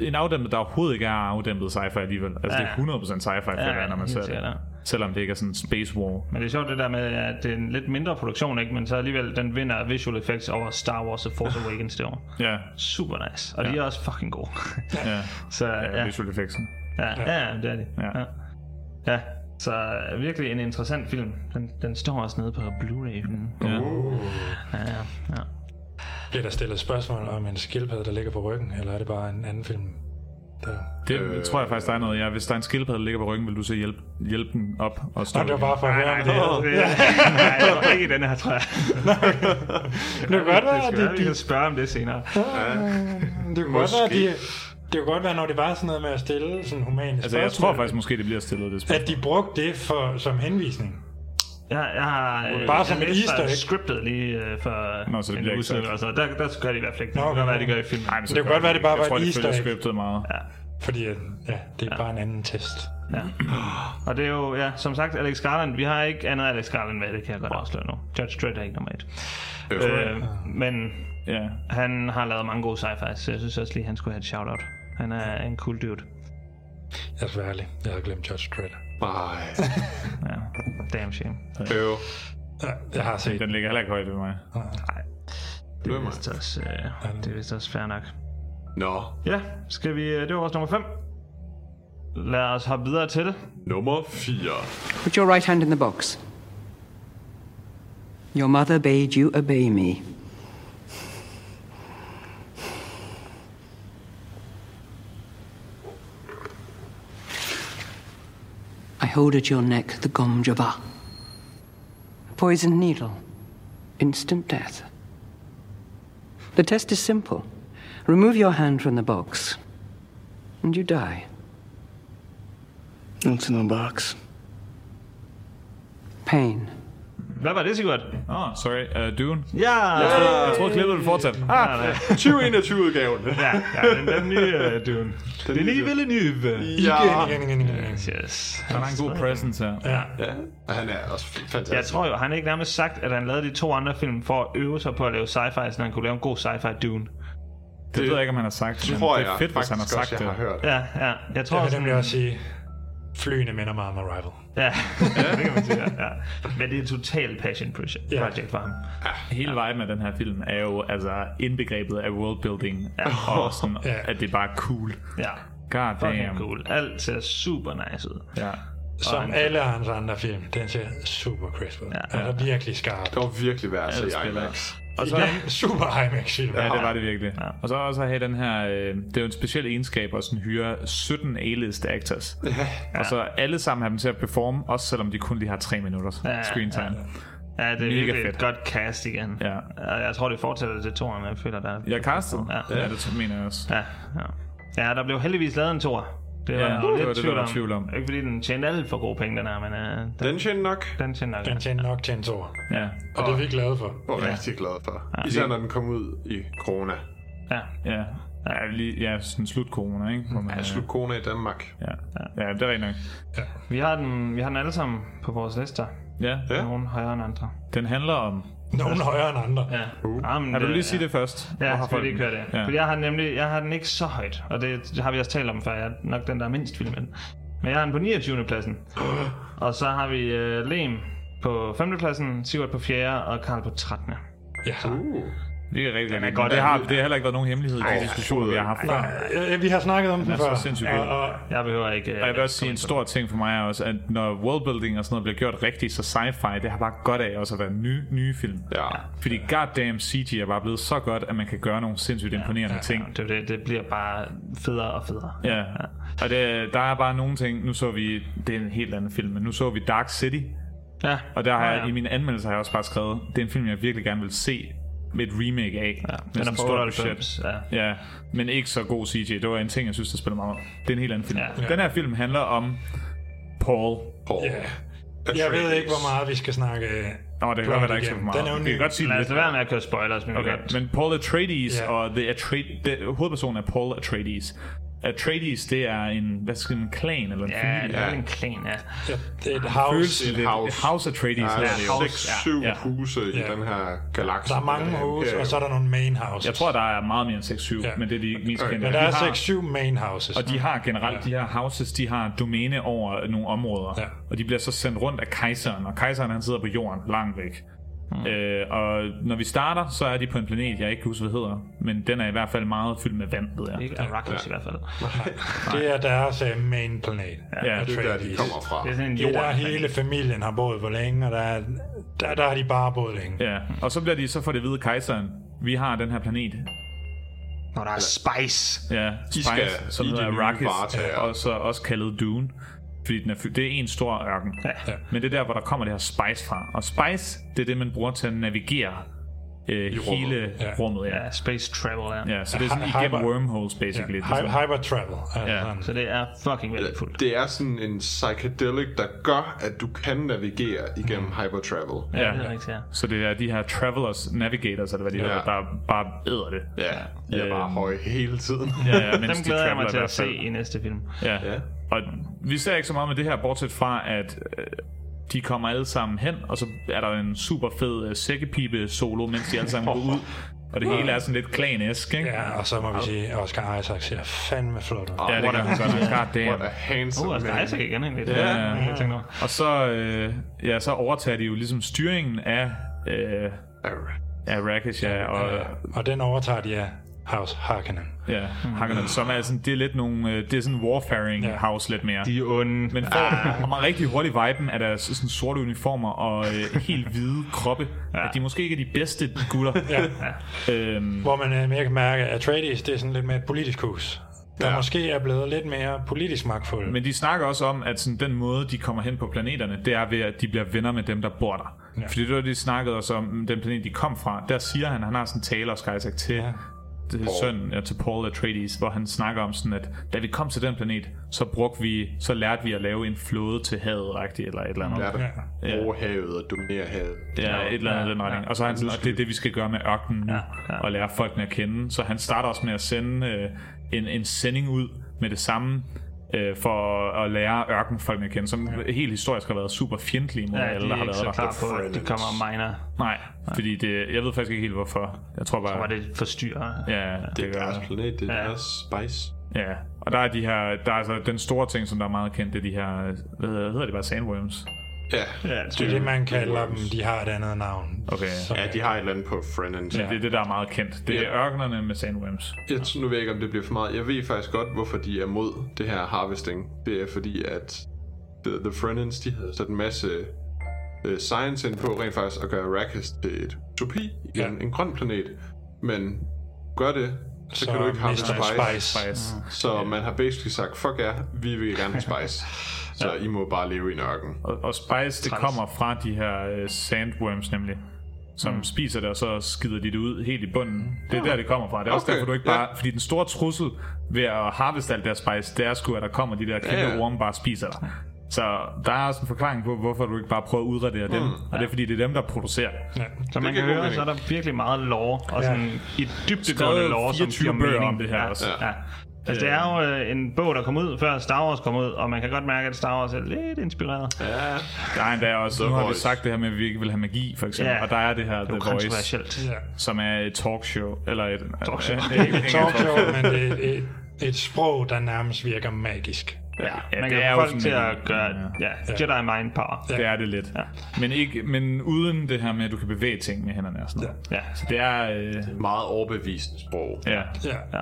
Speaker 2: En afdæmpet, der overhovedet ikke er afdæmpet sci-fi alligevel. Altså,
Speaker 1: Ja,
Speaker 2: ja. det
Speaker 1: ja.
Speaker 2: er 100% sci-fi,
Speaker 1: Ja,
Speaker 2: ja, når man
Speaker 1: helt
Speaker 2: ser
Speaker 1: sikkert, ja.
Speaker 2: det. Selvom det ikke er sådan en space war.
Speaker 1: men det er sjovt det der med, at det er en lidt mindre produktion, ikke? men så alligevel den vinder visual effects over Star Wars og
Speaker 2: *laughs*
Speaker 1: Force Awakens det år.
Speaker 2: Ja.
Speaker 1: Super nice. Og ja. de
Speaker 2: Ja.
Speaker 1: er også fucking gode.
Speaker 2: Ja.
Speaker 1: *laughs* så,
Speaker 2: ja. Visual effects.
Speaker 1: Ja, ja, ja det er det.
Speaker 2: Ja.
Speaker 1: Ja. ja. Så øh, virkelig en interessant film. Den, den står også nede på Blu-ray. Mm.
Speaker 2: Ja.
Speaker 1: Oh. Ja, ja, ja.
Speaker 4: Bliver der stillet spørgsmål om en skildpadde, der ligger på ryggen, eller er det bare en anden film? Der...
Speaker 2: Det øh, tror jeg faktisk, der er noget. Ja, hvis der er en skildpadde, der ligger på ryggen, vil du så hjælpe, hjælpe den op og stå
Speaker 4: Nå, det var
Speaker 2: igen?
Speaker 4: bare for at
Speaker 1: Nej,
Speaker 4: høre,
Speaker 1: nej,
Speaker 4: om
Speaker 1: det er, det er, *laughs* nej, det var ikke i denne her,
Speaker 4: *laughs*
Speaker 1: tror jeg.
Speaker 4: Det kan godt være,
Speaker 1: det skal
Speaker 4: de-
Speaker 1: være, vi
Speaker 4: de-
Speaker 1: kan spørge om det senere.
Speaker 4: Det kunne godt være, de, det kunne godt være, når det var sådan noget med at stille sådan humane
Speaker 2: Altså, jeg tror faktisk måske, det bliver stillet det spørgsmål.
Speaker 4: at de brugte det for, som henvisning.
Speaker 1: Jeg, jeg har øh,
Speaker 4: Bare som
Speaker 1: jeg
Speaker 4: et
Speaker 1: læste
Speaker 4: easter egg.
Speaker 1: scriptet lige øh, for
Speaker 2: Nå, så det bliver ikke sagt.
Speaker 1: og så altså, der, der gør de i hvert fald ikke. Det
Speaker 4: Nå,
Speaker 1: kan godt
Speaker 4: okay.
Speaker 1: være, de gør i filmen.
Speaker 2: Nej, men så
Speaker 4: Det kunne godt være, det bare
Speaker 2: jeg
Speaker 4: var
Speaker 2: tror,
Speaker 4: et
Speaker 2: de
Speaker 4: easter
Speaker 2: følger
Speaker 4: egg.
Speaker 2: scriptet meget.
Speaker 1: Ja.
Speaker 4: Fordi at, ja, det er ja. bare en anden test.
Speaker 1: Ja. Og det er jo, ja, som sagt, Alex Garland. Vi har ikke andet Alex Garland med, det kan jeg godt afsløre nu. Judge Dredd er ikke nummer et.
Speaker 2: Øh,
Speaker 1: Øh, men
Speaker 2: ja.
Speaker 1: han har lavet mange gode sci-fi, så jeg synes også lige, han skulle have et shout-out. Han er en cool dude.
Speaker 4: Jeg skal være ærlig. Jeg havde glemt Judge Dredd.
Speaker 3: Nej.
Speaker 1: ja, damn shame.
Speaker 3: Øv.
Speaker 4: Jeg har set
Speaker 2: Den ligger heller ikke højt ved mig.
Speaker 1: Nej. Det er vist også, øh, det er vist også fair nok.
Speaker 3: Nå.
Speaker 1: Ja, skal vi, øh, det var vores nummer 5. Lad os hoppe videre til det.
Speaker 3: Nummer 4.
Speaker 14: Put your right hand in the box. Your mother bade you obey me. I hold at your neck the Gomjava. Poisoned needle. Instant death. The test is simple. Remove your hand from the box, and you die. What's in the box? Pain.
Speaker 1: Hvad var det, Sigurd?
Speaker 2: Åh, oh, sorry. Uh, Dune.
Speaker 1: Ja!
Speaker 2: Jeg troede, jeg troede klippet ville fortsætte.
Speaker 1: Ah, nej.
Speaker 3: 2021-udgaven.
Speaker 1: ja, ja, den, den nye uh, Dune. Den, den nye Villeneuve.
Speaker 3: Ja.
Speaker 4: Igen, igen, igen, igen.
Speaker 1: Yes.
Speaker 2: Han har en god presence her.
Speaker 4: Ja.
Speaker 3: Ja, og han er også fantastisk.
Speaker 1: Jeg tror jo, han har ikke nærmest sagt, at han lavede de to andre film for at øve sig på at lave sci-fi, så han kunne lave en god sci-fi Dune.
Speaker 2: Det, ved jeg ikke, om han har sagt.
Speaker 3: Det
Speaker 2: men
Speaker 3: tror
Speaker 2: det er
Speaker 3: jeg
Speaker 2: fedt, hvis han har
Speaker 3: faktisk
Speaker 2: sagt
Speaker 3: også,
Speaker 2: det.
Speaker 3: jeg har hørt.
Speaker 1: Ja, ja. Jeg tror
Speaker 4: Jeg vil
Speaker 1: sådan-
Speaker 4: nemlig også sige, flyene minder mig om Arrival.
Speaker 1: Ja, det kan man sige. Ja. ja. Men det er et totalt passion project,
Speaker 4: Ja.
Speaker 1: project for ham.
Speaker 2: Hele vejen med den her film er jo altså indbegrebet af worldbuilding.
Speaker 1: Ja.
Speaker 2: Og sådan,
Speaker 4: Ja.
Speaker 2: at det er bare cool.
Speaker 1: Ja,
Speaker 2: God
Speaker 1: fucking
Speaker 2: damn.
Speaker 1: cool. Alt ser super nice ud.
Speaker 2: Ja.
Speaker 4: Som
Speaker 1: han-
Speaker 4: alle hans andre film, den ser super crisp ud.
Speaker 1: Ja.
Speaker 4: Ja. Altså virkelig skarp.
Speaker 3: Det var virkelig værd at se
Speaker 2: det spiller.
Speaker 3: IMAX.
Speaker 2: Og så,
Speaker 4: Igen, super IMAX-film.
Speaker 2: Ja, det var det virkelig. Ja. Og så også at have den her, øh, det er jo en speciel egenskab at sådan hyre 17 A-list actors. Ja. Og så alle sammen have dem til at performe, også selvom de kun lige har 3 minutter
Speaker 1: Ja,
Speaker 2: ja, screen time. Ja.
Speaker 1: Ja, det er
Speaker 2: Mega
Speaker 1: virkelig et
Speaker 2: fedt.
Speaker 1: godt cast igen.
Speaker 2: Ja.
Speaker 1: Og Jeg tror, det fortsætter til toeren, men jeg føler, der er...
Speaker 2: Jeg castede.
Speaker 1: Ja.
Speaker 2: Ja. ja, det mener jeg også.
Speaker 1: Ja, ja. ja der blev heldigvis lavet en toer. Det var,
Speaker 2: Ja,
Speaker 1: ja,
Speaker 2: det var
Speaker 1: lidt
Speaker 2: det, der
Speaker 1: tvivl
Speaker 2: var
Speaker 1: om.
Speaker 2: tvivl om.
Speaker 1: Ikke fordi den tjente alt for gode penge, den her, men uh, den,
Speaker 3: Den tjente nok,
Speaker 1: den tjente nok.
Speaker 4: Den tjente nok til en tor.
Speaker 2: Ja.
Speaker 4: Og det er vi glade for.
Speaker 3: og ja. rigtig glad for.
Speaker 1: Ja.
Speaker 3: Især når den kom ud i corona.
Speaker 1: Ja,
Speaker 2: Ja. Ja, lige, ja, sådan slut corona, ikke? Hvor man,
Speaker 3: Ja, slut corona i Danmark.
Speaker 2: ja. ja, det er rent nok.
Speaker 1: vi har, den, vi har den alle sammen på vores lister.
Speaker 2: Ja,
Speaker 3: Ja.
Speaker 1: Nogle højere end andre.
Speaker 2: den handler om...
Speaker 4: Nogen højere end andre.
Speaker 1: Ja. Uh. Jamen,
Speaker 2: Kan du lige
Speaker 1: det-
Speaker 2: sige det først? Hvor
Speaker 1: Ja,
Speaker 2: har
Speaker 1: skal vi
Speaker 2: folk
Speaker 1: lige køre
Speaker 2: den?
Speaker 1: det. Ja. Fordi jeg har nemlig, jeg har den ikke så højt, og det har vi også talt om før. Jeg er nok den, der er mindst vild med den. Men jeg har den på 29. pladsen. og så har vi uh, Lem på 5. pladsen, Sigurd på 4. og Karl på 13.
Speaker 4: Ja.
Speaker 3: Uh.
Speaker 2: Det er rigtig, rigtig
Speaker 1: godt.
Speaker 2: godt. Det har, det har heller ikke været nogen hemmelighed i de diskussioner, vi har haft.
Speaker 4: Nej, øh, vi har snakket om den,
Speaker 2: er så
Speaker 4: før.
Speaker 2: sindssygt
Speaker 4: og,
Speaker 2: god.
Speaker 4: og,
Speaker 1: Jeg behøver ikke... Uh,
Speaker 2: Og jeg vil også sige, en stor ting for mig er også, at når worldbuilding og sådan noget bliver gjort rigtigt, så sci-fi, det har bare godt af også at være nye, nye film.
Speaker 3: Ja.
Speaker 2: Fordi goddamn CG er bare blevet så godt, at man kan gøre nogle sindssygt imponerende ting.
Speaker 1: øh, det, er jo det, det bliver bare federe og federe.
Speaker 2: Ja, og det, der er bare nogle ting, nu så vi, det er en helt anden film, men nu så vi Dark City,
Speaker 1: Ja.
Speaker 2: og der har
Speaker 1: Ja,
Speaker 2: jeg,
Speaker 1: ja.
Speaker 2: i min anmeldelse har jeg også bare skrevet, det er en film, jeg virkelig gerne vil se med et remake af. Ja,
Speaker 1: Den er på 98. Ja.
Speaker 2: Ja, men ikke så god CG. Det var en ting, jeg synes, der spiller meget om. Det er en helt anden film.
Speaker 1: Ja.
Speaker 2: Ja. Den her film handler om Paul.
Speaker 3: Paul.
Speaker 4: ja. Jeg ved ikke, hvor meget vi skal snakke. øh,
Speaker 2: Nå, det kan
Speaker 4: Blond
Speaker 2: godt være, der ikke er så
Speaker 4: igennem.
Speaker 2: meget.
Speaker 4: Den er jo
Speaker 2: vi kan
Speaker 4: ny.
Speaker 2: godt sige
Speaker 1: Lad
Speaker 2: det
Speaker 1: os lade være med at køre spoilers, men
Speaker 2: Okay,
Speaker 1: okay.
Speaker 2: men Paul Atreides
Speaker 4: Ja.
Speaker 2: yeah. og the Atre- de, hovedpersonen er Paul Atreides. Atreides, det er en, hvad skal man, en klan eller en
Speaker 1: Ja,
Speaker 2: familie.
Speaker 1: det er vel en klan, ja.
Speaker 4: Ja, det er et house.
Speaker 2: Følelsen, det
Speaker 3: house.
Speaker 2: house. house Atreides.
Speaker 3: Der
Speaker 2: Ja,
Speaker 3: er
Speaker 2: det er det jo.
Speaker 3: seks, syv
Speaker 2: Ja, ja.
Speaker 3: huse i
Speaker 4: Ja.
Speaker 3: den her galakse.
Speaker 4: Der er mange houses, og så er der nogle main houses.
Speaker 2: Jeg tror, der er meget mere end 6-7,
Speaker 4: Ja.
Speaker 2: men det er de mest kendte.
Speaker 4: Men
Speaker 2: De
Speaker 4: der
Speaker 2: har-
Speaker 4: er 6-7 main houses.
Speaker 2: Og de har generelt, de her houses, de har domæne over nogle områder.
Speaker 4: Ja.
Speaker 2: Og de bliver så sendt rundt af kejseren, og kejseren han sidder på jorden, langt væk. Mm. Øh, og når vi starter, så er de på en planet, jeg ikke kan huske, hvad hedder, men den er i hvert fald meget fyldt med vand, ved jeg.
Speaker 1: Ikke Arrakis i hvert fald.
Speaker 4: Det er deres uh, main planet.
Speaker 2: Ja,
Speaker 3: Det er der, de kommer fra.
Speaker 1: Det er sådan en
Speaker 4: Det er
Speaker 1: jord.
Speaker 4: der hele familien har boet hvor længe, og der, er, der, der har de bare boet længe.
Speaker 2: Ja, og så bliver de så får det at vide af kejseren. Vi har den her planet.
Speaker 1: Når der er spice.
Speaker 2: Ja,
Speaker 3: I
Speaker 2: Spice,
Speaker 3: skal
Speaker 2: som
Speaker 3: i
Speaker 2: hedder
Speaker 3: de nye
Speaker 2: Arrakis,
Speaker 3: varetager.
Speaker 2: og så også kaldet Dune. Fordi den er fyldt. det er en stor ørken.
Speaker 1: Ja.
Speaker 2: Men det er der, hvor der kommer det her spice fra. Og spice, det er det, man bruger til at navigere øh,
Speaker 3: rummet.
Speaker 2: hele
Speaker 4: Ja.
Speaker 2: rummet. Ja.
Speaker 1: Ja, space travel, ja.
Speaker 2: ja, så det er sådan
Speaker 4: Hyper-
Speaker 2: igennem wormholes, basically.
Speaker 4: Hy-
Speaker 2: Ja.
Speaker 4: hyper travel. Altså,
Speaker 2: ligesom. Ja.
Speaker 4: sådan.
Speaker 1: Så det er fucking værdifuldt.
Speaker 3: Det er sådan en psychedelic, der gør, at du kan navigere igennem
Speaker 2: Mm.
Speaker 3: hypertravel.
Speaker 1: Ja,
Speaker 2: Ja.
Speaker 1: det er rigtigt, ja.
Speaker 2: Så det er de her travelers, navigators, eller hvad de
Speaker 3: Ja.
Speaker 2: hedder, der bare æder det.
Speaker 3: Ja, jeg er bare
Speaker 2: Øhm.
Speaker 3: høje hele tiden.
Speaker 2: Ja, ja, mens
Speaker 1: Dem
Speaker 2: de
Speaker 3: *laughs*
Speaker 1: glæder jeg
Speaker 2: traveler
Speaker 1: mig til
Speaker 2: i
Speaker 1: at
Speaker 2: hvert
Speaker 1: se
Speaker 2: fald.
Speaker 1: i næste film.
Speaker 2: Ja.
Speaker 3: Ja.
Speaker 2: ja. Og vi ser ikke så meget med det her, bortset fra, at øh, de kommer alle sammen hen, og så er der en super fed øh, sækkepipe-solo, mens de alle sammen går ud. Og det hele er sådan lidt klan-esk, ikke?
Speaker 4: Ja, og så må vi sige, at Oscar Isaac ser fandme flot
Speaker 3: Ah,
Speaker 4: ud.
Speaker 2: Ja, det gør han godt nok. God damn. altså,
Speaker 4: What a handsome
Speaker 1: Oscar man. Isaac igen, egentlig. Det
Speaker 2: Ja.
Speaker 1: er jeg ikke tænkt over.
Speaker 2: Og så, øh, ja, så overtager de jo ligesom styringen af... Øh, af Rakesh, ja, og,
Speaker 4: Og den overtager de af House Harkonnen.
Speaker 2: Ja, Hakkerland, som er sådan, det er lidt nogle, øh, det er sådan warfaring ja. house lidt mere.
Speaker 1: De er onde.
Speaker 2: Men får,
Speaker 1: Ah.
Speaker 2: og man rigtig hurtigt viben af deres sådan sorte uniformer og øh, helt hvide kroppe. Ja. At de måske ikke er de bedste gutter.
Speaker 4: Ja.
Speaker 2: øhm,
Speaker 4: Hvor man øh, mere kan mærke, at Atreides, det er sådan lidt mere et politisk hus. Der
Speaker 2: Ja.
Speaker 4: ja. måske er blevet lidt mere politisk magtfuld.
Speaker 2: men de snakker også om, at sådan, den måde, de kommer hen på planeterne, det er ved, at de bliver venner med dem, der bor der. Ja. Fordi det var det, de snakkede også om, den planet, de kom fra. Der siger han, han har sådan en tale også, Isaac, til ja. til søn, ja, til Paul Atreides, hvor han snakker om sådan, at da vi kom til den planet, så brugte vi, så lærte vi at lave en flåde til havet, rigtigt, eller et eller andet.
Speaker 3: Lærte at bruge havet og dominere havet.
Speaker 2: Ja, et eller andet i den retning. Og så er han sådan, og det er det, vi skal gøre med ørkenen nu, og lære folkene at kende. Så han starter også med at sende øh, en, en sending ud med det samme, øh, for at lære ørkenfolkene at kende, som helt historisk har været super fjendtlige mod
Speaker 1: Ja,
Speaker 2: alle,
Speaker 1: de
Speaker 2: der
Speaker 1: er
Speaker 2: har
Speaker 1: ikke
Speaker 2: været
Speaker 1: så
Speaker 2: der.
Speaker 1: klar på, at de kommer og miner.
Speaker 2: Nej, fordi det, jeg ved faktisk ikke helt hvorfor. Jeg tror bare,
Speaker 1: tror bare, det forstyrrer.
Speaker 2: Ja, det, det er deres
Speaker 3: planet, det er deres spice.
Speaker 2: Ja, og der er de her, der er altså den store ting, som der er meget kendt, det er de her, hvad hedder, hedder det bare sandworms?
Speaker 3: Ja,
Speaker 4: det er det, man kalder dem. De har et andet navn.
Speaker 2: Okay.
Speaker 3: Ja, de har et eller andet på Frenan.
Speaker 2: Ja, det er det, der er meget kendt. Det er ørkenerne med sandworms.
Speaker 3: Jeg tror, nu ved jeg ikke, om det bliver for meget. Jeg ved faktisk godt, hvorfor de er mod det her harvesting. Det er fordi, at The, the Frenans, de havde sat en masse øh, science ind på rent faktisk at gøre Arrakis til et utopi, ja. en, en grøn planet. Men gør det, så,
Speaker 4: Så
Speaker 3: kan du ikke have
Speaker 4: mister
Speaker 3: spice.
Speaker 4: spice.
Speaker 1: Mm.
Speaker 4: Spice.
Speaker 3: Så man har basically sagt, fuck jer, vi vil gerne have spice. Så I må bare leve i en ørken.
Speaker 2: Og, og spice, det kommer fra de her øh, sandworms nemlig, som mm. spiser det, og så skider de det ud helt i bunden. Det er
Speaker 3: Ah.
Speaker 2: der, det kommer fra. Det er også
Speaker 3: Okay,
Speaker 2: derfor, du ikke
Speaker 3: ja.
Speaker 2: bare... Fordi den store trussel ved at harveste alt deres spice, det er sgu, at der kommer de der kæmpe
Speaker 3: Ja,
Speaker 2: ja,
Speaker 3: ja.
Speaker 2: ja. orme bare og spiser dig. Så der er også en forklaring på, hvorfor du ikke bare prøver at udradere dem.
Speaker 1: Mm.
Speaker 2: Og det er, fordi det er dem, der producerer.
Speaker 4: Ja.
Speaker 1: Som man kan høre, så er der virkelig meget lore, og
Speaker 2: Ja.
Speaker 1: sådan et dybtegående
Speaker 2: Skrevet
Speaker 1: lore, som
Speaker 2: 24
Speaker 1: giver
Speaker 2: bøger
Speaker 1: mening.
Speaker 2: om det her
Speaker 1: ja.
Speaker 2: også.
Speaker 1: Ja. Altså, det er jo øh, en bog, der kom ud, før Star Wars kom ud, og man kan godt mærke, at Star Wars er lidt inspireret.
Speaker 3: Ja.
Speaker 2: Der er endda også,
Speaker 1: The
Speaker 2: nu har vi
Speaker 1: Voice.
Speaker 2: sagt det her med, at vi ikke vil have magi, for eksempel.
Speaker 1: Ja.
Speaker 2: Og der er det her
Speaker 1: Det er
Speaker 2: The
Speaker 1: jo
Speaker 2: Voice,
Speaker 1: kontroversielt. Ja.
Speaker 2: som er et talkshow. Eller et...
Speaker 1: Talkshow.
Speaker 2: Det er ikke- ikke
Speaker 4: Det er et
Speaker 2: et
Speaker 4: talkshow, men det er et, et sprog, der nærmest virker magisk.
Speaker 2: Ja, ja
Speaker 1: man
Speaker 2: det
Speaker 1: kan
Speaker 2: er
Speaker 1: få
Speaker 2: jo
Speaker 1: folk til
Speaker 2: sådan
Speaker 1: at
Speaker 2: en-
Speaker 1: gøre ja, Jedi Mind Power.
Speaker 2: Det er det lidt. Ja. Men, ikke, men uden det her med, at du kan bevæge ting med hænderne og sådan noget.
Speaker 1: Ja.
Speaker 2: Så det er... Øh,
Speaker 3: Meget overbevisende sprog.
Speaker 2: ja.
Speaker 4: Ja.
Speaker 1: ja,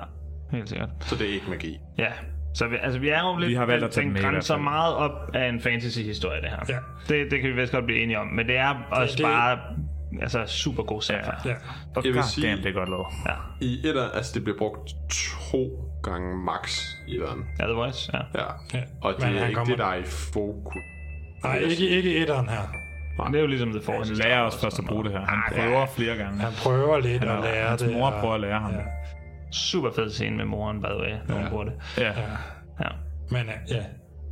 Speaker 1: helt sikkert.
Speaker 3: Så det er ikke magi.
Speaker 1: Ja, så vi, altså, vi er jo lidt...
Speaker 2: Vi har valgt at tage den
Speaker 1: den
Speaker 2: med i
Speaker 1: grænser
Speaker 2: hvert fald.
Speaker 1: meget op af en fantasy-historie, det her.
Speaker 4: Ja.
Speaker 1: Det, det kan vi vist godt blive enige om, men det er også
Speaker 4: Det-
Speaker 1: det,
Speaker 4: det-
Speaker 1: bare altså, super god sci-fi.
Speaker 4: Ja.
Speaker 2: Og
Speaker 3: Jeg vil
Speaker 2: God
Speaker 3: sige-
Speaker 2: damn, det er godt lavet.
Speaker 1: Ja.
Speaker 3: I etter, altså det bliver brugt to gange max i etteren.
Speaker 1: Ja, The Voice, ja.
Speaker 3: Ja.
Speaker 4: Ja.
Speaker 3: Og det
Speaker 4: Men
Speaker 3: er
Speaker 4: han
Speaker 3: ikke
Speaker 4: kommer-
Speaker 3: det, der er i fokus.
Speaker 4: Nej, ikke, ikke etteren her.
Speaker 1: Men Det er jo ligesom The Force.
Speaker 2: Han lærer os først at bruge det her. Han prøver flere gange.
Speaker 4: Han prøver lidt
Speaker 2: Han
Speaker 4: at
Speaker 2: er-
Speaker 4: lære
Speaker 2: hans
Speaker 4: det.
Speaker 2: mor
Speaker 4: og-
Speaker 2: prøver at lære ham.
Speaker 1: Super fed scene med moren, by the way, når hun bruger det.
Speaker 2: Ja.
Speaker 1: Ja.
Speaker 4: Men øh, ja,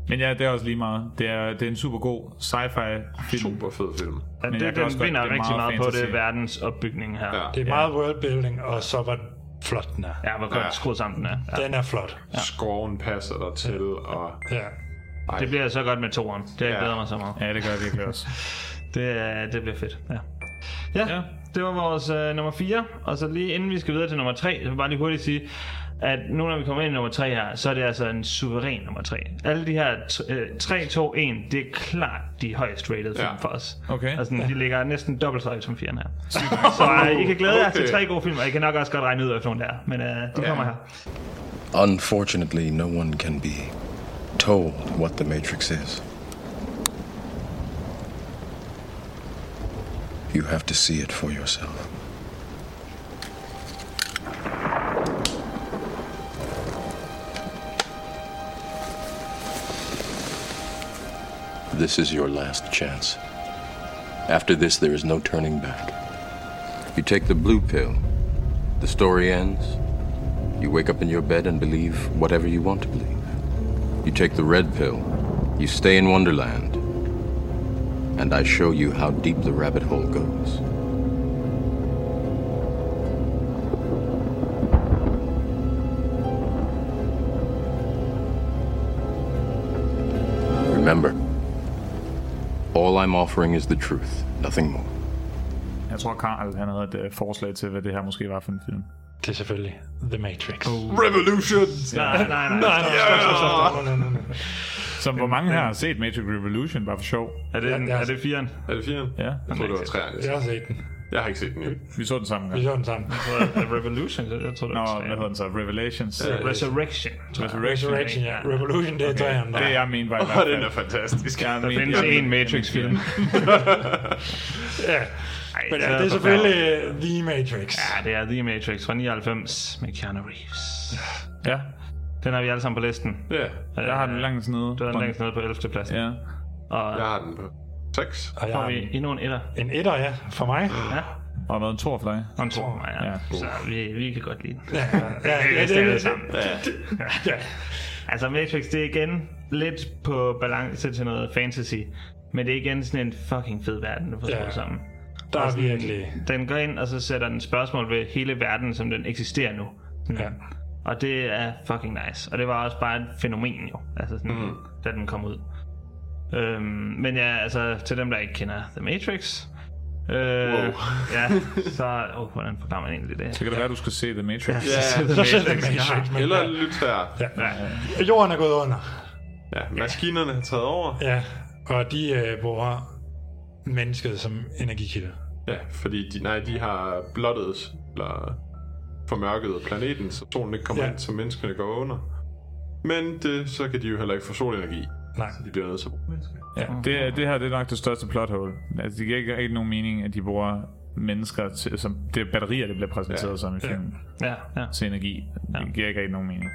Speaker 2: Men ja, det er også lige meget. Det er, det er en super god sci-fi film.
Speaker 3: Super fed film.
Speaker 1: Ja, det, den vinder rigtig meget, på det verdensopbygning her.
Speaker 4: det er meget worldbuilding, og så var flot den er.
Speaker 1: Ja, hvor godt
Speaker 3: Ja.
Speaker 1: ja. skruet sammen den er. Ja.
Speaker 4: Den er flot.
Speaker 3: Ja. Skoven passer dig til, og...
Speaker 4: Ja.
Speaker 3: Ej.
Speaker 1: Det bliver så godt med toren. Det har jeg glæder mig så meget.
Speaker 2: Ja, det gør det virkelig også.
Speaker 1: Det, er- det bliver fedt. Ja. Ja, ja. det var vores øh, nummer 4. Og så lige inden vi skal videre til nummer 3, så vil jeg bare lige hurtigt sige, at nu når vi kommer ind i nummer 3 her, så er det altså en suveræn nummer 3. Alle de her t- øh, 3, 2, 1, det er klart de højst rated film
Speaker 2: Ja.
Speaker 1: for os.
Speaker 2: Okay.
Speaker 1: Altså, de ligger næsten dobbelt så højt som 4'eren her. Så øh, I kan glæde jer til
Speaker 15: Okay.
Speaker 1: tre gode film, og I kan nok også godt regne ud, hvad for nogle der er. Men øh, de kommer her.
Speaker 15: Unfortunately, no one can be told what the Matrix is. You have to see it for yourself.
Speaker 16: This is your last chance. After this, there is no turning back. You take the blue pill, the story ends. You wake up in your bed and believe whatever you want to believe. You take the red pill, you stay in Wonderland, and I show you how deep the rabbit hole goes. Remember, all I'm offering is the truth, nothing more.
Speaker 2: Jeg tror, Karl han havde et øh, forslag til, hvad det her måske var for en film.
Speaker 4: Det er selvfølgelig The Matrix.
Speaker 2: Oh.
Speaker 3: Revolution!
Speaker 2: Nej,
Speaker 1: *laughs*
Speaker 2: nej, nej.
Speaker 4: nej, stop, stop, stop, stop. nej, nej, nej.
Speaker 2: Som hvor mange her har set Matrix Revolution, bare for sjov.
Speaker 1: Er det, den, er det firen?
Speaker 3: Er det firen?
Speaker 2: Ja.
Speaker 3: Jeg tror, det var træerne.
Speaker 4: Jeg har set den.
Speaker 3: Jeg har ikke set den endnu. *laughs*
Speaker 2: Vi så den sammen.
Speaker 4: Vi så den sammen.
Speaker 1: Revolution, jeg tror det
Speaker 2: Nå, hvad hedder den så? Revelations?
Speaker 1: Øh, Resurrection.
Speaker 2: Resurrection.
Speaker 4: Resurrection, ja. Revolution, det er træerne.
Speaker 2: Det er jeg mente var i
Speaker 3: Åh,
Speaker 2: hvert fald.
Speaker 3: den er fantastisk.
Speaker 2: Jeg
Speaker 1: Der
Speaker 2: mente-
Speaker 1: findes
Speaker 2: jeg
Speaker 1: én
Speaker 2: mente-
Speaker 1: Matrix-film.
Speaker 4: Ja. Men
Speaker 1: så er
Speaker 4: ja, det er
Speaker 1: det
Speaker 4: selvfølgelig øh, The Matrix.
Speaker 1: Ja, det er The Matrix fra 99 med Keanu Reeves.
Speaker 2: Ja.
Speaker 1: Den har vi alle sammen på listen.
Speaker 3: Ja.
Speaker 2: Jeg har den langt nede.
Speaker 1: Du har den længst nede på 11. pladsen.
Speaker 2: Ja.
Speaker 1: Og
Speaker 3: *laughs* Jeg har den på 6.
Speaker 4: Og jeg
Speaker 1: får
Speaker 4: har
Speaker 1: vi endnu en etter.
Speaker 4: En etter, ja, for mig.
Speaker 1: Ja.
Speaker 2: Og hvad en tor for dig?
Speaker 1: Og en to mig, ja.
Speaker 2: Ja.
Speaker 1: Så vi, vi kan godt lide den.
Speaker 4: Ja,
Speaker 1: Ja, det er det alle sammen.
Speaker 3: Ja.
Speaker 1: Ja. altså Matrix, det er igen lidt på balance til noget fantasy. Men det er igen sådan en fucking fed verden, du får
Speaker 4: Ja.
Speaker 1: ja. sammen.
Speaker 4: Der
Speaker 1: Og
Speaker 4: er
Speaker 1: sådan-
Speaker 4: virkelig...
Speaker 1: Den går ind, og så sætter den spørgsmål ved hele verden, som den eksisterer nu. Sådan.
Speaker 4: Ja.
Speaker 1: Og det er fucking nice. Og det var også bare et fænomen jo, altså sådan,
Speaker 3: Mhm.
Speaker 1: mm. da den kom ud. Øhm, men ja, altså til dem, der ikke kender The Matrix, øh,
Speaker 3: Wow.
Speaker 1: ja, så... Oh, hvordan forklarer man egentlig det?
Speaker 2: Så kan det være, du skal se The Matrix.
Speaker 1: Ja.
Speaker 3: Ja,
Speaker 4: Så selv The Matrix. men
Speaker 3: eller
Speaker 4: ja.
Speaker 3: lyt her.
Speaker 4: Ja. Jorden er gået under.
Speaker 3: Ja, maskinerne har taget over.
Speaker 4: Ja, og de øh, bruger mennesket som energikilde.
Speaker 3: Ja, fordi de, nej, de har blottet eller formørket planeten, så solen ikke kommer
Speaker 4: Ja.
Speaker 3: ja. ind, så menneskene går under. Men det, så kan de jo heller ikke få solenergi,
Speaker 4: Nej.
Speaker 3: så de bliver nødt til at bruge mennesker.
Speaker 2: Ja, det, er- det her det er nok det største plot hole. Altså, det giver ikke, ikke nogen mening, at de bruger mennesker til, som det er batterier, det bliver præsenteret ja.
Speaker 3: Ja.
Speaker 2: som i filmen,
Speaker 1: Ja, ja.
Speaker 2: til energi. Det giver ikke rigtig nogen mening.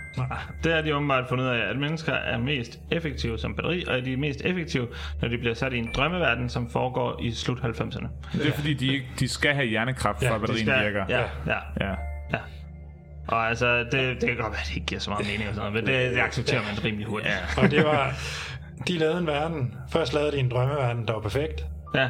Speaker 1: Det har de åbenbart fundet ud af, at mennesker er mest effektive som batteri, og er de mest effektive, når de bliver sat i en drømmeverden, som foregår i slut 90'erne.
Speaker 2: Det er fordi, de, ikke, de skal have hjernekraft,
Speaker 4: Ja,
Speaker 2: ja, for at
Speaker 4: de
Speaker 2: batterien
Speaker 1: Ja,
Speaker 2: virker.
Speaker 1: ja, ja,
Speaker 2: ja.
Speaker 1: ja. Og altså, det, det kan godt være, at det ikke giver så meget mening og sådan noget, men det, det accepterer man rimelig hurtigt.
Speaker 4: Og det var... De lavede en verden. Først lavede de en drømmeverden, der var perfekt.
Speaker 1: Ja,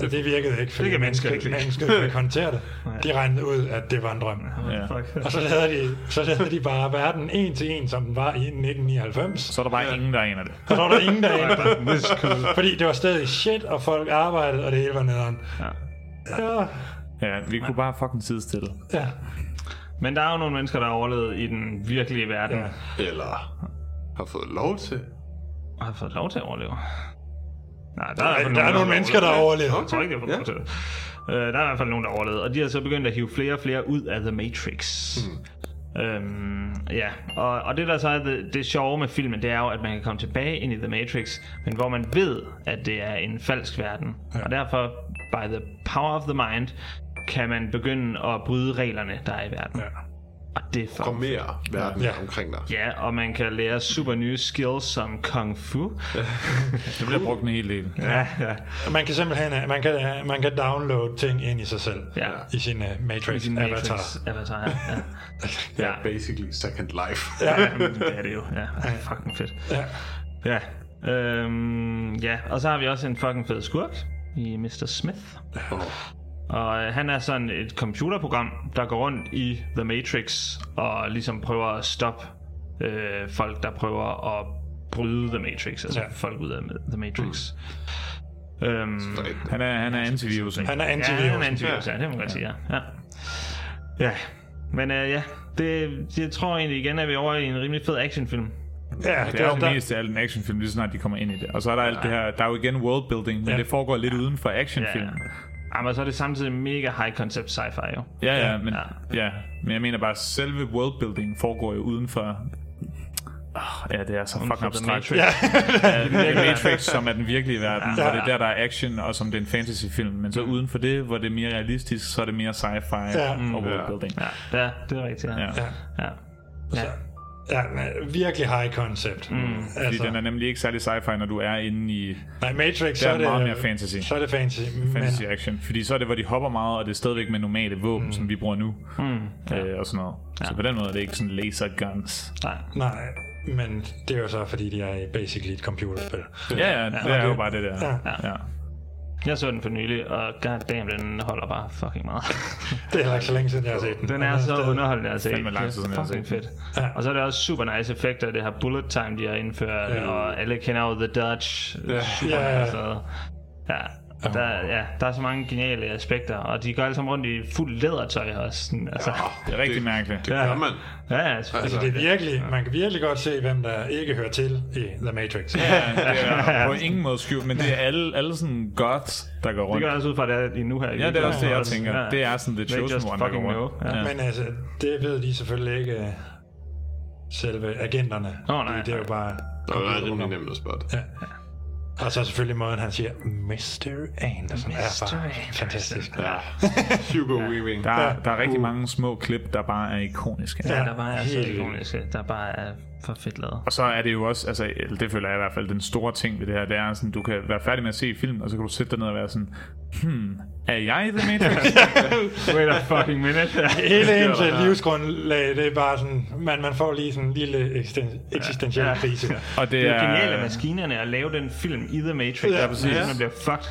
Speaker 4: Det, det virkede ikke, fordi
Speaker 1: Det kan
Speaker 4: mennesket
Speaker 1: mennesker
Speaker 4: ikke
Speaker 1: ikke lide.
Speaker 4: mennesket kunne ikke håndtere det. De regnede ud, at det var en drøm.
Speaker 2: Ja.
Speaker 1: fuck.
Speaker 4: Og så lavede de, så lavede de bare verden en til en, som den var i 1999.
Speaker 2: Så er der bare ja. ingen, der
Speaker 1: *laughs*
Speaker 2: aner det.
Speaker 4: Og så var der ingen, der ændrede. Fordi det var stadig shit, og folk arbejdede, og det hele var nederen.
Speaker 1: Ja.
Speaker 4: Ja,
Speaker 2: Ja, vi kunne bare fucking sidestille.
Speaker 4: ja.
Speaker 1: Men der er jo nogle mennesker, der har overlevet i den virkelige verden,
Speaker 4: Ja.
Speaker 1: ja.
Speaker 3: Eller har fået lov til.
Speaker 1: og har fået lov til at overleve. Nej, der, i
Speaker 4: Der,
Speaker 1: hvert
Speaker 4: er,
Speaker 1: fald
Speaker 4: der
Speaker 1: altså
Speaker 4: er
Speaker 1: nogen,
Speaker 4: nogle
Speaker 1: har
Speaker 4: mennesker, der
Speaker 1: overlevet.
Speaker 4: overlevede.
Speaker 1: Jeg tror ikke, det var
Speaker 3: Ja.
Speaker 1: ja. til det. Øh, der er i hvert fald nogen, der overlevede, og de har så begyndt at hive flere og flere ud af The Matrix. Mm. Øhm, ja, og, og det der så er det, det sjove med filmen, det er jo, at man kan komme tilbage ind i The Matrix, men hvor man ved, at det er en falsk verden. Ja. Og derfor, by the power of the mind, kan man begynde at bryde reglerne, der er i verden. Ja. Og det er fucking
Speaker 3: Formere verden
Speaker 4: Ja.
Speaker 3: ja. omkring dig.
Speaker 1: Ja, og man kan lære super nye skills som kung fu.
Speaker 2: Det bliver brugt en hel del.
Speaker 1: Ja, ja.
Speaker 4: Man kan simpelthen øh, man kan, øh, man kan downloade ting ind i sig selv.
Speaker 1: Ja.
Speaker 4: I sin uh, Matrix sin avatar. Matrix.
Speaker 1: Avatar, *laughs* ja. ja.
Speaker 3: Ja, basically second life. *laughs*
Speaker 1: Jamen, det er det jo. Ja, Ej, fucking fedt.
Speaker 4: Ja.
Speaker 1: Ja. Øhm, ja, og så har vi også en fucking fed skurk i Mr. Smith. Og øh, han er sådan et computerprogram, der går rundt i The Matrix og ligesom prøver at stoppe øh, folk, der prøver at bryde The Matrix, altså
Speaker 4: Ja.
Speaker 1: ja. folk ud af The Matrix. Mm. Øhm,
Speaker 3: Så rigtigt.
Speaker 2: Han er, han er antivirus, ikke?
Speaker 4: Han er antivirus.
Speaker 1: Ja, han er antivirus, ja. det må man godt sige, ja. ja. ja. Men øh, ja, det, jeg tror egentlig igen, at vi er over i en rimelig fed actionfilm.
Speaker 4: ja,
Speaker 2: Det er jo mest af alt en actionfilm, lige så snart de kommer ind i det. Og så er der alt det her, der er jo igen worldbuilding, men
Speaker 4: Ja.
Speaker 2: det foregår lidt uden for actionfilm.
Speaker 1: Ja, men så er det samtidig mega high concept sci-fi jo.
Speaker 2: Ja, ja, men, ja. men jeg mener bare, at selve worldbuilding foregår jo uden for... Oh, ja, det er så fucking
Speaker 1: for The
Speaker 2: abstrakt.
Speaker 1: Matrix.
Speaker 2: Ja. The Matrix, som er den virkelige verden, ja. hvor det er der, der er action, og som det er en fantasyfilm. Men så uden for det, hvor det er mere realistisk, så er det mere sci-fi
Speaker 4: Ja.
Speaker 2: ja. og worldbuilding. Ja.
Speaker 1: Ja, ja det er rigtigt. Ja.
Speaker 2: Ja.
Speaker 1: Ja.
Speaker 2: Ja.
Speaker 1: Ja. ja.
Speaker 4: Ja, men virkelig high concept. Mm.
Speaker 2: Fordi
Speaker 4: Altså,
Speaker 2: den er nemlig ikke særlig sci-fi, når du er inde i
Speaker 4: nej, Matrix, så
Speaker 2: der
Speaker 4: er
Speaker 2: er
Speaker 4: det...
Speaker 2: meget mere fantasy.
Speaker 4: Så er det fantasy.
Speaker 2: fantasy
Speaker 4: men,
Speaker 2: action. Fordi så er det, hvor de hopper meget, og det er stadigvæk med normale våben, mm. som vi bruger nu. Mm. Øh, og sådan noget. Ja. Så på den måde er det ikke sådan laser guns.
Speaker 1: Nej.
Speaker 4: nej, men det er jo så, fordi de er i basically et computerspil.
Speaker 2: Ja, ja, det er jo bare det der.
Speaker 4: Ja.
Speaker 2: Ja.
Speaker 1: Jeg så den for nylig, og goddamn, den holder bare fucking
Speaker 4: *laughs*
Speaker 1: meget.
Speaker 4: Det er heller ikke så længe siden, jeg har set den. Altså,
Speaker 1: Den er så underholdende at se.
Speaker 4: Fandme lang tid
Speaker 1: Det
Speaker 4: siden,
Speaker 1: er
Speaker 4: jeg har
Speaker 1: fucking
Speaker 4: set den.
Speaker 1: fedt. Og så er det også super nice effekter. Det her bullet time, de har indført,
Speaker 4: Ja.
Speaker 1: og alle kender jo The Dutch.
Speaker 4: Ja.
Speaker 1: Super
Speaker 4: Ja, ja.
Speaker 1: nice lavet. Ja. Der, ja, der er så mange geniale aspekter, og de går alle sammen rundt i fuld lædertøj også. Sådan, altså.
Speaker 2: Det er rigtig det, mærkeligt.
Speaker 1: det gør man. Ja, ja,
Speaker 4: Altså, det er virkelig, man kan virkelig godt se, hvem der ikke hører til i The
Speaker 2: *laughs*
Speaker 4: Matrix.
Speaker 2: Ja, det er på ingen måde skjult, men det er alle, alle sådan gods, der går rundt.
Speaker 1: Det gør også ud fra, at det er lige nu her.
Speaker 2: Ja, det er også det, jeg tænker. Det er sådan lidt chosen one, der går rundt.
Speaker 4: Ja. Men altså, det ved de selvfølgelig ikke øh, selve agenterne.
Speaker 1: Nå, nej,
Speaker 4: det er jo bare...
Speaker 3: Der er rimelig nemt at spotte.
Speaker 4: Ja. Og så selvfølgelig måden, han siger, Mr. Anderson.
Speaker 1: Mr.
Speaker 4: Er bare
Speaker 1: Anderson.
Speaker 4: fantastisk.
Speaker 3: Ja. Hugo Weaving.
Speaker 2: Der,
Speaker 4: Ja.
Speaker 2: er, der er rigtig mange små klip, der bare er ikoniske.
Speaker 1: Ja, der bare er så
Speaker 4: helt vildt.
Speaker 1: ikoniske. Der bare er for fedt lavet.
Speaker 2: Og så er det jo også, altså eller det føler jeg i hvert fald, den store ting ved det her, det er sådan, du kan være færdig med at se film, og så kan du sætte dig ned og være sådan, hmm, er jeg i The *laughs* Matrix?
Speaker 4: *laughs*
Speaker 1: Wait a fucking minute.
Speaker 4: Hele ens øh, livsgrundlag, det er bare sådan, man, man får lige sådan en lille eksisten, eksistentiel
Speaker 1: Ja.
Speaker 4: krise.
Speaker 2: Og
Speaker 1: Det er jo genialt af
Speaker 2: er-
Speaker 1: maskinerne at lave den film i The Matrix.
Speaker 2: Ja, præcis.
Speaker 1: Den bliver fucked.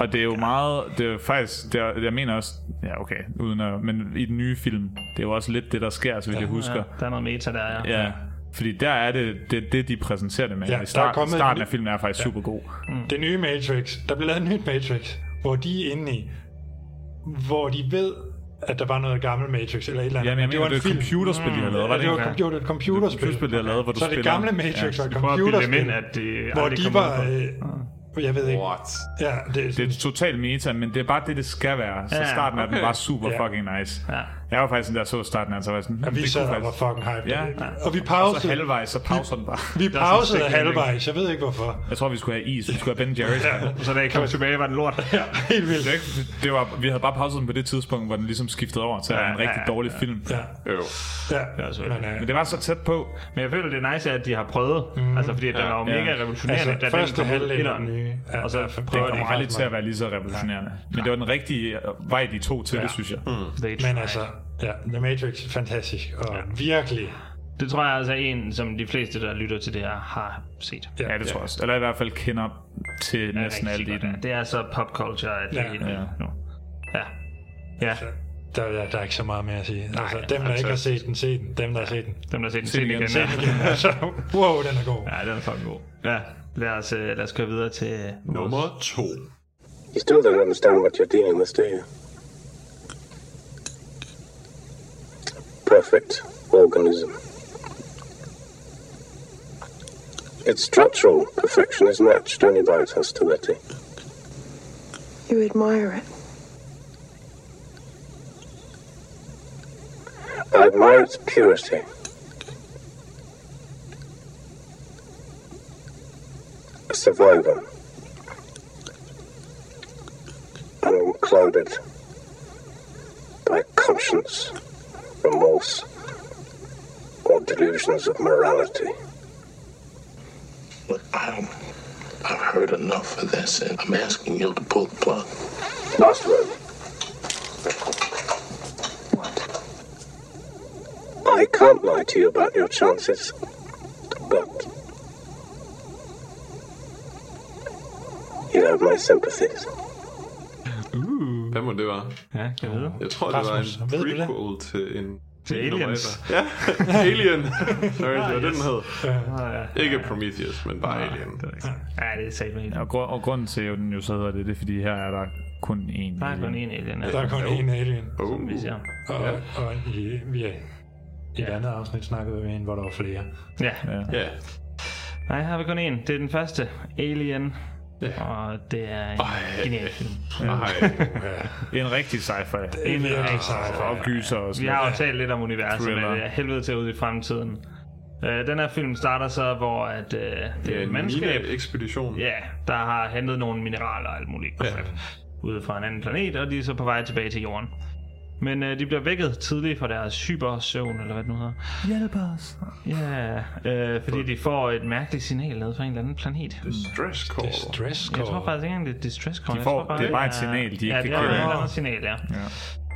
Speaker 2: Og det er jo meget, det er jo faktisk, det er, jeg mener også, ja okay, uden at, men i den nye film, det er jo også lidt det, der sker, så vidt jeg husker.
Speaker 1: Ja, der er noget meta der, ja.
Speaker 2: Ja, fordi der er det, det, det de præsenterer det med.
Speaker 4: Ja,
Speaker 2: Ja,
Speaker 4: der er
Speaker 2: I start,
Speaker 4: kommet en
Speaker 2: starten
Speaker 4: ny-
Speaker 2: af filmen er faktisk
Speaker 4: Ja.
Speaker 2: ja. super god.
Speaker 4: Det nye Matrix, der blev lavet et nyt Matrix, hvor de er inde i, hvor de ved, at der var noget gammel Matrix eller et eller andet.
Speaker 2: Ja, men jeg mener, det er et computerspil, de har lavet, var
Speaker 4: Mm. Ja,
Speaker 2: det
Speaker 4: det var
Speaker 2: ikke?
Speaker 4: computer, et
Speaker 2: Det
Speaker 4: computerspil.
Speaker 2: er et computerspil, de har lavet, hvor du
Speaker 4: Så det
Speaker 2: spiller-
Speaker 4: gamle Matrix
Speaker 2: Ja,
Speaker 4: var et
Speaker 2: de prøver at bilde dem
Speaker 4: computerspil,
Speaker 2: ind, at det
Speaker 4: hvor
Speaker 2: aldrig
Speaker 4: de
Speaker 2: kommer ud
Speaker 4: var... Øh, jeg ved ikke.
Speaker 2: What?
Speaker 4: Ja, det er
Speaker 2: Det er totalt meta, men det er bare det, det skal være. Så
Speaker 4: Ja,
Speaker 2: starten af den
Speaker 4: okay.
Speaker 2: var super
Speaker 4: Ja.
Speaker 2: fucking nice.
Speaker 1: Ja.
Speaker 2: Jeg var faktisk sådan, der så starten af, den, så var jeg sådan...
Speaker 4: Og
Speaker 2: "Hmm,
Speaker 4: vi
Speaker 2: det
Speaker 4: sad
Speaker 2: kunne
Speaker 4: og var
Speaker 2: faktisk-"
Speaker 4: fucking hyped.
Speaker 2: Ja.
Speaker 4: Og vi
Speaker 2: Og så
Speaker 4: pausede-
Speaker 2: halvvejs, så pauser den bare. Der er
Speaker 4: Vi
Speaker 2: sådan en
Speaker 4: pausede
Speaker 2: stik landing.
Speaker 4: halvvejs, jeg ved ikke hvorfor.
Speaker 2: Jeg tror, vi skulle have is. Vi skulle have Ben Jerry's.
Speaker 4: Ja.
Speaker 1: Så da jeg kom tilbage, var den lort.
Speaker 4: Ja, *laughs* helt vildt.
Speaker 2: Det, er ikke- det var, vi havde bare pauset den på det tidspunkt, hvor den ligesom skiftede over til at være en
Speaker 1: Ja,
Speaker 2: rigtig
Speaker 1: ja,
Speaker 2: dårlig film.
Speaker 4: Ja.
Speaker 2: Jo.
Speaker 4: Ja,
Speaker 1: men,
Speaker 4: øh,
Speaker 2: Men det var så tæt på.
Speaker 1: Men jeg føler, det er nice, at de har prøvet. Mm. Altså, fordi den
Speaker 2: Ja.
Speaker 1: var jo mega
Speaker 2: Ja.
Speaker 1: revolutionerende,
Speaker 2: Altså,
Speaker 1: da den
Speaker 2: første
Speaker 1: kom ud
Speaker 2: halvdel
Speaker 1: etteren.
Speaker 2: af den nye.
Speaker 1: Og så
Speaker 2: Det
Speaker 1: prøver de
Speaker 2: kommer aldrig til at være lige så revolutionerende. Men det var den rigtige øh, vej, de tog til det, synes jeg.
Speaker 1: Mm.
Speaker 4: Men altså, ja, The Matrix, fantastisk. Og virkelig.
Speaker 1: Det tror jeg altså er en, som de fleste, der lytter til det her, har set.
Speaker 2: Ja, det tror jeg også. Eller i hvert fald kender til
Speaker 1: Det er
Speaker 2: næsten alt
Speaker 1: rigtig
Speaker 2: i
Speaker 1: godt, ja.
Speaker 2: den.
Speaker 1: Det er så popculture, at det
Speaker 4: Ja.
Speaker 1: er ja.
Speaker 4: Ja.
Speaker 1: nu. Ja. Ja.
Speaker 4: Der, der, der er ikke så meget mere at sige. Nej, altså, dem, der
Speaker 1: altså-
Speaker 4: ikke har set den, se den. Dem, der har set den.
Speaker 1: Dem, der har set den,
Speaker 4: Se
Speaker 1: set
Speaker 4: den
Speaker 1: den igen.
Speaker 4: igen. Se den igen. *laughs* Altså, wow, den er god.
Speaker 1: Ja, den er fucking god. Ja, lad os, øh, lad os køre videre til... Nummer
Speaker 3: to.
Speaker 17: You still don't understand what you're dealing with, do you? Perfect organism. Its structural perfection is matched only by its hostility.
Speaker 18: You admire it.
Speaker 17: I admire its purity. A survivor. Unclouded by conscience, remorse, or delusions of morality.
Speaker 19: Look, I'm, I've heard enough of this, and I'm asking you to pull the plug.
Speaker 17: Last word. What? I can't lie to you about your chances, but you have my sympathies.
Speaker 3: Uh. Hvad må det være?
Speaker 1: Ja, kan jeg vide.
Speaker 3: Jeg tror, det var
Speaker 4: Rasmus,
Speaker 3: en
Speaker 4: ved du det?
Speaker 3: prequel til en...
Speaker 1: Til
Speaker 3: en nummer
Speaker 1: Aliens.
Speaker 3: et. Ja, *laughs* Alien. Sorry, det var
Speaker 1: Ah,
Speaker 3: det, den
Speaker 1: yes.
Speaker 3: hed.
Speaker 1: Ja, ja.
Speaker 3: Ikke Prometheus, men bare Alien.
Speaker 1: Ja, Ah, det er satme helt.
Speaker 2: Og, gru- og grunden til, at den jo så hedder det, det er, fordi her er der kun én.
Speaker 1: Der er kun én alien.
Speaker 4: Der er kun én alien.
Speaker 1: Som vi ser.
Speaker 4: Og, og i, vi er, i et andet afsnit snakkede vi med en, hvor der var flere.
Speaker 1: Ja.
Speaker 2: ja.
Speaker 3: ja.
Speaker 1: Nej, her har vi kun én. Det er den første. Alien. Og det er en genial film.
Speaker 2: Nej. en rigtig sci-fi.
Speaker 1: Det er en rigtig sci-fi.
Speaker 2: Og gyser og
Speaker 1: Vi
Speaker 2: sådan
Speaker 1: har jo
Speaker 2: noget.
Speaker 1: talt lidt om universet, men
Speaker 2: Thriller.
Speaker 1: det er helvede til ud i fremtiden. Øh, den her film starter så, hvor at, øh, det
Speaker 3: Det
Speaker 1: er
Speaker 3: er
Speaker 1: et
Speaker 3: en
Speaker 1: *laughs* mandskab,
Speaker 3: ekspedition.
Speaker 1: ja, der har hentet nogle mineraler og alt muligt ja. ude fra en anden planet, og de er så på vej tilbage til jorden. Men øh, de bliver vækket tidligt fra deres hypersøvn, eller hvad det nu hedder.
Speaker 2: Hjælp os.
Speaker 1: Ja, øh, fordi de får et mærkeligt signal ned fra en eller anden planet.
Speaker 3: Distress call.
Speaker 4: Distress
Speaker 1: Jeg tror faktisk ikke engang, det er et distress call.
Speaker 2: De
Speaker 1: Jeg
Speaker 2: får-
Speaker 1: tror
Speaker 2: det er bare et signal, de ikke
Speaker 1: ja,
Speaker 2: kan
Speaker 1: det er et
Speaker 2: kende.
Speaker 1: eller andet signal, ja.
Speaker 2: Ja.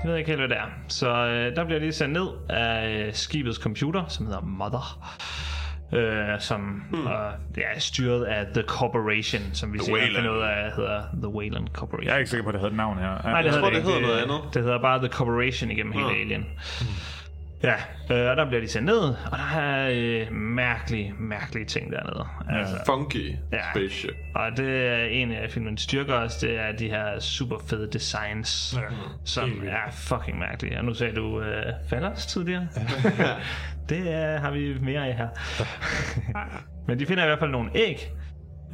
Speaker 1: Jeg ved ikke helt, hvad det er. Så øh, der bliver lige sendt ned af øh, skibets computer, som hedder Mother. øh, som hmm. øh, ja, er styret af The Corporation, som vi
Speaker 2: The
Speaker 1: sikkert
Speaker 2: Wayland.
Speaker 1: finder ud af hedder The Wayland Corporation.
Speaker 2: Jeg er ikke sikker på, at det havde et navn her.
Speaker 1: Nej, det
Speaker 2: jeg
Speaker 1: hedder Ah. det, ikke. Det hedder bare The Corporation igennem hele Alien.
Speaker 2: Hmm.
Speaker 1: Ja, øh, og der bliver de sendt ned, og der er øh, mærkelige, mærkelige ting dernede.
Speaker 3: Altså, funky
Speaker 1: Ja.
Speaker 3: spaceship.
Speaker 1: Og det er en af filmens styrker også, det er de her super fede designs, ja. som er fucking mærkelige. Og nu sagde du øh, Fallers tidligere. Ja. det øh, har vi mere af her. Men de finder i hvert fald nogle æg.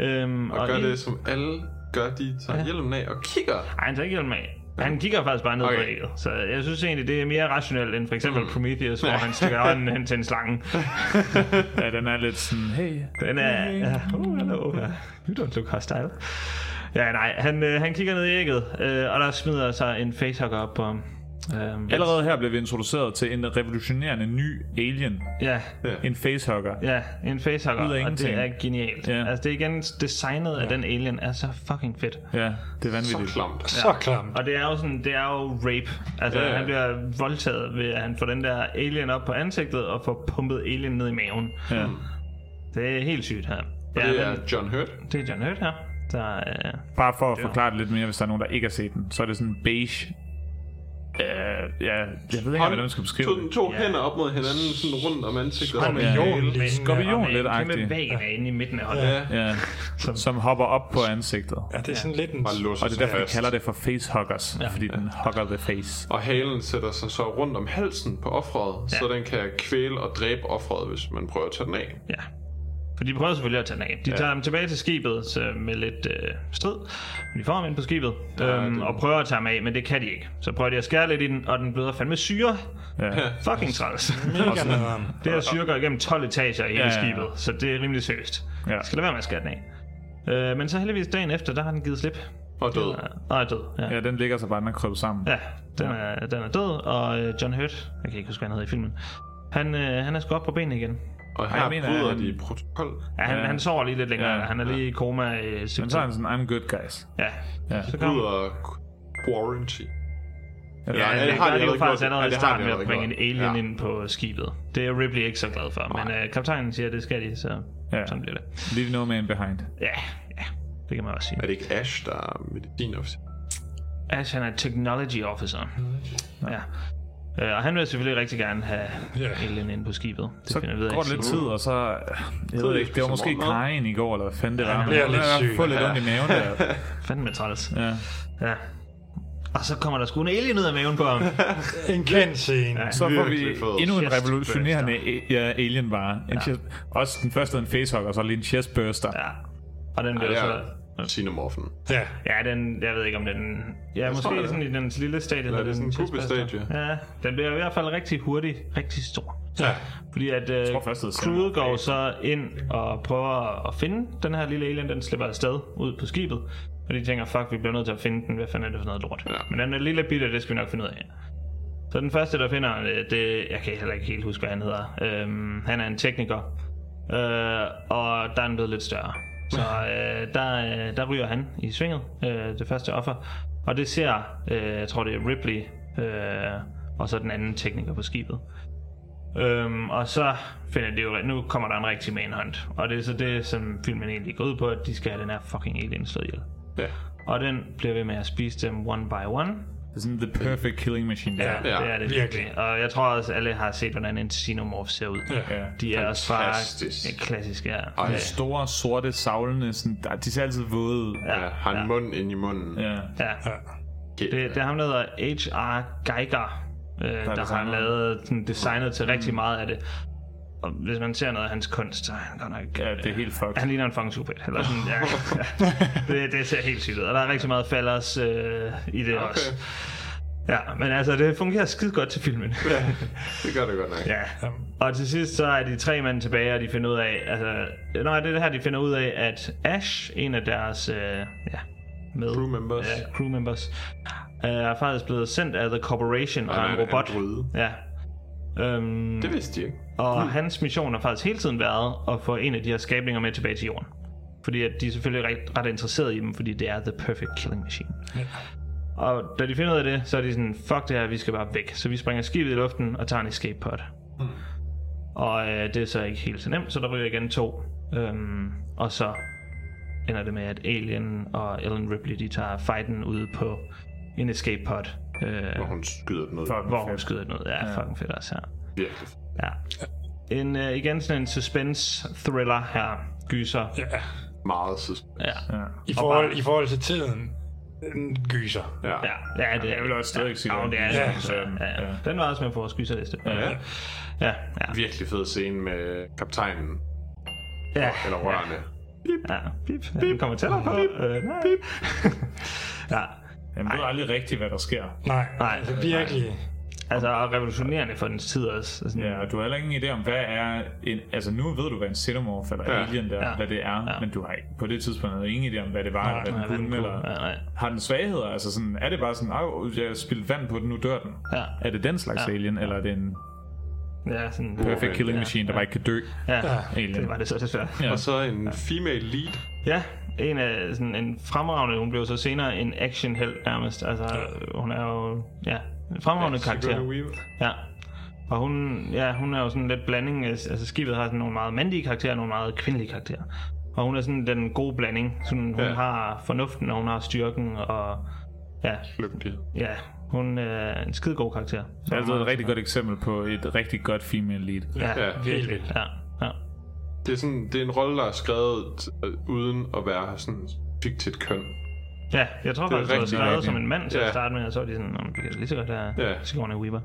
Speaker 1: Øhm,
Speaker 3: Og, og gør
Speaker 1: en-
Speaker 3: det, som alle gør. De tager ja. hjelmen af og kigger.
Speaker 1: Nej, han tager ikke hjelm af. Han kigger faktisk bare ned okay. på ægget. Så jeg synes egentlig, det er mere rationelt end for eksempel mm. Prometheus, hvor
Speaker 2: Ja.
Speaker 1: han stikker hånden hen til en slange.
Speaker 2: ja, den er lidt sådan, hey. Uh.
Speaker 1: Den er... Ja, oh, hello. Ja. You don't look hostile. Ja, nej, han, øh, han kigger ned i ægget, øh, og der smider sig en facehugger op på ham. Øhm,
Speaker 2: Allerede her blev vi introduceret til en revolutionerende ny alien.
Speaker 1: Ja.
Speaker 2: En facehugger.
Speaker 1: Ja, en facehugger,
Speaker 2: Ud af
Speaker 1: og det
Speaker 2: ingenting.
Speaker 1: er genialt. Ja. Altså, det er igen designet af den alien, er så fucking fedt.
Speaker 2: Ja, det er vanvittigt.
Speaker 3: Så klamt.
Speaker 1: Ja. Og det er jo sådan, det er jo rape. Altså,
Speaker 2: Ja,
Speaker 1: ja,
Speaker 2: ja.
Speaker 1: han bliver voldtaget ved, at han får den der alien op på ansigtet, og får pumpet alien ned i maven.
Speaker 2: Ja.
Speaker 1: Det er helt sygt her.
Speaker 2: Og det er
Speaker 3: John Hurt.
Speaker 1: Det er John Hurt her. Der, øh,
Speaker 2: Bare for at forklare det lidt mere, hvis der er nogen, der ikke har set den, så er det sådan en beige... Øh, ja, jeg ved ikke, hvordan man skal beskrive
Speaker 3: to, to ja. hænder op mod hinanden, sådan rundt om ansigtet.
Speaker 2: Skorpion.
Speaker 3: Og med en
Speaker 2: Lidt
Speaker 3: hale.
Speaker 2: skorpion,
Speaker 3: Og med en
Speaker 2: lidt
Speaker 3: kæmpe
Speaker 2: agtig.
Speaker 1: væg inde i midten af
Speaker 3: hånden.
Speaker 2: det. Ja. Som, som hopper op på ansigtet. Ja, det
Speaker 3: er sådan lidt en- Og låser
Speaker 2: Og det er
Speaker 3: sig
Speaker 2: derfor, de
Speaker 3: fast.
Speaker 2: kalder det for facehuggers, ja. fordi den hugger the face.
Speaker 3: Og halen sætter sig så rundt om halsen på offret, ja. så den kan kvæle og dræbe offret, hvis man prøver at tage den af.
Speaker 1: Ja. For de prøver selvfølgelig at tage den af. De
Speaker 3: Ja.
Speaker 1: ja. tager dem tilbage til skibet så med lidt øh, strid. Men de får ham ind på skibet øhm, og prøver at tage ham af, men det kan de ikke. Så prøver de at skære lidt i den, og den bløder fandme syre.
Speaker 2: Ja.
Speaker 1: Fucking træls.
Speaker 2: Mega
Speaker 1: Og sådan-
Speaker 2: nederen.
Speaker 1: *laughs* det her syre går igennem 12 etager i hele
Speaker 2: Ja,
Speaker 1: ja,
Speaker 2: ja.
Speaker 1: skibet, så det er rimelig seriøst.
Speaker 2: Ja.
Speaker 1: Skal lade være med at skære den af. Øh, men så heldigvis dagen efter, der har den givet slip.
Speaker 3: Og død.
Speaker 1: Og er død, ja.
Speaker 2: Ja, den ligger så bare, den er krøbet sammen.
Speaker 1: Ja, den er, den er død, og øh, John Hurt, jeg kan ikke huske, hvad han hedder i filmen, han, øh, han er sgu op på benene igen.
Speaker 3: Og
Speaker 1: Ej,
Speaker 3: her
Speaker 1: jeg mener,
Speaker 3: bryder
Speaker 1: han-
Speaker 3: de protokol.
Speaker 1: Ja, han, ja. han sover lige lidt længere.
Speaker 2: Ja.
Speaker 1: Ja. Han er lige i koma i øh,
Speaker 2: Men så er han sådan, I'm good, guys.
Speaker 1: Ja.
Speaker 2: Ja.
Speaker 1: Så
Speaker 3: Ud
Speaker 1: kom.
Speaker 3: af warranty.
Speaker 1: Ja,
Speaker 3: Eller,
Speaker 1: ja, det,
Speaker 3: har
Speaker 1: har
Speaker 3: de
Speaker 1: det, det jo
Speaker 3: allerede
Speaker 1: faktisk
Speaker 3: gjort?
Speaker 1: allerede
Speaker 3: Ja,
Speaker 1: i
Speaker 3: det har de
Speaker 1: starten med at
Speaker 3: allerede
Speaker 1: bringe en
Speaker 3: gjort.
Speaker 1: alien
Speaker 3: Ja.
Speaker 1: ja. ind på skibet. Det er Ripley ikke så glad for, men øh, kaptajnen siger, at det skal de, så
Speaker 2: Ja.
Speaker 1: sådan bliver det.
Speaker 2: Leave no man behind.
Speaker 1: Ja, ja, det kan man også sige.
Speaker 3: Er det ikke Ash, der er medicinofficer?
Speaker 1: Ash, han er technology officer. Ja. Øh, og han vil selvfølgelig rigtig gerne have yeah. alien ind på skibet. Det
Speaker 2: Så
Speaker 1: finder vi ud af i
Speaker 2: går det lidt tid,
Speaker 1: sidste-
Speaker 2: og så... øh, Jeg ved ikke, det var måske Kajen i går, eller hvad fanden det var.
Speaker 1: Ja,
Speaker 2: men
Speaker 1: bliver
Speaker 2: jeg
Speaker 1: lidt
Speaker 2: har
Speaker 1: syg.
Speaker 2: fået lidt ondt i maven der.
Speaker 1: Fanden med træls.
Speaker 2: Ja.
Speaker 1: ja. Og så kommer der sgu en alien ud af maven på
Speaker 2: *laughs*
Speaker 1: ham.
Speaker 4: En kendt scene.
Speaker 1: Ja.
Speaker 2: Så får vi
Speaker 1: Virkelig fed.
Speaker 2: endnu en
Speaker 1: Chestburster.
Speaker 2: revolutionerende a- ja, alien-vare. En chest, også den første er en facehugger, og så lige en chestburster.
Speaker 1: Ja. Og den bliver så...
Speaker 3: Xenomorphen.
Speaker 4: Ja.
Speaker 1: Ja, den, jeg ved ikke om den... Ja,
Speaker 3: Jeg
Speaker 1: jeg måske
Speaker 3: tror, det er.
Speaker 1: sådan i den lille stadie.
Speaker 3: Eller er
Speaker 1: hedder
Speaker 3: det
Speaker 1: den
Speaker 3: sådan en
Speaker 1: chestburster.
Speaker 3: kubestadie?
Speaker 1: Ja, den bliver i hvert fald rigtig hurtig, rigtig stor.
Speaker 4: Ja.
Speaker 1: Fordi at øh, crewet går så ind og prøver at finde den her lille alien, den slipper afsted ud på skibet. Og de tænker, fuck, vi bliver nødt til at finde den, hvad fanden er det for noget lort? Ja. Men den er lille bitte, det skal vi nok finde ud af. Så den første, der finder, øh, det, jeg kan heller ikke helt huske, hvad han hedder. Øhm, han er en tekniker, øh, og der er han blevet lidt større. *laughs* Så øh, der, øh, der ryger han i svinget, øh, det første offer. Og det ser, øh, jeg tror det er Ripley, øh, og så den anden tekniker på skibet. Øhm, og så finder det jo, nu kommer der en rigtig manhunt. Og det er så det, som filmen egentlig går ud på, at de skal have den her fucking alien slået ihjel.
Speaker 3: Ja.
Speaker 1: Og den bliver ved med at spise dem one by one.
Speaker 2: Det er sådan the perfect killing machine.
Speaker 1: Ja,
Speaker 2: der.
Speaker 1: ja, det er det virkelig. Og jeg tror også, alle har set, hvordan en xenomorph ser ud.
Speaker 2: Ja.
Speaker 1: De er også bare
Speaker 3: Fantastisk.
Speaker 1: ja, klassisk, ja.
Speaker 2: Og
Speaker 1: ja.
Speaker 2: de store, sorte savlene, sådan, der- de ser altid våde ud.
Speaker 3: Ja, har en mund ind i munden.
Speaker 2: Ja.
Speaker 1: ja. Det, det er ham, der hedder H.R. Geiger, øh, der, Mm. der har
Speaker 2: designeren.
Speaker 1: lavet, sådan, designet til rigtig meget af det. Og hvis man ser noget af hans kunst, så er han godt nok... øh, Ja, det er
Speaker 2: helt fucked.
Speaker 1: Han ligner en fucking superhelt. Eller sådan, *laughs* ja, ja. Det, det ser helt sygt ud. Og der er rigtig meget fallers øh, i det okay. også. Ja, men altså, det fungerer skide godt til filmen.
Speaker 3: Ja, det gør det godt nok.
Speaker 1: Ja. Og til sidst så er de tre mænd tilbage, og de finder ud af, altså, nej, det er det her, de finder ud af, at Ash, en af deres, øh, ja, med, crew
Speaker 3: members,
Speaker 1: ja, crew members øh, er faktisk blevet sendt af The Corporation
Speaker 3: Og
Speaker 1: og,
Speaker 3: han
Speaker 1: en
Speaker 3: er en
Speaker 1: robot.
Speaker 3: androide.
Speaker 1: ja. Øhm,
Speaker 3: Det vidste de ikke.
Speaker 1: og hans mission har faktisk hele tiden været at få en af de her skabninger med tilbage til jorden. Fordi at de er selvfølgelig ret, ret interesserede i dem, fordi det er the perfect killing machine. Og da de finder ud af det, så er de sådan, fuck det her, vi skal bare væk. Så vi springer skibet i luften og tager en escape pod. Og øh, det er så ikke helt så nemt, så der ryger igen to. Øhm, og så ender det med, at Alien og Ellen Ripley, de tager fighten ude på en escape pod. Øh,
Speaker 3: Hvor hun skyder noget.
Speaker 1: hvor hun skyder noget. Ja, ja. fucking fedt også her.
Speaker 3: Virkelig.
Speaker 1: Ja. En, øh, igen sådan en suspense thriller her. Gyser.
Speaker 4: Ja.
Speaker 3: Meget sidst.
Speaker 1: Ja.
Speaker 4: I,
Speaker 1: Og
Speaker 4: forhold,
Speaker 1: bare-
Speaker 4: I forhold til tiden, en gyser.
Speaker 3: Ja.
Speaker 1: Ja, ja det er
Speaker 2: Jeg vil også stadigvæk sige,
Speaker 1: ja,
Speaker 2: at
Speaker 1: det. Er,
Speaker 2: det er
Speaker 1: ja,
Speaker 2: sådan.
Speaker 1: ja, ja. Den var også med på vores gyserliste.
Speaker 3: Ja.
Speaker 1: Ja,
Speaker 3: ja. Virkelig fed scene med kaptajnen.
Speaker 1: Ja.
Speaker 3: Eller rørende. Ja.
Speaker 1: Ja, bip, bip. Den kommer tættere på. Bip, øh, nej. bip. *laughs* ja.
Speaker 2: Jamen, ved aldrig rigtigt, hvad der sker.
Speaker 4: Nej,
Speaker 1: Nej,
Speaker 4: altså virkelig.
Speaker 1: Altså, og revolutionerende for dens tid også. Altså,
Speaker 2: Ja, og du har heller ingen idé om, hvad er en... Altså, nu ved du, hvad en xenomorph eller
Speaker 1: Ja.
Speaker 2: ja. alien der,
Speaker 1: Ja.
Speaker 2: ja. hvad det er, ja. men du har ikke, på det tidspunkt havde ingen idé om, hvad det var,
Speaker 1: Nej,
Speaker 2: nej,
Speaker 1: nej,
Speaker 2: hvad
Speaker 1: hvad
Speaker 2: den
Speaker 1: den
Speaker 2: kunne,
Speaker 1: kunne.
Speaker 2: eller
Speaker 1: Ja, nej.
Speaker 2: har den svagheder? Altså, sådan, er det bare sådan, at jeg spildte vand på den, nu dør den?
Speaker 1: Ja.
Speaker 2: Er det den slags
Speaker 1: Ja.
Speaker 2: ja. alien, eller er det en
Speaker 1: ja, sådan,
Speaker 2: perfect killing machine, der bare ikke kan dø?
Speaker 1: Ja,
Speaker 2: alien?
Speaker 1: det var det så desværre.
Speaker 2: Ja.
Speaker 3: Og så en female lead.
Speaker 1: Ja, en, af, sådan, en fremragende, hun blev så senere en actionheld nærmest. Altså, hun er jo ja, en fremragende
Speaker 3: Ja,
Speaker 1: karakter.
Speaker 3: Sigourney Weaver.
Speaker 1: Ja. Og hun, ja, hun er jo sådan lidt blanding. af- Altså skibet har sådan nogle meget mandlige karakterer og nogle meget kvindelige karakterer. Og hun er sådan den gode blanding. Sådan, hun
Speaker 3: Ja.
Speaker 1: ja. har fornuften, og hun har styrken, og ja,
Speaker 3: Lygtighed.
Speaker 1: ja hun er en skide god karakter.
Speaker 2: Det er altid et rigtig godt eksempel på et rigtig godt female lead.
Speaker 1: Ja,
Speaker 3: Ja.
Speaker 1: ja virkelig. Ja, ja.
Speaker 3: Det er, sådan, det er en rolle, der er skrevet øh, uden at være sådan fik til et køn.
Speaker 1: Ja, jeg tror
Speaker 3: Det er
Speaker 1: faktisk, det var
Speaker 3: rigtig
Speaker 1: skrevet
Speaker 3: rigtig.
Speaker 1: som en mand til
Speaker 3: Ja.
Speaker 1: at starte med, og så var de sådan, om det kan lige så godt være
Speaker 3: Ja.
Speaker 1: ja. Sigourney Weaver.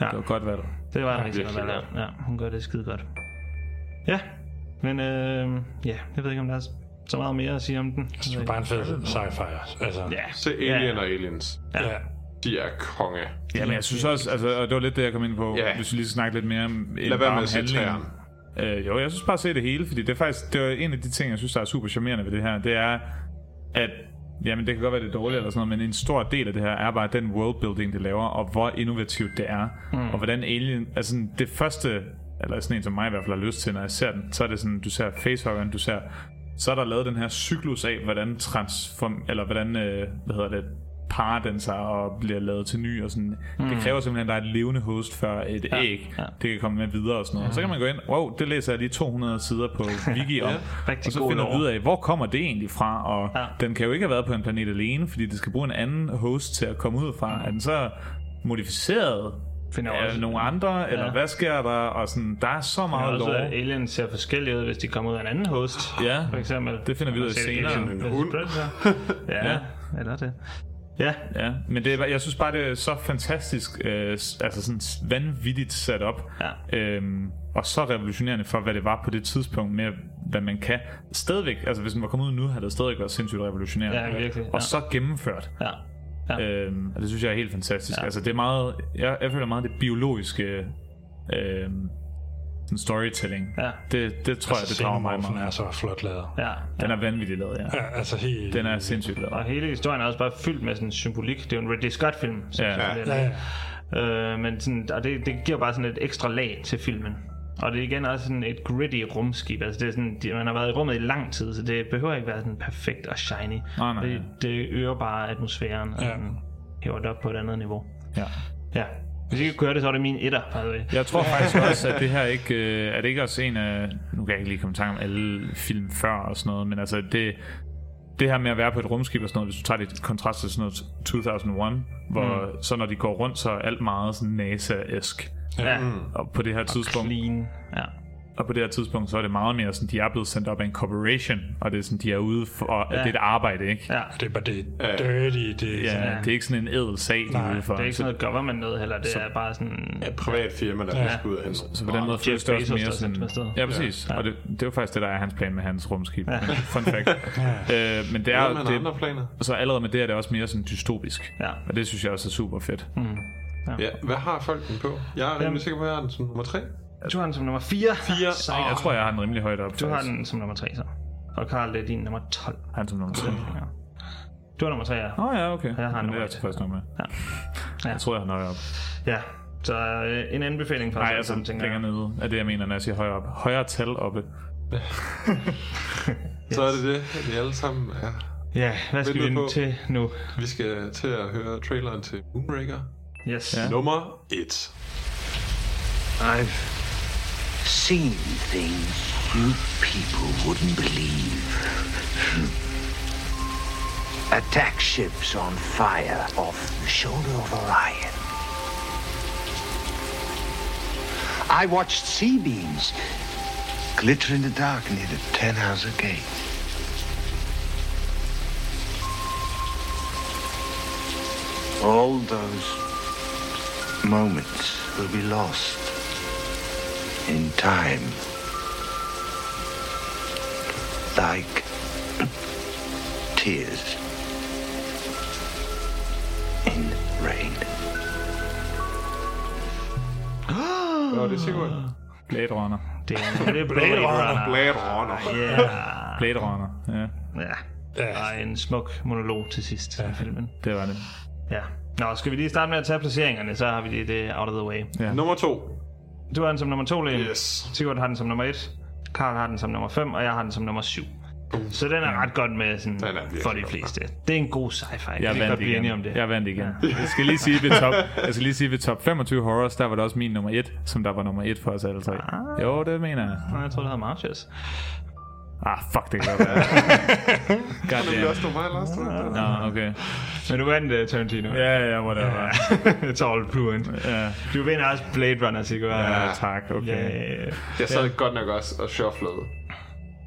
Speaker 1: Ja.
Speaker 2: Det var godt valg.
Speaker 1: Det var
Speaker 2: Ja,
Speaker 1: ja, rigtig godt
Speaker 2: virkelig
Speaker 1: valg, ja. ja. Hun gør det skide godt. Ja, men øh, ja, jeg ved ikke, om der er så meget mere at sige om den. Jeg
Speaker 4: Det er bare en fed sci-fi. Altså.
Speaker 1: Ja.
Speaker 3: Se Alien og Aliens.
Speaker 1: Ja.
Speaker 4: ja.
Speaker 3: De er konge.
Speaker 2: Ja, men jeg synes også, altså, og det var lidt det, jeg kom ind på,
Speaker 3: Ja.
Speaker 2: ja. hvis vi lige skal snakke lidt mere om
Speaker 3: Lad være med at se træerne.
Speaker 2: Øh, jo, jeg synes bare at se det hele, fordi det er faktisk det er en af de ting, jeg synes, der er super charmerende ved det her, det er, at Jamen, det kan godt være, det er dårligt eller sådan noget, men en stor del af det her er bare den worldbuilding, det laver, og hvor innovativt det er,
Speaker 1: Mm.
Speaker 2: mm. og hvordan Alien... Altså, sådan, det første, eller sådan en som mig i hvert fald har lyst til, når jeg ser den, så er det sådan, du ser facehuggeren, du ser... Så er der lavet den her cyklus af, hvordan transform... Eller hvordan, øh, hvad hedder det, parer den sig og bliver lavet til ny og sådan. Mm.
Speaker 1: Mm.
Speaker 2: Det kræver simpelthen, at der er et levende host før et ja. æg. Ja. Det kan komme med videre og sådan noget. Mm. Så kan man gå ind, wow, det læser jeg lige 200 sider på Wiki om. ja.
Speaker 1: Rigtig
Speaker 2: Og så
Speaker 1: god
Speaker 2: finder
Speaker 1: lore.
Speaker 2: du ud af, hvor kommer det egentlig fra? Og ja. den kan jo ikke have været på en planet alene, fordi det skal bruge en anden host til at komme ud fra. Er den så modificeret
Speaker 1: Finder
Speaker 2: af
Speaker 1: også-
Speaker 2: nogle andre, eller
Speaker 1: altså, Ja. altså,
Speaker 2: hvad sker der? Og sådan, der er så
Speaker 1: Og
Speaker 2: meget
Speaker 1: også, at
Speaker 2: lore.
Speaker 1: aliens ser forskellige ud, hvis de kommer ud af en anden host,
Speaker 2: Ja,
Speaker 1: for eksempel.
Speaker 2: det finder vi ud af senere.
Speaker 1: Alien versus Predator.
Speaker 3: *laughs*
Speaker 1: ja, ja, eller det. Ja,
Speaker 2: Ja, men det er, jeg synes bare, det er så fantastisk, øh, s- altså sådan s- vanvittigt sat op, ja. øhm, og så revolutionerende for, hvad det var på det tidspunkt med, hvad man kan. Stadigvæk, altså hvis man var kommet ud nu, havde det stadigvæk været sindssygt revolutionerende.
Speaker 1: Ja, virkelig, ja.
Speaker 2: Og så gennemført.
Speaker 1: Ja. Ja.
Speaker 2: Øhm, og det synes jeg er helt fantastisk. Ja. Altså det er meget, jeg, jeg føler meget det biologiske øhm, sådan storytelling.
Speaker 1: Ja.
Speaker 2: Det, det tror
Speaker 4: Altså,
Speaker 2: jeg, det drager mig
Speaker 4: Xenomorphen
Speaker 2: meget.
Speaker 4: er så flot lavet.
Speaker 1: ja.
Speaker 2: Den er vanvittigt lavet, ja.
Speaker 4: Ja, altså helt...
Speaker 2: Den er sindssygt lavet.
Speaker 1: Og hele historien er også bare fyldt med sådan symbolik. Det er jo en Ridley Scott-film. så
Speaker 2: Ja.
Speaker 1: selvfølgelig er det.
Speaker 4: Ja, ja.
Speaker 1: Øh, men sådan, og det, det giver bare sådan et ekstra lag til filmen. Og det er igen også sådan et gritty rumskib. Altså det er sådan, de- man har været i rummet i lang tid, så det behøver ikke være sådan perfekt og shiny.
Speaker 2: Nej, nej.
Speaker 1: Det, det øger bare atmosfæren og
Speaker 2: Ja.
Speaker 1: sådan, hæver det op på et andet niveau.
Speaker 2: Ja.
Speaker 1: Ja. Hvis I ikke kunne høre det, så er det min etter, by the way.
Speaker 2: Jeg tror faktisk også, at det her ikke... Øh, er det ikke også en af... Nu kan jeg ikke lige komme i tanke om alle film før og sådan noget, men altså det... Det her med at være på et rumskib og sådan noget, hvis du tager det i kontrast til sådan noget 2001, hvor mm. så når de går rundt, så er alt meget sådan NASA-esk.
Speaker 1: Ja.
Speaker 2: Og på det her tidspunkt...
Speaker 1: Clean. Ja.
Speaker 2: Og på det her tidspunkt, så er det meget mere sådan, de er blevet sendt op af en corporation, og det er sådan, de er ude for, og
Speaker 1: Ja.
Speaker 2: ja. det er et arbejde, ikke?
Speaker 1: Ja.
Speaker 4: Det er bare det
Speaker 2: Ja.
Speaker 4: dirty, det er
Speaker 2: Ja,
Speaker 4: sådan-
Speaker 2: det er ikke sådan en ædel sag, de er
Speaker 1: Nej,
Speaker 2: ude for.
Speaker 1: det er ikke
Speaker 2: Så-
Speaker 1: sådan noget government noget heller. Det er bare sådan...
Speaker 3: Et privat firma, der
Speaker 1: Ja.
Speaker 3: ja. skal ud og hente.
Speaker 2: Så på den måde føles det også mere sådan... Ja, præcis. Ja. Og det, det var faktisk det, der er hans plan med hans rumskib. Ja. *laughs* Fun fact. ja. øh, men det
Speaker 3: Ved man
Speaker 2: er... Det,
Speaker 3: andre planer?
Speaker 2: Så allerede med det er det også mere sådan dystopisk.
Speaker 1: Ja.
Speaker 2: Og det synes jeg også er super fedt.
Speaker 1: Mm. Ja.
Speaker 3: Ja, hvad har folk den på? Jeg er
Speaker 1: Jamen.
Speaker 3: rimelig sikker på, at jeg har den som nummer 3.
Speaker 1: Du har den som nummer 4. *laughs* 4. Sej.
Speaker 2: Jeg tror, jeg har den rimelig højt op.
Speaker 1: Du har
Speaker 2: faktisk.
Speaker 1: den som nummer 3, så. Og Karl, det er din nummer 12.
Speaker 2: Han som nummer 3.
Speaker 1: Ja. Du er nummer 3, ja.
Speaker 2: Åh oh, ja, okay.
Speaker 1: Jeg har
Speaker 2: Men det
Speaker 1: nummer
Speaker 2: er
Speaker 1: et.
Speaker 2: jeg tilfreds nok med.
Speaker 1: Ja. Ja.
Speaker 2: Jeg tror, jeg har højere op.
Speaker 1: ja. Så øh, en anbefaling fra
Speaker 2: Nej,
Speaker 1: os alle
Speaker 2: altså
Speaker 1: sammen, tænker
Speaker 2: længere nede er det, jeg mener, når jeg siger højere op. Højere tal oppe.
Speaker 3: Så er det det, vi alle sammen er.
Speaker 1: Ja, hvad skal vi
Speaker 3: venter
Speaker 1: nu
Speaker 3: på.
Speaker 1: til nu?
Speaker 3: Vi skal til at høre traileren til Moonraker.
Speaker 1: Yes.
Speaker 3: Nummer 1.
Speaker 20: I've
Speaker 5: I've seen things you people wouldn't believe. Attack ships on fire off the shoulder of Orion. I watched sea beams glitter in the dark near the Tannhauser Gate. All those moments will be lost in time. Like tears in rain.
Speaker 3: Nå, det er sikkert.
Speaker 2: Blade Runner.
Speaker 1: Det
Speaker 3: Blade Runner. Blade Runner.
Speaker 1: Yeah.
Speaker 2: Blade Runner, ja.
Speaker 1: Ja. Og en smuk monolog til sidst ja. i filmen.
Speaker 2: Det var det.
Speaker 1: Ja. Nå, skal vi lige starte med at tage placeringerne, så har vi lige det out of the way.
Speaker 2: Ja.
Speaker 3: Nummer to.
Speaker 1: Du har den som nummer to, Lene.
Speaker 3: Yes.
Speaker 1: Sigurd har den som nummer et. Karl har den som nummer 5, og jeg har den som nummer 7. Så den er ret godt med sådan,
Speaker 3: Den er virkelig
Speaker 1: for de
Speaker 3: godt
Speaker 1: fleste. Det er en god sci-fi.
Speaker 2: Jeg
Speaker 1: kan
Speaker 2: vandt
Speaker 1: godt blive
Speaker 2: igen.
Speaker 1: enige om det.
Speaker 2: Jeg vandt igen. Jeg skal lige sige ved top, jeg skal lige sige ved top 25 horrors, der var det også min nummer 1, som der var nummer 1 for os alle tre. Jo, det mener jeg.
Speaker 1: Nå, jeg tror, det hedder Marches.
Speaker 2: Ah, fuck, det kan godt være. God
Speaker 3: Det bliver også nummer et, Lars. tror jeg.
Speaker 2: Nå, okay.
Speaker 1: Men du vandt uh, Tarantino.
Speaker 2: Ja, ja, whatever.
Speaker 1: *laughs* It's all fluent.
Speaker 2: Ja,
Speaker 1: Du vinder også Blade Runner, Sigurd.
Speaker 2: ja tak, okay.
Speaker 1: Yeah.
Speaker 3: Jeg sad godt nok også og shufflede,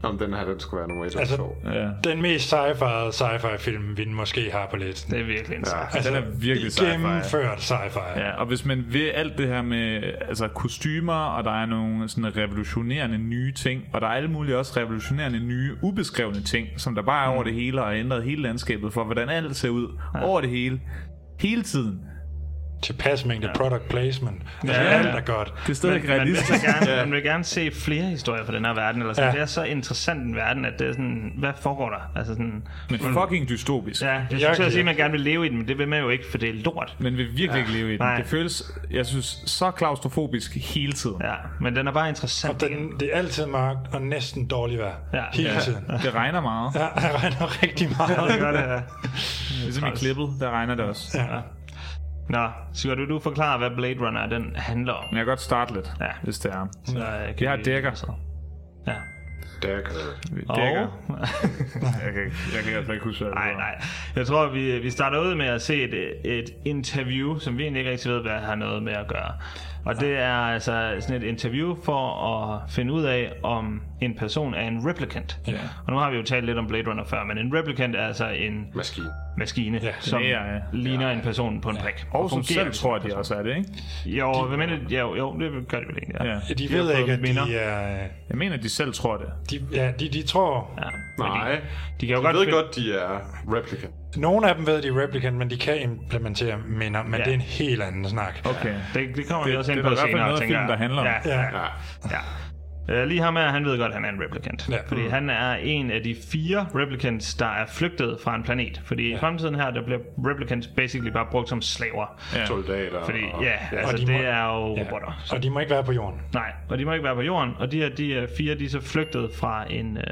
Speaker 3: om den her, den skulle være nummer et eller
Speaker 4: Altså,
Speaker 3: to.
Speaker 2: Ja.
Speaker 4: Den mest sci-fi sci-fi film, vi måske har på listen.
Speaker 1: Det er virkelig en sci-fi.
Speaker 4: Altså,
Speaker 2: Den er virkelig sci-fi.
Speaker 4: Gennemført sci-fi.
Speaker 2: Ja, og hvis man vil alt det her med altså kostymer, og der er nogle sådan revolutionerende nye ting, og der er alle mulige også revolutionerende nye ubeskrevne ting, som der bare er
Speaker 1: Mm.
Speaker 2: over det hele og har ændret hele landskabet for, hvordan alt ser ud ja. over det hele, hele tiden.
Speaker 4: Tilpas mængde product placement. Altså,
Speaker 1: Ja.
Speaker 4: ja. alt er godt.
Speaker 2: Det er stadig ikke
Speaker 1: Man vil, så
Speaker 2: realistisk.
Speaker 1: gerne, man vil gerne se flere historier fra den her verden. Eller sådan.
Speaker 4: Ja.
Speaker 1: Det er så interessant en verden, at det er sådan, hvad foregår der? Altså sådan,
Speaker 2: Men fucking dystopisk.
Speaker 1: ja, jeg
Speaker 4: Jeg
Speaker 1: skulle til
Speaker 4: kan-
Speaker 1: at sige, at man gerne vil leve i den, men det vil man jo ikke, for det er lort.
Speaker 2: Men vil virkelig ikke leve i den.
Speaker 1: Nej.
Speaker 2: Det føles, jeg synes, så klaustrofobisk hele tiden.
Speaker 1: Ja, men den er bare interessant.
Speaker 4: Og den, det er altid mørkt og næsten dårligt vejr.
Speaker 1: Ja.
Speaker 4: Hele
Speaker 1: Ja.
Speaker 4: tiden.
Speaker 2: Det regner meget.
Speaker 4: Ja, *laughs* det regner rigtig meget.
Speaker 1: det gør det, ja.
Speaker 2: Ligesom i klippet, der regner det også.
Speaker 4: Ja.
Speaker 1: Nå, Sigurd, vil du forklare, hvad Blade Runner den handler om?
Speaker 2: Men jeg kan godt starte lidt,
Speaker 1: Ja.
Speaker 2: hvis det er.
Speaker 1: Så, øh, kan
Speaker 2: Vi har dækker.
Speaker 1: Ja.
Speaker 3: Der kan
Speaker 1: Og-
Speaker 2: Dækker. Jeg kan, jeg kan altså ikke huske, hvad det
Speaker 1: Nej,
Speaker 2: var.
Speaker 1: nej. Jeg tror, vi, vi starter ud med at se et, et interview, som vi egentlig ikke rigtig ved, hvad har noget med at gøre. Og det er altså sådan et interview for at finde ud af, om en person er en replicant.
Speaker 4: Ja.
Speaker 1: Og nu har vi jo talt lidt om Blade Runner før, men en replicant er altså en
Speaker 3: Maskine.
Speaker 1: maskine, ja, som
Speaker 2: det er, ja.
Speaker 1: ligner en person på en prik.
Speaker 2: Og som selv
Speaker 1: tror
Speaker 2: tror, at de også er det, ikke?
Speaker 1: Jo, hvad mener du? Jo, jo, det gør det vel egentlig, ja.
Speaker 2: Ja.
Speaker 4: De
Speaker 1: har
Speaker 4: ved
Speaker 1: fået
Speaker 4: ikke, at
Speaker 1: minder.
Speaker 4: de er...
Speaker 2: Jeg mener, at de selv tror det.
Speaker 4: De, ja, de, de tror...
Speaker 1: ja.
Speaker 3: Nej.
Speaker 1: De kan jo
Speaker 3: Jeg
Speaker 1: godt,
Speaker 3: ved
Speaker 1: finde-
Speaker 3: godt, de er replicant.
Speaker 4: Nogle af dem ved, at de er replicant, men de kan implementere minder, men
Speaker 1: Ja.
Speaker 4: ja. det er en helt anden snak.
Speaker 2: Okay.
Speaker 1: Det, det kommer vi
Speaker 2: Det-
Speaker 1: også
Speaker 2: det
Speaker 1: ind
Speaker 2: er
Speaker 1: på
Speaker 2: der i hvert fald
Speaker 1: senere,
Speaker 2: noget af
Speaker 1: tænker
Speaker 2: filmen,
Speaker 1: jeg.
Speaker 2: der handler om.
Speaker 1: Ja,
Speaker 4: Ja.
Speaker 3: Ja.
Speaker 1: Ja. Øh, Lige ham her, han ved godt, at han er en replicant.
Speaker 4: Ja.
Speaker 1: Fordi han er en af de fire replicants, der er flygtet fra en planet. Fordi i fremtiden her, der bliver replicants basically bare brugt som slaver.
Speaker 2: Ja.
Speaker 3: Soldater.
Speaker 1: Fordi
Speaker 3: og-
Speaker 1: ja, altså
Speaker 4: Og de
Speaker 1: det
Speaker 4: må-
Speaker 1: er jo robotter. Så,
Speaker 4: Og de må ikke være på jorden.
Speaker 1: nej, og de må ikke være på jorden. Og de her de er fire, de er så flygtet fra en, øh,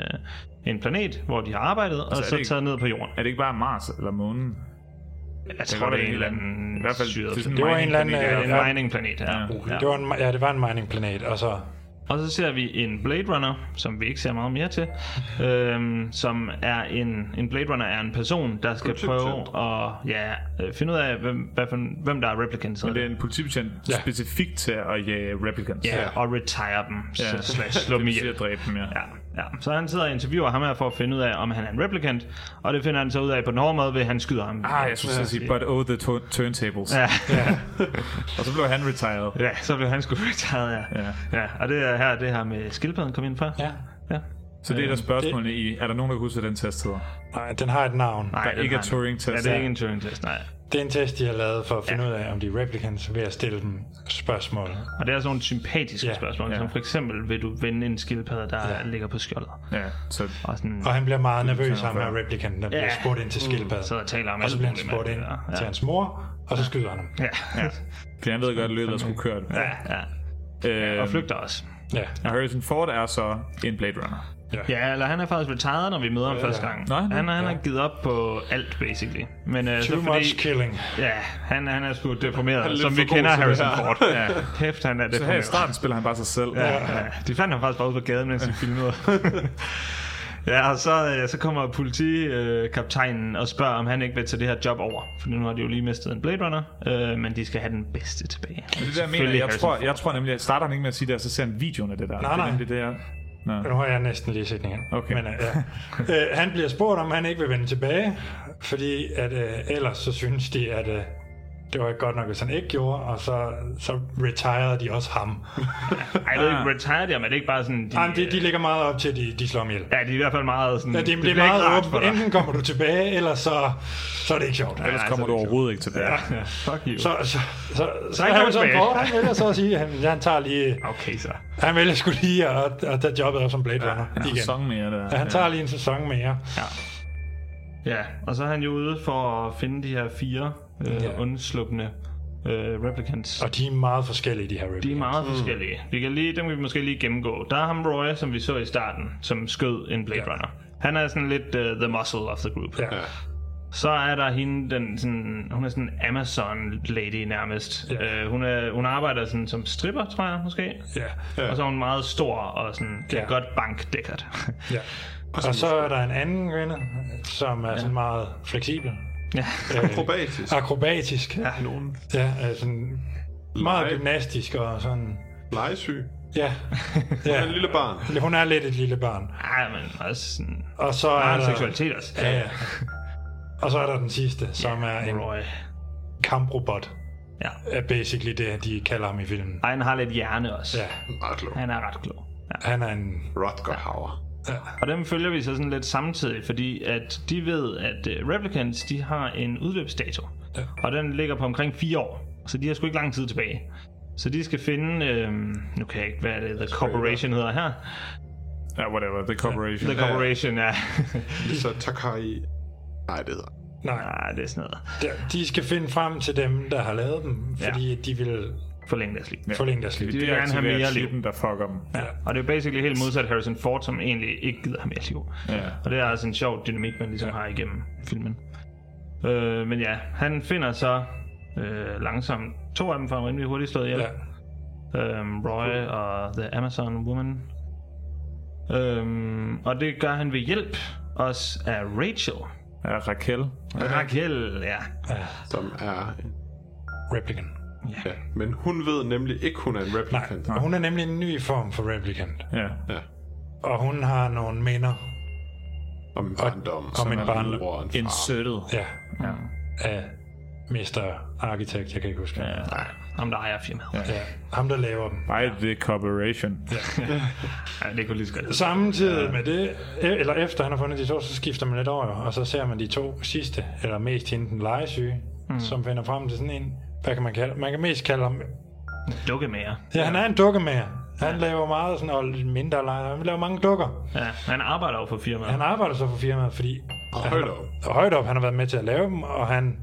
Speaker 1: en planet, hvor de har arbejdet, og
Speaker 2: Altså, er
Speaker 1: så
Speaker 2: det ikke-
Speaker 1: taget ned på jorden.
Speaker 2: Er det ikke bare Mars eller Månen?
Speaker 1: Jeg tror, det
Speaker 2: godt
Speaker 1: er
Speaker 2: være
Speaker 1: en eller
Speaker 2: en-
Speaker 1: anden
Speaker 2: i hvert fald-
Speaker 1: syret
Speaker 2: det er sådan
Speaker 4: Det var en eller anden...
Speaker 1: planet. Ja, det er en øh,
Speaker 4: ja,
Speaker 1: mining-planet, ja.
Speaker 2: Ja.
Speaker 1: Uh, ja.
Speaker 4: det var en, ja, det var en mining-planet, og så...
Speaker 1: Og så ser vi en Blade Runner, som vi ikke ser meget mere
Speaker 2: *laughs*
Speaker 1: til, øhm, som er en, en Blade Runner er en person, der skal prøve at ja, øh, finde ud af, hvem, hvad for, en- hvem der er replicants
Speaker 2: Men det
Speaker 1: hedder
Speaker 2: er en politibetjent ja.
Speaker 4: Ja.
Speaker 2: specifikt til at jage replicants.
Speaker 1: det. ja, og retire dem,
Speaker 2: Ja.
Speaker 1: ja.
Speaker 2: *laughs*
Speaker 1: slash slå dem
Speaker 2: Det vil sige
Speaker 1: ihjel.
Speaker 2: at dræbe dem, ja.
Speaker 1: Ja, ja. Så han sidder og interviewer ham her for at finde ud af, om han er en replicant, og det finder han så ud af på den hårde måde, ved at han skyder ham.
Speaker 2: Ah, jeg skulle til at sige, but oh, the tu- turntables.
Speaker 1: Ja, *laughs*
Speaker 2: Og så blev han retired.
Speaker 1: ja, så blev han sgu retired, ja. ja. Og det er her, det her med skildpadden kom ind fra.
Speaker 4: Ja.
Speaker 1: ja.
Speaker 2: Så det er der spørgsmålene i. Er der nogen, der kan huske, hvad den test hedder?
Speaker 4: Nej, den har et navn.
Speaker 1: Nej,
Speaker 2: Der
Speaker 1: den
Speaker 2: ikke er
Speaker 1: har han.
Speaker 2: Turing-test.
Speaker 1: Ja, det er ikke en Turing-test, nej.
Speaker 4: Det er en test, de har lavet for at finde
Speaker 1: Ja.
Speaker 4: ja. ud af, om de er replicants, ved at stille dem spørgsmål.
Speaker 1: Og det er sådan nogle sympatiske
Speaker 4: Ja,
Speaker 1: spørgsmål,
Speaker 2: ja.
Speaker 1: som for eksempel, vil du vende en skildpadde, der ja. ligger på skjoldet?
Speaker 2: Ja, så
Speaker 1: Og sådan,
Speaker 4: Og han bliver meget
Speaker 1: Mm,
Speaker 4: nervøs, ham
Speaker 2: før.
Speaker 4: her replikanten, der bliver
Speaker 1: Ja. uh,
Speaker 4: spurgt ind til skildpadden.
Speaker 1: så jeg taler om
Speaker 4: og så
Speaker 1: alt
Speaker 4: bliver han
Speaker 1: muligt med
Speaker 4: spurgt
Speaker 1: det
Speaker 4: ind
Speaker 1: der.
Speaker 4: til hans mor, og så skyder han ham.
Speaker 1: Ja. Ja.
Speaker 2: for han ved godt, at løbet er skulle kørt.
Speaker 1: ja. ja.
Speaker 2: Øh,
Speaker 1: Og flygter også.
Speaker 4: Ja.
Speaker 2: Harrison Ford er så en Blade Runner.
Speaker 1: Ja. ja, eller han er faktisk retired, når vi møder ham
Speaker 2: Ja,
Speaker 1: ja, første
Speaker 2: ja.
Speaker 1: gang.
Speaker 2: Nå,
Speaker 1: han,
Speaker 2: han er-
Speaker 1: han,
Speaker 2: ja.
Speaker 1: har givet op på alt, basically. Men, øh,
Speaker 4: Too much killing.
Speaker 1: Ja, han, han er sgu
Speaker 2: Han er
Speaker 1: deprimeret,
Speaker 2: lidt
Speaker 1: som
Speaker 2: for
Speaker 1: vi
Speaker 2: god
Speaker 1: kender
Speaker 2: til det
Speaker 1: Harrison
Speaker 2: her.
Speaker 1: Ford. Ja. Kæft, han er
Speaker 2: Så
Speaker 1: deprimeret.
Speaker 2: her i starten spiller han bare sig selv.
Speaker 1: Ja, ja. De fandt ham faktisk bare ude på gaden, mens de filmede. ja, og så, øh, så kommer politikaptajnen og spørger, om han ikke vil tage det her job over. For nu har de jo lige mistet en Blade Runner, øh, men de skal have den bedste tilbage.
Speaker 2: Det er det der, jeg mener,
Speaker 1: Selvfølgelig
Speaker 2: jeg
Speaker 1: Harrison
Speaker 2: tror, jeg tror nemlig, at starter han ikke med at sige det, og så ser han videoen af det der.
Speaker 4: Nej,
Speaker 2: det er
Speaker 4: nej.
Speaker 2: nemlig Det der. Nå.
Speaker 4: Nu har jeg næsten lige set den igen.
Speaker 2: Okay.
Speaker 4: Men, øh, ja. øh, han bliver spurgt, om han ikke vil vende tilbage, fordi at, øh, ellers så synes de, at øh, det var ikke godt nok, hvis han ikke gjorde, og så, så retirede de også
Speaker 1: *laughs*
Speaker 4: ham.
Speaker 1: Ej, jeg ved ikke, retired jeg, men det er ikke bare sådan... De,
Speaker 4: Jamen, de, de lægger meget op til, at de, de slår ham ihjel.
Speaker 1: Ja, de er i hvert fald meget sådan...
Speaker 4: Ja, det, det, det er
Speaker 1: bliver ikke
Speaker 4: meget
Speaker 1: rart for
Speaker 4: åbent.
Speaker 1: dig. altså,
Speaker 4: Enten kommer du tilbage, eller så, så er det ikke sjovt.
Speaker 2: Ellers kommer du overhovedet ikke tilbage.
Speaker 4: Ja.
Speaker 1: Ja, fuck you.
Speaker 4: Så, så, så, så, så
Speaker 1: han kommer
Speaker 4: han sådan
Speaker 1: tilbage.
Speaker 4: for, han vælger så at sige, at han, han tager lige...
Speaker 1: Okay, så.
Speaker 4: Han vælger sgu lige at, at tage jobbet op som Blade Runner
Speaker 2: En
Speaker 4: igen.
Speaker 2: sæson mere, der.
Speaker 4: Ja, han tager lige en sæson mere.
Speaker 1: Ja. Ja, og så er han jo ude for at finde de her fire øh,
Speaker 4: Ja.
Speaker 1: ja. undsluppende øh, replicants.
Speaker 4: Og de er meget forskellige, de her replicants.
Speaker 1: De er meget forskellige. Vi kan lige, dem kan vi måske lige gennemgå. Der er ham Roy, som vi så i starten, som skød en Blade ja. Runner. Han er sådan lidt uh, the muscle of the group.
Speaker 4: Ja.
Speaker 1: Så er der hende, den, sådan, hun er sådan en Amazon-lady nærmest. Ja. Uh, hun, er, hun arbejder sådan som stripper, tror jeg måske.
Speaker 4: Ja.
Speaker 1: Og så er hun meget stor og sådan, kan
Speaker 4: Ja.
Speaker 1: ja. godt bank Deckard.
Speaker 4: Ja. Og, og så er der en anden kvinde, som er ja. sådan meget fleksibel.
Speaker 1: *laughs* ja.
Speaker 4: Øh,
Speaker 3: Akrobatisk.
Speaker 4: Akrobatisk. Ja,
Speaker 3: Nogen
Speaker 4: ja øh, sådan meget gymnastisk og sådan...
Speaker 3: legesyg.
Speaker 4: Ja.
Speaker 3: Hun er et lille barn.
Speaker 4: Hun er lidt et lille barn.
Speaker 1: Ej, men også sådan...
Speaker 4: Og så er
Speaker 1: meget
Speaker 4: der...
Speaker 1: seksualitet også.
Speaker 4: Ja, ja. Og så er der den sidste, som er en
Speaker 1: Roy.
Speaker 4: kamprobot.
Speaker 1: Ja.
Speaker 4: Er basically det, de kalder ham i filmen.
Speaker 1: Ej, han har lidt hjerne også.
Speaker 4: Ja.
Speaker 3: Ret klog.
Speaker 1: Han er ret klog.
Speaker 4: Han er en...
Speaker 3: Rutger Hauer.
Speaker 1: Og dem følger vi så sådan lidt samtidig, fordi at de ved, at øh, Replicants de har en udløbsdato.
Speaker 4: Ja.
Speaker 1: Og den ligger på omkring fire år, så de har sgu ikke lang tid tilbage. Så de skal finde, øh, nu kan jeg ikke, hvad er det, The Corporation hedder her.
Speaker 2: Ja, whatever. The Corporation.
Speaker 1: The Corporation, ja. *laughs*
Speaker 3: Lisa Takai. Nej, det hedder.
Speaker 4: Nej,
Speaker 1: Nej, Ah, det er sådan noget.
Speaker 4: de- de skal finde frem til dem, der har lavet dem,
Speaker 1: Ja.
Speaker 4: fordi de vil
Speaker 1: Forlænge deres liv.
Speaker 4: forlænge deres liv.
Speaker 1: De vil
Speaker 2: Det er
Speaker 1: gerne have mere liv.
Speaker 2: chippen, der fucker dem.
Speaker 4: Ja.
Speaker 1: Og det er basically helt modsat Harrison Ford, som egentlig ikke gider ham mere liv.
Speaker 2: Ja.
Speaker 1: Og det er altså en sjov dynamik, man ligesom ja. har igennem filmen. Øh, men ja, han finder så øh, langsomt to af dem, for han er rimelig hurtigt slået ihjel.
Speaker 4: Ja.
Speaker 1: Øhm, Roy og The Amazon Woman. Øhm, og det gør han ved hjælp også af Rachel.
Speaker 2: Ja, Raquel.
Speaker 1: Raquel, ja.
Speaker 3: Som er... en-
Speaker 4: Replicant.
Speaker 3: Ja. Men hun ved nemlig ikke, hun er en replicant.
Speaker 4: Og hun er nemlig en ny form for replicant.
Speaker 2: Ja.
Speaker 3: Ja.
Speaker 4: Og hun har nogle minder
Speaker 3: Om en barndom.
Speaker 4: om
Speaker 3: som
Speaker 4: en
Speaker 3: er
Speaker 4: barndom.
Speaker 3: mor og en far.
Speaker 2: Insertet.
Speaker 4: Ja.
Speaker 1: ja.
Speaker 4: Af Mr. Architect, jeg kan ikke huske. Ja.
Speaker 1: Nej, ham der ejer firmaet. Ja.
Speaker 4: ja. Ham, der laver dem.
Speaker 2: By the Corporation.
Speaker 1: ja, det kunne lige så godt.
Speaker 4: Samtidig med det, e- eller efter han har fundet de to, så skifter man lidt over, og så ser man de to sidste, eller mest hende den legesyge, mm. som finder frem til sådan en, hvad kan man kalde Man kan mest kalde ham,
Speaker 1: Dukke mere.
Speaker 4: ja, han er en dukkemager. Han ja. laver meget sådan, og lidt mindre lege, han laver mange dukker.
Speaker 1: Ja, han arbejder jo for firmaet.
Speaker 4: Han arbejder så for firmaet, fordi
Speaker 3: Og
Speaker 4: han,
Speaker 3: højt op.
Speaker 4: og højt op, han har været med til at lave dem, og han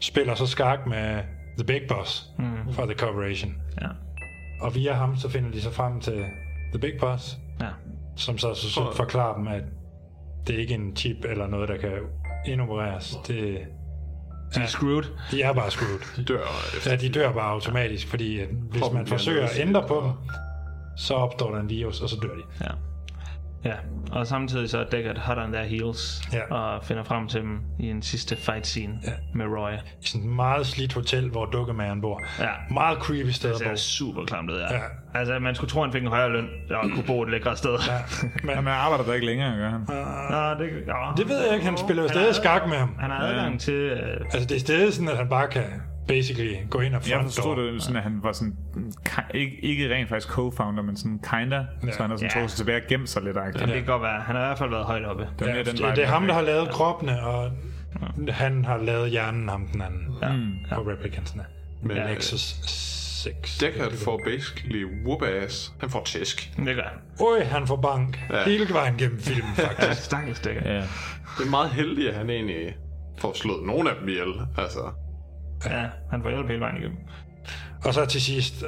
Speaker 4: spiller så skak med The Big Boss mm. fra The Corporation.
Speaker 1: Ja.
Speaker 4: Og via ham, så finder de så frem til The Big Boss,
Speaker 1: ja.
Speaker 4: som så, så, så
Speaker 3: Tror-
Speaker 4: forklarer dem, at det er ikke en chip eller noget, der kan indopereres. Det,
Speaker 1: De er screwed.
Speaker 4: de er bare screwed.
Speaker 3: Dør efter.
Speaker 4: Ja, de dør bare automatisk, fordi at hvis
Speaker 3: Kroppen
Speaker 4: man
Speaker 3: bliver
Speaker 4: forsøger at
Speaker 3: nedslidt,
Speaker 4: ændre på
Speaker 3: og-
Speaker 4: dem, så opstår der en virus, og så dør de.
Speaker 1: Ja. Ja, og samtidig så er Deckard hot on their heels
Speaker 4: Ja.
Speaker 1: og finder frem til dem i en sidste fight scene
Speaker 4: Ja.
Speaker 1: med Roy.
Speaker 4: I sådan et meget slidt hotel, hvor dukkemageren bor.
Speaker 1: Ja.
Speaker 4: Meget creepy sted at
Speaker 1: Det er
Speaker 4: bo.
Speaker 1: super klamt, det der.
Speaker 4: Ja.
Speaker 1: Ja. Altså, man skulle tro, han fik en højere løn og kunne bo et lækkere sted. *laughs* Ja.
Speaker 4: Men,
Speaker 2: Jamen, han arbejder der ikke længere, gør han?
Speaker 1: Nå, det, ja.
Speaker 4: Det ved jeg ikke, han spiller jo
Speaker 1: Han har
Speaker 4: stadig
Speaker 1: adgang-
Speaker 4: skak med ham.
Speaker 1: Han har adgang til... Øh,
Speaker 4: Altså det er stadig sådan, at han bare kan basically gå ind og
Speaker 2: Jeg
Speaker 4: front
Speaker 2: forstod
Speaker 4: door.
Speaker 2: det sådan, at han var sådan, ki- ikke, ikke rent faktisk co-founder, men sådan kinda,
Speaker 4: Ja.
Speaker 2: så han har sådan
Speaker 1: Ja.
Speaker 2: trukket sig tilbage og gemt sig lidt. agtigt.
Speaker 1: ja. Det kan godt være. Han har i hvert fald været højt oppe.
Speaker 2: Det var mere den
Speaker 4: Det,
Speaker 2: vej,
Speaker 4: det er
Speaker 2: vi
Speaker 4: ham, der
Speaker 2: gik.
Speaker 4: har lavet kroppene, og han har lavet hjernen, ham den anden.
Speaker 1: Ja.
Speaker 4: På replikantsene.
Speaker 3: Men,
Speaker 4: Men
Speaker 3: øh,
Speaker 4: Nexus 6.
Speaker 3: Deckard får basically whoop-ass. Han får tæsk.
Speaker 1: Det gør han.
Speaker 4: Øj, han får bank.
Speaker 3: Ja.
Speaker 4: Hele vejen gennem filmen,
Speaker 1: *laughs*
Speaker 4: faktisk.
Speaker 1: Stakkels Deckard.
Speaker 2: Ja.
Speaker 3: Det er meget heldigt, at han egentlig får slået nogen af dem ihjel. Altså,
Speaker 1: Ja. han får hjælp hele vejen igennem.
Speaker 4: og så til sidst,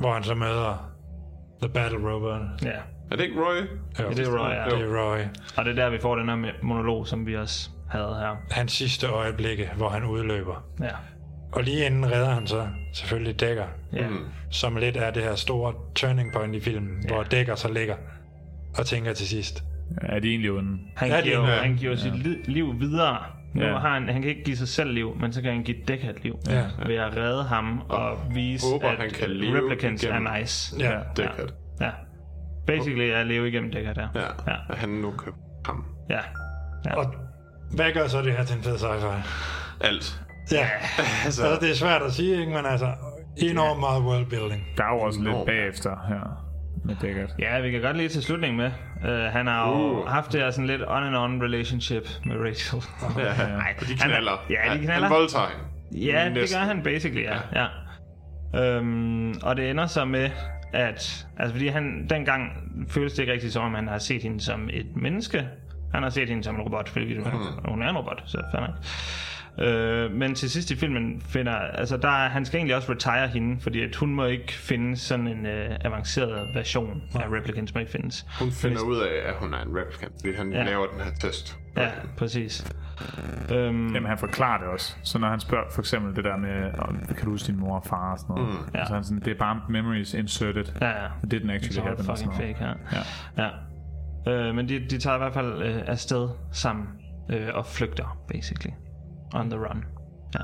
Speaker 4: hvor han så møder The Battle Rover,
Speaker 1: Ja.
Speaker 3: Er det ikke Roy?
Speaker 1: Ja, det er Roy, ja.
Speaker 4: Det er Roy.
Speaker 1: Og det er der, vi får den her monolog, som vi også havde her.
Speaker 4: Hans sidste øjeblikke, hvor han udløber.
Speaker 1: Ja.
Speaker 4: Og lige inden redder han så selvfølgelig Dækker,
Speaker 1: Ja.
Speaker 4: som lidt er det her store turning point i filmen, hvor Dækker så ligger og tænker til sidst.
Speaker 2: Er de egentlig onde?
Speaker 1: Han
Speaker 4: Ja, det
Speaker 1: giver,
Speaker 4: er
Speaker 1: ja.
Speaker 4: det.
Speaker 1: han giver ja. sit li- liv videre. Nu
Speaker 4: Ja.
Speaker 1: ja. har han, han kan ikke give sig selv liv, men så kan han give Deck et liv.
Speaker 4: Ja.
Speaker 1: Ved at redde ham og, og vise,
Speaker 3: håber,
Speaker 1: at
Speaker 3: han kan leve
Speaker 1: replicants
Speaker 3: igennem
Speaker 1: er nice.
Speaker 3: Ja. Deckard.
Speaker 1: Ja. Basically er at leve igennem Deckard, ja.
Speaker 3: Ja, ja. at han nu kan ham.
Speaker 1: ja. ja.
Speaker 4: Og hvad gør så det her til en fed sci-fi?
Speaker 3: Alt. *laughs*
Speaker 4: Ja,
Speaker 3: altså-
Speaker 4: altså, altså, det er svært at sige, ikke? men altså, enormt meget worldbuilding.
Speaker 2: Der er jo også lidt
Speaker 4: Enormt.
Speaker 2: bagefter her med Dækkert.
Speaker 1: Ja, vi kan godt lige til slutningen med. Uh, han har jo
Speaker 2: Uh.
Speaker 1: haft det her sådan lidt on-and-on relationship med Rachel.
Speaker 3: Ja,
Speaker 1: Nej,
Speaker 3: og de knaller.
Speaker 1: Han, ja, de
Speaker 3: Han-
Speaker 1: knaller.
Speaker 3: han voldtager hende.
Speaker 1: Ja, det
Speaker 3: Næsten.
Speaker 1: gør han basically, ja. ja. Øhm, og det ender så med, at... Altså, fordi han dengang føles det ikke rigtigt som om, han har set hende som et menneske. Han har set hende som en robot, hvilket mm. hun er en robot, så fair nok. Øh, men til sidst i filmen finder... Altså, der, er- han skal egentlig også retire hende, fordi at hun må ikke finde sådan en øh, avanceret version af replicants, må ikke findes.
Speaker 3: Hun finder ud af, at hun er en replicant, fordi han
Speaker 1: Ja.
Speaker 3: ja. laver den her test.
Speaker 1: Ja, præcis. Øhm,
Speaker 2: Jamen, han forklarer det også. Så når han spørger for eksempel det der med, om, kan du huske din mor og far og sådan noget.
Speaker 1: Mm.
Speaker 2: Mm, ja. Så er han sådan, det er bare memories inserted.
Speaker 1: Ja, ja.
Speaker 2: It didn't
Speaker 1: It's
Speaker 2: actually
Speaker 1: all
Speaker 2: happen. og sådan
Speaker 1: fucking
Speaker 2: noget.
Speaker 1: fake, ja. ja. Øh, men de, de tager i hvert fald øh, afsted sammen øh, og flygter, basically. On the run. Ja.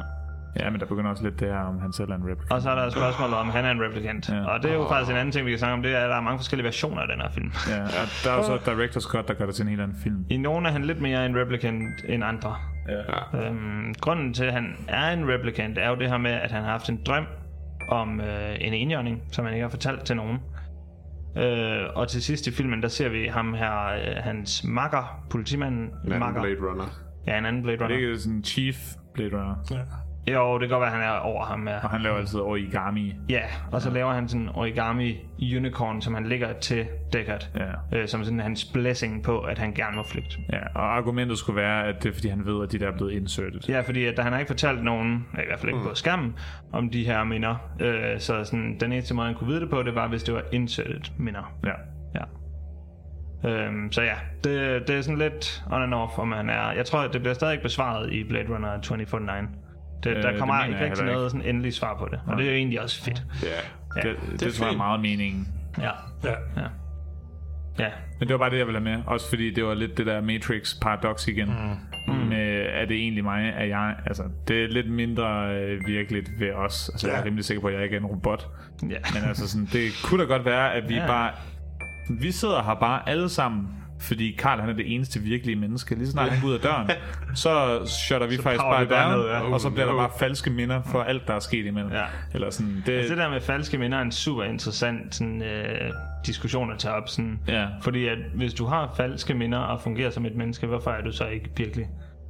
Speaker 2: Ja, men der begynder også lidt det her, om han selv er en replicant.
Speaker 1: Og så er der spørgsmålet om, han er en replikant. Ja. Og det er jo
Speaker 2: Åh.
Speaker 1: faktisk en anden ting, vi kan snakke om, det er, at der er mange forskellige versioner af den her film.
Speaker 2: Ja, og der er jo så Director's Scott, der gør det til en helt anden film.
Speaker 1: I nogle er han lidt mere en replicant end andre.
Speaker 2: Ja.
Speaker 1: Øhm, grunden til, at han er en replicant, er jo det her med, at han har haft en drøm om øh, en enhjørning, som han ikke har fortalt til nogen. Øh, og til sidst i filmen, der ser vi ham her, øh, hans makker, politimanden.
Speaker 3: En anden
Speaker 1: makker.
Speaker 3: Blade Runner.
Speaker 1: Ja, en anden Blade
Speaker 2: Det
Speaker 1: Runner.
Speaker 2: er ikke sådan Chief Blade Runner.
Speaker 4: Ja.
Speaker 1: Jo, det kan godt være, at han er over ham. Ja.
Speaker 2: Og han laver altid origami.
Speaker 1: Ja, og så laver han sådan en origami unicorn, som han lægger til Deckard.
Speaker 2: Ja.
Speaker 1: Øh, som sådan hans blessing på, at han gerne må flygte.
Speaker 2: Ja, og argumentet skulle være, at det er fordi, han ved, at de der er blevet inserted.
Speaker 1: Ja, fordi at han har ikke fortalt nogen, i hvert fald ikke mm. på skærmen, om de her minder. Øh, så sådan, den eneste måde, han kunne vide det på, det var, hvis det var inserted minder.
Speaker 2: Ja.
Speaker 1: ja. Øhm, så ja, det, det er sådan lidt on and off, om han er... Jeg tror, det bliver stadig ikke besvaret i Blade Runner 2049. Det,
Speaker 2: Øh,
Speaker 1: der
Speaker 2: det
Speaker 1: kommer
Speaker 2: mener
Speaker 1: ikke
Speaker 2: jeg
Speaker 1: rigtig
Speaker 2: heller
Speaker 1: noget
Speaker 2: ikke.
Speaker 1: sådan endelig svar på det, og
Speaker 2: Nej.
Speaker 1: det er jo egentlig også fedt.
Speaker 3: Ja,
Speaker 1: Ja.
Speaker 2: det, det,
Speaker 1: Det er
Speaker 2: det tror jeg er
Speaker 1: fint.
Speaker 2: meget meningen.
Speaker 1: Ja.
Speaker 4: Ja.
Speaker 1: ja. Ja.
Speaker 2: Men det var bare det, jeg ville have med. Også fordi det var lidt det der Matrix-paradox igen. Mm. Med, er det egentlig mig? Er jeg... Altså, det er lidt mindre øh, virkeligt ved os. Altså, ja. jeg er
Speaker 1: Ja.
Speaker 2: rimelig sikker på, at jeg ikke er en robot.
Speaker 1: Ja.
Speaker 2: Men altså, sådan, det kunne da godt være, at vi
Speaker 1: Ja.
Speaker 2: ja. bare... Vi sidder her bare alle sammen, fordi Karl han er det eneste virkelige menneske. Lige så snart han går ud af
Speaker 1: *laughs*
Speaker 2: døren, så shutter vi
Speaker 1: Så
Speaker 2: faktisk
Speaker 1: power
Speaker 2: bare
Speaker 1: vi bare
Speaker 2: down,
Speaker 1: ned, ja.
Speaker 2: og så bliver der
Speaker 1: Oh, no.
Speaker 2: bare falske minder for alt, der er sket imellem.
Speaker 1: Ja.
Speaker 2: Eller sådan, det,
Speaker 1: Altså, det der med falske minder er en super interessant sådan, øh, diskussion at tage op. Sådan,
Speaker 2: Ja.
Speaker 1: Fordi at hvis du har falske minder og fungerer som et menneske, hvorfor er du så ikke virkelig?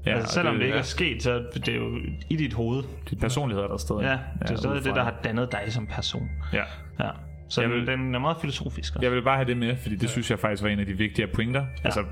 Speaker 2: Ja,
Speaker 1: Ja, altså,
Speaker 2: og
Speaker 1: selvom det,
Speaker 2: det-
Speaker 1: det ikke
Speaker 2: ja.
Speaker 1: er sket, så er det jo i dit hoved.
Speaker 2: Dit personlighed er der stadig.
Speaker 1: Ja, det er stadig
Speaker 2: udefra.
Speaker 1: det, der har dannet dig som person.
Speaker 2: Ja.
Speaker 1: ja. Så
Speaker 2: Jeg
Speaker 1: den,
Speaker 2: vil-
Speaker 1: den er meget filosofisk. også.
Speaker 2: Jeg vil bare have det med, fordi det ja. synes jeg faktisk var en af de vigtigere pointer. Ja. Altså,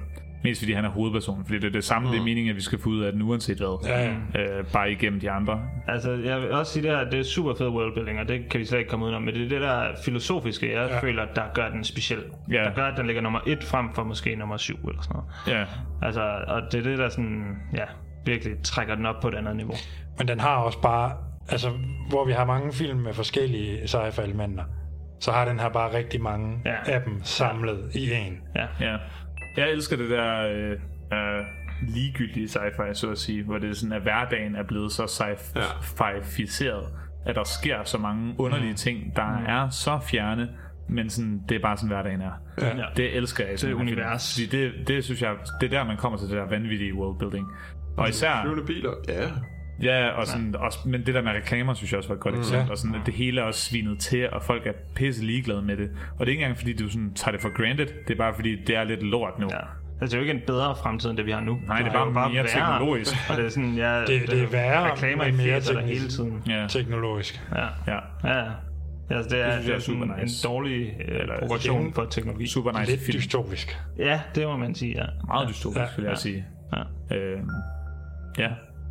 Speaker 2: mest fordi han er hovedpersonen, fordi det er det samme, mm. det er meningen, at vi skal få ud af den, uanset hvad.
Speaker 1: Ja,
Speaker 2: Øh, bare igennem de andre.
Speaker 1: Altså, jeg vil også sige det her, det er super fed worldbuilding, og det kan vi slet ikke komme udenom, men det er det der filosofiske, jeg ja. føler, der gør den speciel.
Speaker 2: Ja.
Speaker 1: Der gør, at den ligger nummer et frem for måske nummer syv eller sådan noget.
Speaker 2: Ja.
Speaker 1: Altså, og det er det, der sådan, ja, virkelig trækker den op på et andet niveau.
Speaker 4: Men den har også bare, altså hvor vi har mange film med forskellige sci-fi elementer, så har den her bare rigtig mange ja. af dem samlet ja. i en.
Speaker 1: Ja.
Speaker 2: ja. Jeg elsker det der øh, øh, ligegyldige sci-fi, så at sige, hvor det er sådan, at hverdagen er blevet så sci-fi-ficeret, at der sker så mange underlige ting, der
Speaker 1: Mm.
Speaker 2: er så fjerne, men sådan, det er bare sådan, hverdagen er.
Speaker 1: Ja.
Speaker 2: Det elsker jeg. i sådan
Speaker 1: Det
Speaker 2: nogle film.
Speaker 1: univers.
Speaker 2: Fordi det, det synes jeg, det er der, man kommer til det der vanvittige worldbuilding. Og
Speaker 1: Mm.
Speaker 2: især...
Speaker 3: Flyvende biler, ja.
Speaker 2: Ja, og sådan, også, men det der med reklamer, synes jeg også var et godt
Speaker 3: Mm.
Speaker 2: eksempel.
Speaker 3: Ja.
Speaker 2: Og sådan, at det hele er også svinet til, og folk er pisse ligeglade med det. Og det er ikke engang, fordi du sådan, tager det for granted. Det er bare, fordi det er lidt lort nu. Ja.
Speaker 1: Altså, det er jo ikke en bedre fremtid, end det vi har nu. Nej,
Speaker 2: det er bare mere teknologisk.
Speaker 1: Og det er sådan, ja,
Speaker 4: Det, det, det er værre,
Speaker 1: reklamer i
Speaker 4: men mere
Speaker 1: mere der
Speaker 4: teknisk,
Speaker 1: hele tiden.
Speaker 2: Ja.
Speaker 4: teknologisk.
Speaker 1: Ja.
Speaker 2: Ja.
Speaker 1: Ja, ja. Altså, det er, det er
Speaker 2: synes jeg er
Speaker 1: sådan
Speaker 2: super nice.
Speaker 1: en dårlig øh,
Speaker 2: igen,
Speaker 1: proportion for teknologi.
Speaker 2: super nice Lidt film.
Speaker 4: dystopisk.
Speaker 1: Ja, det må man sige, ja.
Speaker 2: Meget dystopisk, vil jeg sige.
Speaker 1: Ja.
Speaker 2: Øh, ja.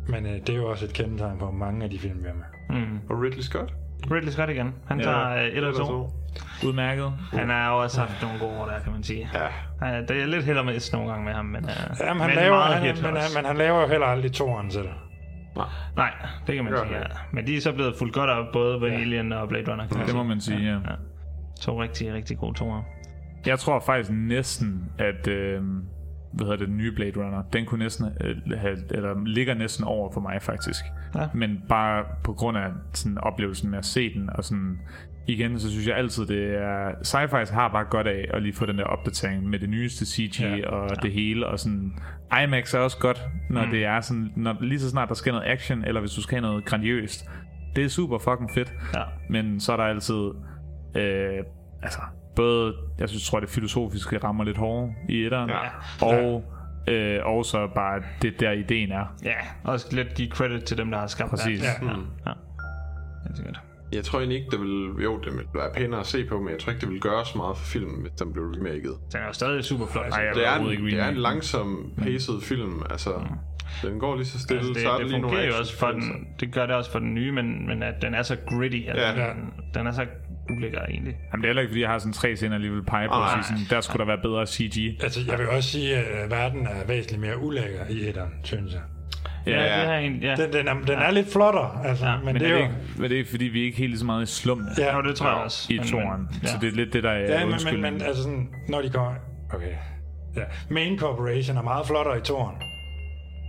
Speaker 4: Men øh, det er jo også et kendetegn på mange af de film, vi har med.
Speaker 1: Mm.
Speaker 3: Og Ridley Scott?
Speaker 1: Ridley Scott igen. Han
Speaker 2: Ja,
Speaker 1: tager øh, et
Speaker 2: et
Speaker 1: og
Speaker 2: og
Speaker 1: to.
Speaker 2: Udmærket.
Speaker 1: Han har jo også haft nogle gode år der, kan man sige. Ja. Han, der er lidt held og mist nogle gange med ham, men, uh,
Speaker 4: Jamen, han laver, han, men, han, men han laver jo heller aldrig toeren til det.
Speaker 1: Nej, det kan man
Speaker 4: Gør
Speaker 1: sige, ja.
Speaker 4: det.
Speaker 1: Men de er så blevet fuldt godt op, både ved ja. Alien og Blade Runner. kan
Speaker 2: Det må man sige, ja. ja.
Speaker 1: To rigtig, rigtig gode toer.
Speaker 2: Jeg tror faktisk næsten, at øh, hvad hedder det, den nye Blade Runner, den kunne næsten øh, have, eller ligger næsten over for mig faktisk.
Speaker 1: Ja.
Speaker 2: Men bare på grund af sådan oplevelsen med at se den, og sådan igen, så synes jeg altid, det er, sci-fi har bare godt af at lige få den der opdatering med det nyeste CG ja. og ja. det hele, og sådan IMAX er også godt, når
Speaker 1: Mm.
Speaker 2: mm. det er sådan, når, lige så snart der sker noget action, eller hvis du skal have noget grandiøst, det er super fucking fedt.
Speaker 1: Ja.
Speaker 2: Men så er der altid... Øh, altså, både... Jeg synes, tror, det filosofiske rammer lidt hårdere i etteren. Ja. Og, øh, og så bare det der ideen er.
Speaker 1: Ja, også lidt give credit til dem, der har skabt
Speaker 2: Præcis.
Speaker 1: verden. Ja.
Speaker 2: Mm.
Speaker 1: Ja. Ja. Det er godt.
Speaker 3: Jeg tror egentlig ikke, det vil... Jo, det vil være pænere at se på, men jeg tror ikke, det vil gøre så meget for filmen, hvis den blev remaket.
Speaker 1: Den er jo stadig super flot.
Speaker 3: Altså, det, er en, det er en langsom paced film, altså... Den går lige så stille,
Speaker 1: Mm. Altså, det,
Speaker 3: så er der
Speaker 1: det
Speaker 3: lige nogle
Speaker 1: fungerer jo også for
Speaker 3: actionsekvenser.
Speaker 1: den, det gør det også for den nye, men, men at den er så gritty, altså,
Speaker 2: Ja.
Speaker 1: ja. den, den er så ulækker egentlig.
Speaker 2: Jamen, det er heller ikke, fordi jeg har sådan tre scener, jeg lige vil pege på.
Speaker 1: Ej.
Speaker 2: og sige Sådan, der skulle der være bedre CG.
Speaker 4: Altså, jeg vil også sige, at øh, verden er væsentligt mere ulækker i etteren, synes jeg.
Speaker 2: Ja, Ja, det har
Speaker 1: en, ja.
Speaker 4: Den, den, er, den er lidt flottere, altså, ja, men,
Speaker 2: Men,
Speaker 4: det er jo...
Speaker 2: ikke, men det er fordi, vi er ikke helt lige så meget i slummen.
Speaker 4: Ja. Jo, det tror jeg
Speaker 1: også.
Speaker 2: I
Speaker 1: Men-
Speaker 2: toren.
Speaker 1: men-
Speaker 2: Ja. Så
Speaker 1: ja.
Speaker 2: det er lidt det, der er
Speaker 4: Ja, men, men,
Speaker 2: undskyldningen.
Speaker 4: men altså sådan, når de går... Okay. Ja. Main Corporation er meget flottere i toren.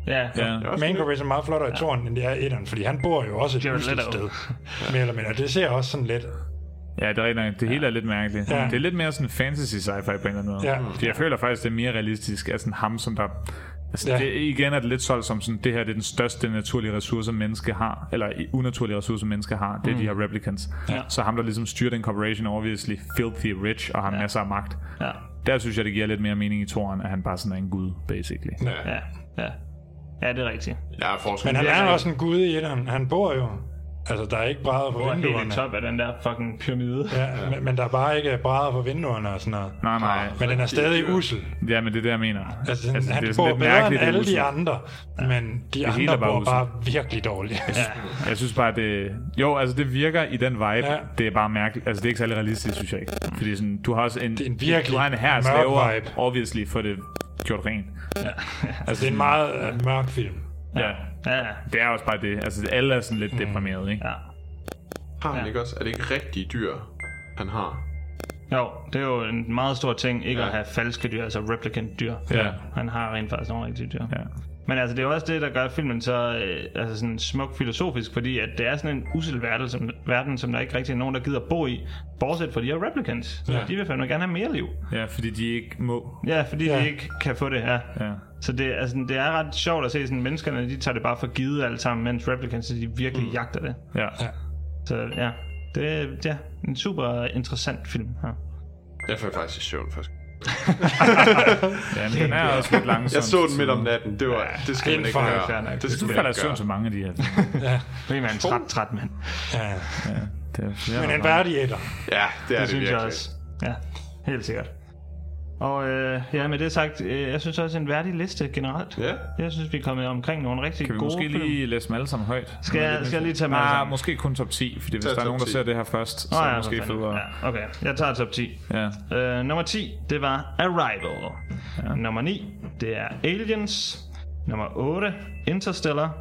Speaker 1: Ja.
Speaker 2: ja.
Speaker 4: Main Corporation er meget flottere i toren, end det er i etteren, fordi han bor jo også et
Speaker 1: Jared
Speaker 4: mystisk
Speaker 1: Leto.
Speaker 4: sted. *laughs* Mere eller mindre. Det ser også sådan lidt...
Speaker 2: Ja, det er rigtig nok. Det hele er lidt mærkeligt.
Speaker 4: Ja.
Speaker 2: Ja. Det er lidt mere sådan fantasy sci-fi på en eller anden måde.
Speaker 4: Ja.
Speaker 2: Fordi jeg føler faktisk, det er mere realistisk af sådan ham, som der... Altså,
Speaker 4: Ja.
Speaker 2: ja. det, igen er det lidt solgt som sådan, det her det er den største naturlige ressource, menneske har, eller i- unaturlige ressource, menneske har, det er
Speaker 1: Mm.
Speaker 2: de her replicants.
Speaker 1: Ja.
Speaker 2: Ja. Så ham, der ligesom styrer den corporation, er obviously filthy rich og har ja. masser af magt.
Speaker 1: Ja.
Speaker 2: Der synes jeg, det giver lidt mere mening i toren, at han bare sådan er en gud, basically.
Speaker 1: Ja. Ja, ja det er rigtigt.
Speaker 3: Ja, forskel.
Speaker 4: Men han er også en gud i etteren. Han bor jo... Altså, der er ikke brædder på
Speaker 1: Hvor er helt
Speaker 4: vinduerne.
Speaker 1: i top af den der fucking pyramide.
Speaker 4: Ja, men, men der er bare ikke brædder på vinduerne og sådan noget.
Speaker 2: Nej, nej.
Speaker 4: Men den er stadig usel.
Speaker 2: Ja, men det er det, jeg mener.
Speaker 4: Altså, den, altså,
Speaker 2: det er
Speaker 4: han
Speaker 2: sådan
Speaker 4: bor
Speaker 2: lidt
Speaker 4: bedre end
Speaker 2: mærkeligt, det er
Speaker 4: alle
Speaker 2: usel.
Speaker 4: de andre, ja. men de
Speaker 2: Det
Speaker 4: andre
Speaker 2: hele er bare
Speaker 4: bor
Speaker 2: usel.
Speaker 4: bare virkelig dårligt.
Speaker 2: Jeg synes, jeg synes bare, det... Jo, altså det virker i den vibe.
Speaker 4: Ja.
Speaker 2: Ja. Det er bare mærkeligt. Altså det er ikke særlig realistisk, synes jeg ikke. Fordi sådan, du har også en... Det er
Speaker 4: en virkelig
Speaker 2: Du har en her
Speaker 4: mørk
Speaker 2: slaver,
Speaker 4: vibe.
Speaker 2: obviously, for det gjort rent. Ja.
Speaker 4: Altså, det er en meget uh, mørk film.
Speaker 2: Ja.
Speaker 1: ja.
Speaker 2: Det er også bare det. Altså alle er sådan lidt mm. deprimerede, ikke?
Speaker 1: Ja.
Speaker 3: Har han ikke også? Er det ikke rigtige dyr, han har?
Speaker 1: Jo, det er jo en meget stor ting, ikke ja. at have falske dyr, altså replicant dyr.
Speaker 2: Ja.
Speaker 1: Han har rent faktisk nogle rigtige dyr.
Speaker 2: Ja.
Speaker 1: Men altså, det er jo også det, der gør filmen så øh, altså sådan smuk filosofisk, fordi at det er sådan en usel verden, som, verden, som der ikke rigtig er nogen, der gider bo i, bortset fra de her replicants. Ja.
Speaker 2: Ja.
Speaker 1: De vil fandme gerne have mere liv.
Speaker 2: Ja, fordi de ikke må.
Speaker 1: Ja, fordi ja.
Speaker 2: Ja.
Speaker 1: de ikke kan få det her.
Speaker 2: Ja.
Speaker 1: Så det, altså, det er ret sjovt at se, sådan menneskerne de tager det bare for givet alt sammen, mens replicants de virkelig mm. jagter det.
Speaker 2: Ja.
Speaker 1: Så ja, det er ja, en super interessant film her.
Speaker 3: Jeg faldt faktisk i søvn først.
Speaker 2: Ja, men den er også lidt langsom.
Speaker 3: Jeg så den midt om natten. Det, var, det skal man ikke
Speaker 2: Fair
Speaker 3: gøre.
Speaker 2: nok.
Speaker 3: Det skal
Speaker 2: du
Speaker 3: man
Speaker 2: falder i
Speaker 3: ikke gøre.
Speaker 2: søvn så mange af de her.
Speaker 4: Ja.
Speaker 1: Fordi man er en træt, træt mand.
Speaker 4: Ja.
Speaker 2: Ja, det er flere
Speaker 4: Men en
Speaker 2: gange.
Speaker 4: værdig etter.
Speaker 3: Ja, det er det,
Speaker 1: synes
Speaker 3: virkelig.
Speaker 1: jeg også. Ja, helt sikkert. Og øh, ja, med det sagt, øh, jeg synes også en værdig liste generelt.
Speaker 3: Ja.
Speaker 1: Jeg synes, vi er kommet omkring nogle rigtig
Speaker 2: Kan vi
Speaker 1: gode
Speaker 2: måske
Speaker 1: film.
Speaker 2: lige læse dem alle sammen højt?
Speaker 1: Skal jeg- skal jeg lige tage dem alle
Speaker 2: Nej,
Speaker 1: sammen?
Speaker 2: måske kun top 10, fordi hvis
Speaker 1: Tag
Speaker 2: der er
Speaker 1: top
Speaker 2: nogen, der
Speaker 1: 10.
Speaker 2: ser det her først, så
Speaker 1: Nå
Speaker 2: er
Speaker 1: ja,
Speaker 2: det måske
Speaker 1: for fanden.
Speaker 2: federe.
Speaker 1: Ja, okay, jeg tager top 10.
Speaker 2: Ja.
Speaker 1: Øh, nummer 10, det var Arrival. Ja. Nummer 9, det er Aliens. Nummer 8, Interstellar.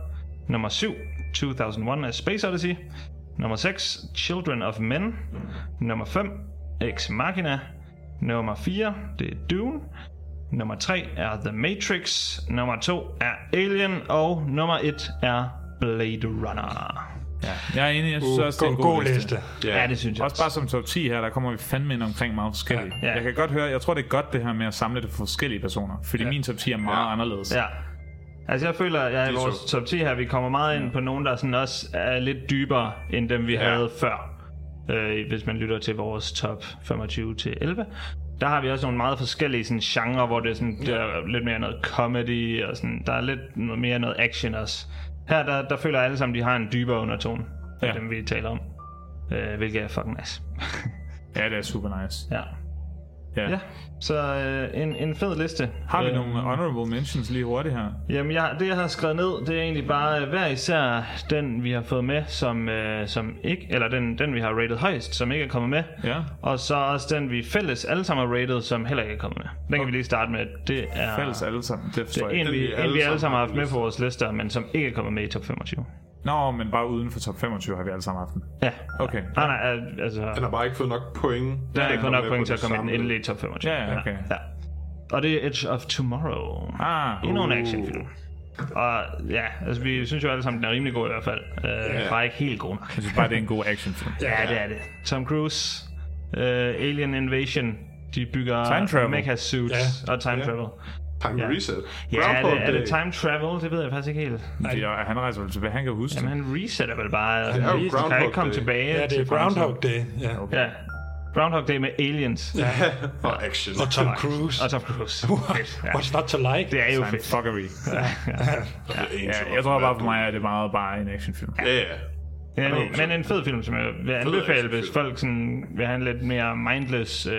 Speaker 1: Nummer 7, 2001 A Space Odyssey. Nummer 6, Children of Men. Nummer 5, Ex Machina. Nummer 4, det er Dune. Nummer 3 er The Matrix. Nummer 2 er Alien. Og nummer 1 er Blade Runner.
Speaker 2: Ja. Jeg er enig, jeg synes
Speaker 1: Uh,
Speaker 2: også, det er en
Speaker 1: god-
Speaker 2: god,
Speaker 1: god liste. Ja, det synes jeg
Speaker 2: Også bare som top 10 her, der kommer vi fandme ind omkring meget forskellige.
Speaker 1: Ja.
Speaker 2: Ja. Jeg kan godt høre, jeg tror, det er godt det her med at samle det for forskellige personer, fordi min top 10 er meget anderledes.
Speaker 1: Ja. Altså jeg føler, at jeg i
Speaker 2: Lige
Speaker 1: vores top 10 her, vi kommer meget ind på nogen, der sådan også er lidt dybere, end dem vi ja. havde før. Øh, hvis man lytter til vores top 25 til 11. Der har vi også nogle meget forskellige sådan, genrer, hvor det er, sådan, det er lidt mere noget comedy, og sådan, der er lidt noget mere noget action også. Her der, der føler jeg alle sammen, de har en dybere undertone, ja.
Speaker 2: Ja.
Speaker 1: dem vi taler om. Øh, hvilket er fucking nice.
Speaker 2: ja, det er super nice.
Speaker 1: Ja. Ja. ja. Så øh, en, en fed liste.
Speaker 2: Har vi
Speaker 1: Øh,
Speaker 2: nogle honorable mentions lige hurtigt her?
Speaker 1: Jamen, jeg, det jeg har skrevet ned, det er egentlig bare øh, hver især den, vi har fået med, som, øh, som ikke, eller den, den, vi har rated højst, som ikke er kommet med. Øh,
Speaker 2: Ja.
Speaker 1: Og så også den, vi fælles alle sammen har rated, som heller ikke er kommet med. Den kan vi lige starte med. Det er
Speaker 2: Fælles alle sammen, det
Speaker 1: det
Speaker 2: forstår
Speaker 1: er
Speaker 2: jeg.
Speaker 1: en,
Speaker 2: Den,
Speaker 1: vi,
Speaker 2: vi
Speaker 1: en, vi alle sammen har haft med
Speaker 2: liste.
Speaker 1: på vores lister, men som ikke er kommet med i top 25.
Speaker 2: Nå, men bare uden for top 25 har vi alle sammen haft den.
Speaker 1: Ja.
Speaker 2: Okay.
Speaker 1: Nej, nej, altså...
Speaker 3: Den har bare ikke fået nok point.
Speaker 1: Der er ikke fået nok point til
Speaker 3: det
Speaker 1: at komme i den
Speaker 3: samlede.
Speaker 1: endelige top 25.
Speaker 3: Ja, ja, okay.
Speaker 1: Ja. Og det er Edge of Tomorrow.
Speaker 2: Ah,
Speaker 1: Endnu en
Speaker 2: uh.
Speaker 1: actionfilm. Og ja, altså vi synes jo alle sammen, den er rimelig god i hvert fald. Øh,
Speaker 2: Ja.
Speaker 1: Bare ikke helt god nok.
Speaker 2: Jeg synes bare, det er en god actionfilm.
Speaker 1: Ja, det er det. Tom Cruise, øh, Alien Invasion, de bygger
Speaker 2: Time travel.
Speaker 1: mecha suits
Speaker 2: Ja.
Speaker 1: og time
Speaker 2: Ja.
Speaker 1: travel.
Speaker 3: Time reset.
Speaker 1: Ja, er
Speaker 2: Groundhog
Speaker 1: det, er det
Speaker 3: *laughs*
Speaker 2: Day.
Speaker 1: time travel? Det ved jeg faktisk ikke helt.
Speaker 2: Nej. Ja, han rejser vel tilbage, han kan huske
Speaker 1: Jamen, han resetter vel bare.
Speaker 2: Det er jo
Speaker 1: Han kan
Speaker 2: Groundhog
Speaker 1: ikke komme
Speaker 2: Day.
Speaker 1: tilbage.
Speaker 2: Ja, det er
Speaker 1: til fremtiden.
Speaker 2: Groundhog Day,
Speaker 4: ja.
Speaker 1: ja. Groundhog Day med aliens.
Speaker 4: Ja.
Speaker 1: og action.
Speaker 4: Og Tom Cruise.
Speaker 1: Og Tom Cruise. Fedt, ja.
Speaker 4: *laughs* What's not to like?
Speaker 1: Det er jo
Speaker 2: Sådan
Speaker 1: fedt.
Speaker 2: fuckery.
Speaker 1: Ja.
Speaker 2: Ja, jeg tror bare for mig, at det er meget bare en actionfilm.
Speaker 3: Ja, ja.
Speaker 1: Ja, men, men en fed film, som jeg vil anbefale, hvis folk sådan vil have en lidt mere mindless... Øh,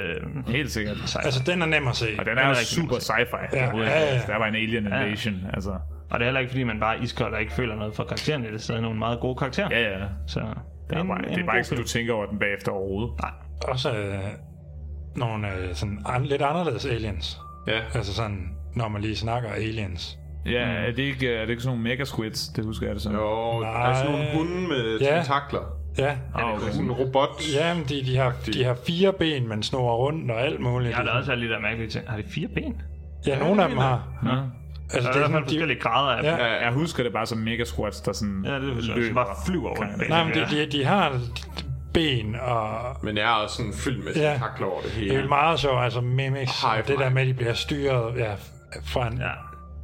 Speaker 2: Helt sikkert.
Speaker 4: Altså, den er nem at se.
Speaker 2: Og den er, jo
Speaker 1: rigtig
Speaker 2: super sci-fi.
Speaker 4: Ja,
Speaker 2: overhovedet.
Speaker 4: ja, ja.
Speaker 2: Der var en alien
Speaker 1: Ja.
Speaker 2: invasion, altså.
Speaker 1: Og det er heller ikke, fordi man bare er iskold og ikke føler noget for karaktererne. Det er stadig nogle meget gode karakterer.
Speaker 2: Ja, ja.
Speaker 1: Så
Speaker 2: Det er,
Speaker 1: en-
Speaker 2: bare,
Speaker 1: en
Speaker 2: det er
Speaker 1: god
Speaker 2: bare ikke,
Speaker 1: film.
Speaker 2: du tænker over den bagefter overhovedet.
Speaker 1: Nej.
Speaker 4: Også øh, nogle øh, sådan an, lidt anderledes aliens.
Speaker 3: Ja.
Speaker 4: Altså sådan, når man lige snakker aliens.
Speaker 2: Ja,
Speaker 1: Mm.
Speaker 2: er, det ikke, er det ikke sådan nogle mega squids? Det husker jeg det som.
Speaker 3: Jo,
Speaker 4: der er sådan nogle
Speaker 3: hunde med
Speaker 4: Ja.
Speaker 3: tentakler.
Speaker 4: Ja.
Speaker 2: Ah, okay.
Speaker 3: Sådan en robot.
Speaker 4: Ja, men de, de, har, de har fire ben, man snor rundt og alt muligt.
Speaker 1: Jeg har da også alle de der mærkelige ting. Har de fire ben?
Speaker 4: Ja, nogle af dem har.
Speaker 2: Nå.
Speaker 1: Altså, der er i hvert fald forskellige grader af
Speaker 4: Ja.
Speaker 1: dem.
Speaker 2: Ja. Jeg husker det bare som mega squats, der sådan
Speaker 1: Ja, det forstår jeg.
Speaker 2: løber.
Speaker 1: Så bare flyver rundt.
Speaker 2: Kinda.
Speaker 4: Nej, men de, de, de har ben og...
Speaker 3: Men jeg er også sådan fyldt med
Speaker 4: Ja.
Speaker 3: tentakler over det hele.
Speaker 4: Det er jo meget sjovt, altså mimics,
Speaker 3: High
Speaker 4: og det
Speaker 3: five.
Speaker 4: der med, at de bliver styret ja, fra en...
Speaker 1: Ja.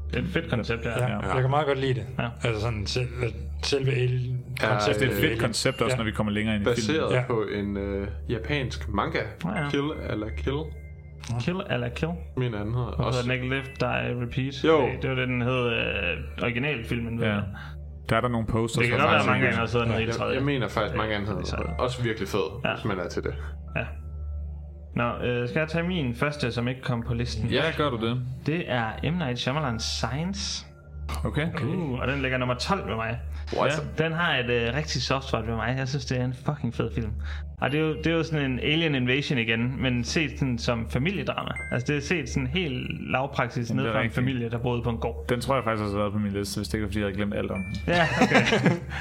Speaker 1: Det er et fedt koncept, ja.
Speaker 4: Ja, jeg kan meget godt lide det.
Speaker 1: Ja.
Speaker 4: Altså sådan selv, selve el
Speaker 3: Ja,
Speaker 4: konceptet
Speaker 3: det er et
Speaker 1: øh,
Speaker 3: fedt
Speaker 4: alien.
Speaker 2: koncept også, når vi kommer længere ind i
Speaker 3: Baseret
Speaker 2: filmen.
Speaker 4: Ja.
Speaker 3: på en øh, japansk manga.
Speaker 1: ja.
Speaker 3: Kill eller Kill,
Speaker 1: Kill eller kill.
Speaker 3: min anden hedder.
Speaker 1: Og så
Speaker 3: Også
Speaker 1: den ikke Lift, Die, Repeat.
Speaker 3: Jo.
Speaker 1: Det, det var det, den hed øh, originalfilmen. ved
Speaker 2: Ja.
Speaker 1: jeg.
Speaker 2: Der er der nogle posters.
Speaker 1: Det kan
Speaker 2: fra
Speaker 1: godt være,
Speaker 2: Science
Speaker 1: mange gange
Speaker 2: Fiction.
Speaker 1: har siddet nede i det
Speaker 3: jeg,
Speaker 1: tredje.
Speaker 3: jeg mener faktisk, mange andre hedder. Også virkelig fed,
Speaker 1: Ja.
Speaker 3: hvis man er til det.
Speaker 1: Ja. Nå, øh, skal jeg tage min første, som ikke kom på listen?
Speaker 2: Ja, gør du det.
Speaker 1: Det er M. Night Shyamalan's Science.
Speaker 2: Okay.
Speaker 1: Uh, og den ligger nummer 12 med mig.
Speaker 3: What?
Speaker 1: Ja. Den har et øh, rigtig soft spot ved mig. Jeg synes, det er en fucking fed film. Og det er, jo, det er jo sådan en alien invasion igen, men set sådan som familiedrama. Altså det er set sådan helt lavpraksis
Speaker 2: Jamen,
Speaker 1: ned
Speaker 2: det er
Speaker 1: fra en
Speaker 2: rigtigt.
Speaker 1: familie, der boede på en gård.
Speaker 2: Den tror jeg faktisk også har været på min liste, hvis det ikke var, fordi jeg havde glemt alt om den.
Speaker 1: Ja,
Speaker 2: *laughs*
Speaker 1: okay.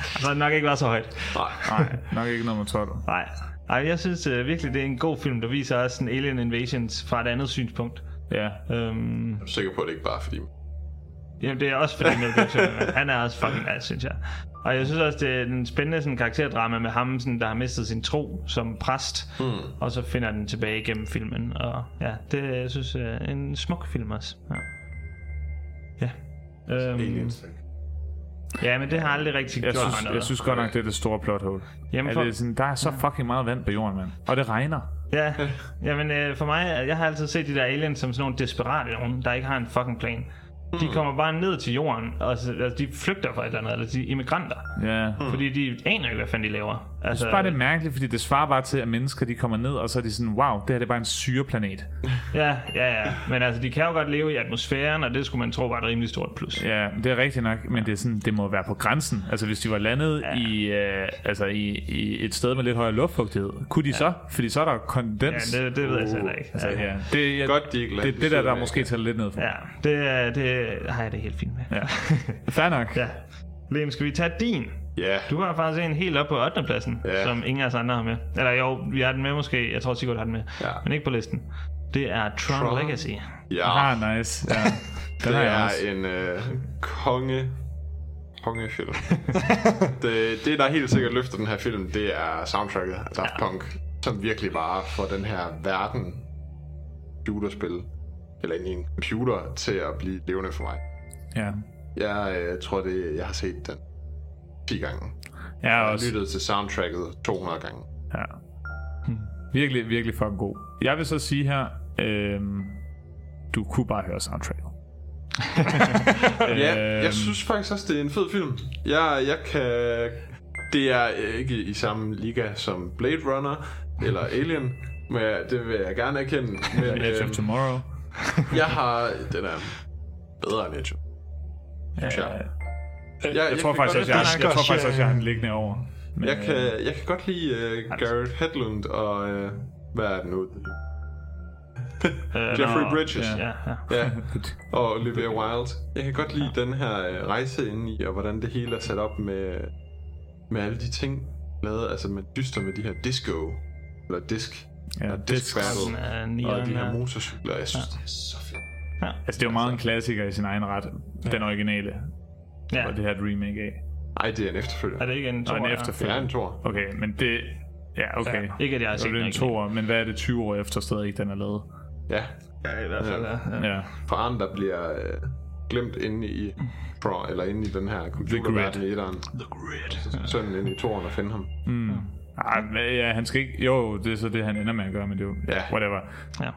Speaker 1: så har det nok ikke været så højt.
Speaker 2: Nej, *laughs* nok ikke nummer 12.
Speaker 1: Nej. Ej, jeg synes øh, virkelig, det er en god film, der viser også sådan alien invasions fra et andet synspunkt.
Speaker 2: Ja.
Speaker 1: Øhm,
Speaker 3: Jeg er sikker på, at det ikke bare er fordi...
Speaker 1: Jamen, det er også fordi Mel Gibson, men han er også fucking nice, synes jeg. Og jeg synes også, det er en spændende sådan, karakterdrama med ham, sådan, der har mistet sin tro som præst,
Speaker 3: Hmm.
Speaker 1: og så finder den tilbage gennem filmen. Og ja, det jeg synes jeg er en smuk film også. Ja. ja. Øhm,
Speaker 3: Aliens.
Speaker 1: ja, men det har aldrig rigtig
Speaker 2: Jeg
Speaker 1: gjort mig
Speaker 2: synes,
Speaker 1: noget.
Speaker 2: jeg synes godt nok, det er det store plot hole.
Speaker 1: Jamen,
Speaker 2: Jamen
Speaker 1: for-
Speaker 2: for... sådan, der er så fucking meget vand på jorden, mand. Og det regner.
Speaker 1: Ja, jamen øh, for mig, jeg har altid set de der aliens som sådan nogle desperate nogen, der ikke har en fucking plan. De kommer bare ned til jorden, og så, altså, de flygter fra et eller andet, eller de er immigranter.
Speaker 2: Ja. Hmm.
Speaker 1: Fordi de aner ikke, hvad fanden de laver. Altså,
Speaker 2: Jeg synes bare, det er mærkeligt, fordi det svarer bare til, at mennesker de kommer ned, og så er de sådan, wow, det her det er bare en
Speaker 1: *laughs*
Speaker 2: syreplanet.
Speaker 1: Ja, ja, ja. Men altså, de kan jo godt leve i atmosfæren, og det skulle man tro var et rimelig stort plus.
Speaker 2: Ja, det er rigtigt nok, men det, er sådan, det må være på grænsen. Altså, hvis de var landet ja. i, øh, altså, i, i, et sted med lidt højere luftfugtighed, kunne de ja. så? Fordi så er der kondens.
Speaker 1: Ja, det- det ved jeg så heller
Speaker 3: Uh,
Speaker 1: ikke.
Speaker 2: Altså,
Speaker 1: Ja.
Speaker 2: ja. Det, jeg,
Speaker 3: Godt, de ikke
Speaker 2: det, er det der, der måske tager lidt ned for.
Speaker 1: Ja, det, er- det har jeg det helt fint med.
Speaker 2: Ja. Fair
Speaker 1: *laughs*
Speaker 2: nok.
Speaker 1: Ja. Liam, skal vi tage din?
Speaker 3: Ja.
Speaker 1: Du har faktisk en helt op på 8. pladsen,
Speaker 3: Ja.
Speaker 1: som ingen af os andre har med. Eller jo, vi har den med måske. Jeg tror, Sigurd har den med.
Speaker 3: Ja.
Speaker 1: Men ikke på listen. Det er Tron,
Speaker 3: Tron.
Speaker 1: Legacy.
Speaker 3: Ja.
Speaker 2: Ah, nice.
Speaker 3: *laughs*
Speaker 2: Ja. Den
Speaker 3: det
Speaker 2: har jeg
Speaker 3: er
Speaker 2: også.
Speaker 3: en øh, konge...
Speaker 2: *laughs*
Speaker 3: Kongefilm. det, det, der helt sikkert løfter den her film, det er soundtracket af Daft Punk, som virkelig bare får den her verden computerspil, eller egentlig en computer, til at blive levende for mig.
Speaker 2: Ja.
Speaker 3: Jeg øh, tror, det, jeg har set den 10 gange.
Speaker 2: Jeg
Speaker 3: har
Speaker 2: også.
Speaker 3: lyttet til soundtracket 200 gange.
Speaker 2: Ja. Hm. Virkelig, virkelig fucking god. Jeg vil så sige her, øh, du kunne bare høre soundtracket. Øhm.
Speaker 3: Ja, jeg synes faktisk også, det er en fed film. Jeg, jeg kan... Det er ikke i samme liga som Blade Runner eller Alien, Men ja, det vil jeg gerne
Speaker 2: *laughs*
Speaker 3: erkende. Men, øhm,
Speaker 2: Edge of Tomorrow.
Speaker 3: jeg har... Den er bedre end Edge of
Speaker 2: Ja,
Speaker 3: synes jeg.
Speaker 2: Jeg, jeg, tror
Speaker 3: kan
Speaker 2: faktisk også,
Speaker 3: godt
Speaker 2: jeg,
Speaker 3: lide-
Speaker 2: jeg, jeg tror faktisk også, jeg har den liggende over. Men,
Speaker 3: Jeg
Speaker 2: øh,
Speaker 3: kan, jeg kan godt lide uh, Garrett Hedlund og... Uh, hvad er den nu?
Speaker 1: Øh,
Speaker 3: Jeffrey
Speaker 1: nå,
Speaker 3: Bridges.
Speaker 1: ja, ja.
Speaker 3: ja. Og Olivia Wilde. Jeg kan godt lide den her øh, rejse ind i, og hvordan det hele er sat op med, med alle de ting, lavet, altså man dyster med de her disco, eller disk,
Speaker 2: Ja,
Speaker 3: og disk
Speaker 2: discs.
Speaker 3: battle,
Speaker 2: Sådan, øh,
Speaker 3: og de
Speaker 2: nieren,
Speaker 3: her
Speaker 2: ja.
Speaker 3: motorcykler. Jeg synes,
Speaker 2: Ja.
Speaker 3: det er så fedt.
Speaker 2: Altså, det er jo meget en klassiker i sin egen ret. Den originale.
Speaker 1: Ja.
Speaker 2: Og det her et remake af.
Speaker 3: Nej, det er en efterfølger.
Speaker 1: Er det ikke en
Speaker 2: Nå,
Speaker 1: toer,
Speaker 2: en
Speaker 1: ja?
Speaker 2: efterfølger.
Speaker 1: Det er en
Speaker 3: toer.
Speaker 2: Okay, men det... Ja, okay.
Speaker 1: Ja. Ikke, at jeg har
Speaker 2: Så
Speaker 1: set
Speaker 2: det er
Speaker 1: den
Speaker 2: en toer, men hvad er det 20 år efter stadig, den er lavet?
Speaker 3: Ja.
Speaker 1: Ja, i hvert fald, ja.
Speaker 2: ja.
Speaker 3: Faren, der bliver øh, glemt inde i
Speaker 2: Mm.
Speaker 3: Pro, eller inde i den her computerverden i etteren. The Grid. Sønnen inde i toren og finde ham.
Speaker 2: Mm. Ej, men ja, han skal ikke... Jo, det er så det, han ender med at gøre, men det er jo...
Speaker 3: Ja.
Speaker 2: Whatever.
Speaker 1: Ja.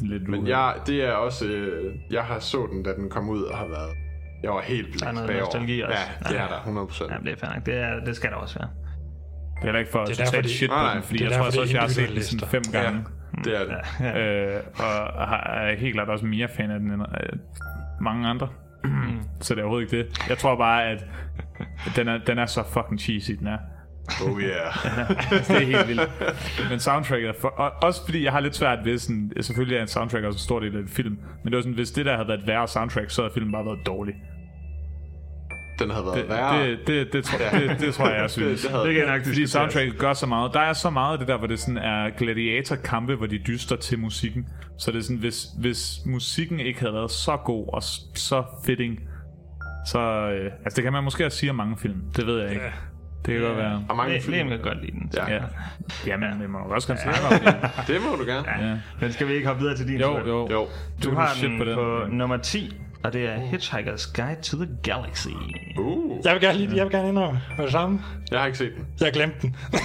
Speaker 2: Lidt
Speaker 3: Men jeg, det er også... Øh, jeg har så den, da den kom ud og har været... Jeg var helt
Speaker 1: Der er
Speaker 3: blank
Speaker 1: noget nostalgi også.
Speaker 3: Ja, det er der. 100%.
Speaker 1: Ja, det er fair nok. Det, er, det skal der også være.
Speaker 2: Det er heller ikke for
Speaker 1: Det
Speaker 2: at
Speaker 1: er derfor,
Speaker 2: totalt
Speaker 1: de-
Speaker 2: shit på
Speaker 1: Nej, nej.
Speaker 2: den, fordi
Speaker 1: Det er
Speaker 2: jeg tror
Speaker 1: derfor,
Speaker 2: også,
Speaker 1: det
Speaker 2: at
Speaker 1: er
Speaker 2: jeg har set den
Speaker 1: individuelle
Speaker 2: sådan fem
Speaker 1: lister.
Speaker 2: gange.
Speaker 1: mm, Ja, det er det.
Speaker 2: Øh, og har, er helt klart også mere fan af den end øh, mange andre.
Speaker 1: Mm.
Speaker 2: så det er overhovedet ikke det. Jeg tror bare, at den er, den er så fucking cheesy, den er.
Speaker 1: *laughs*
Speaker 3: Oh yeah.
Speaker 2: det er helt vildt. Men soundtracket er for, og, også fordi jeg har lidt svært ved sådan, selvfølgelig er en soundtrack også en stor del af en film, men det var sådan, hvis det der havde været et værre soundtrack, så havde filmen bare været dårlig.
Speaker 3: Den havde været
Speaker 2: det,
Speaker 3: værre.
Speaker 2: Det, det, det, tror,
Speaker 3: Ja.
Speaker 2: det, det tror jeg,
Speaker 1: *laughs*
Speaker 2: jeg synes.
Speaker 3: Det- det havde- Det kan jeg nok
Speaker 2: Fordi
Speaker 3: diskutere.
Speaker 2: soundtracket gør så meget. Der er så meget af det der, hvor det sådan er gladiatorkampe, hvor de dyster til musikken. Så det er sådan, hvis, hvis musikken ikke havde været så god og s- så fitting, så... Øh, altså, det kan man måske også sige om mange film. Det ved jeg ikke. Det kan godt være.
Speaker 1: Og mange Liam- film. Liam kan godt lide den, så.
Speaker 2: Ja. ja. Jamen, det må man også gerne snakke om.
Speaker 3: det må du gerne.
Speaker 1: Ja. Men skal vi ikke hoppe videre til din
Speaker 2: Jo,
Speaker 1: tur?
Speaker 2: jo. Jo.
Speaker 1: Du,
Speaker 2: Du
Speaker 1: har
Speaker 2: er shit
Speaker 1: den
Speaker 2: på
Speaker 1: på,
Speaker 2: den.
Speaker 1: nummer 10, og det er Hitchhiker's Guide to the Galaxy.
Speaker 3: Uh.
Speaker 4: Jeg vil gerne, lige, jeg vil gerne indrømme med det samme.
Speaker 3: Jeg har ikke set den.
Speaker 4: Jeg glemte den.
Speaker 1: Jeg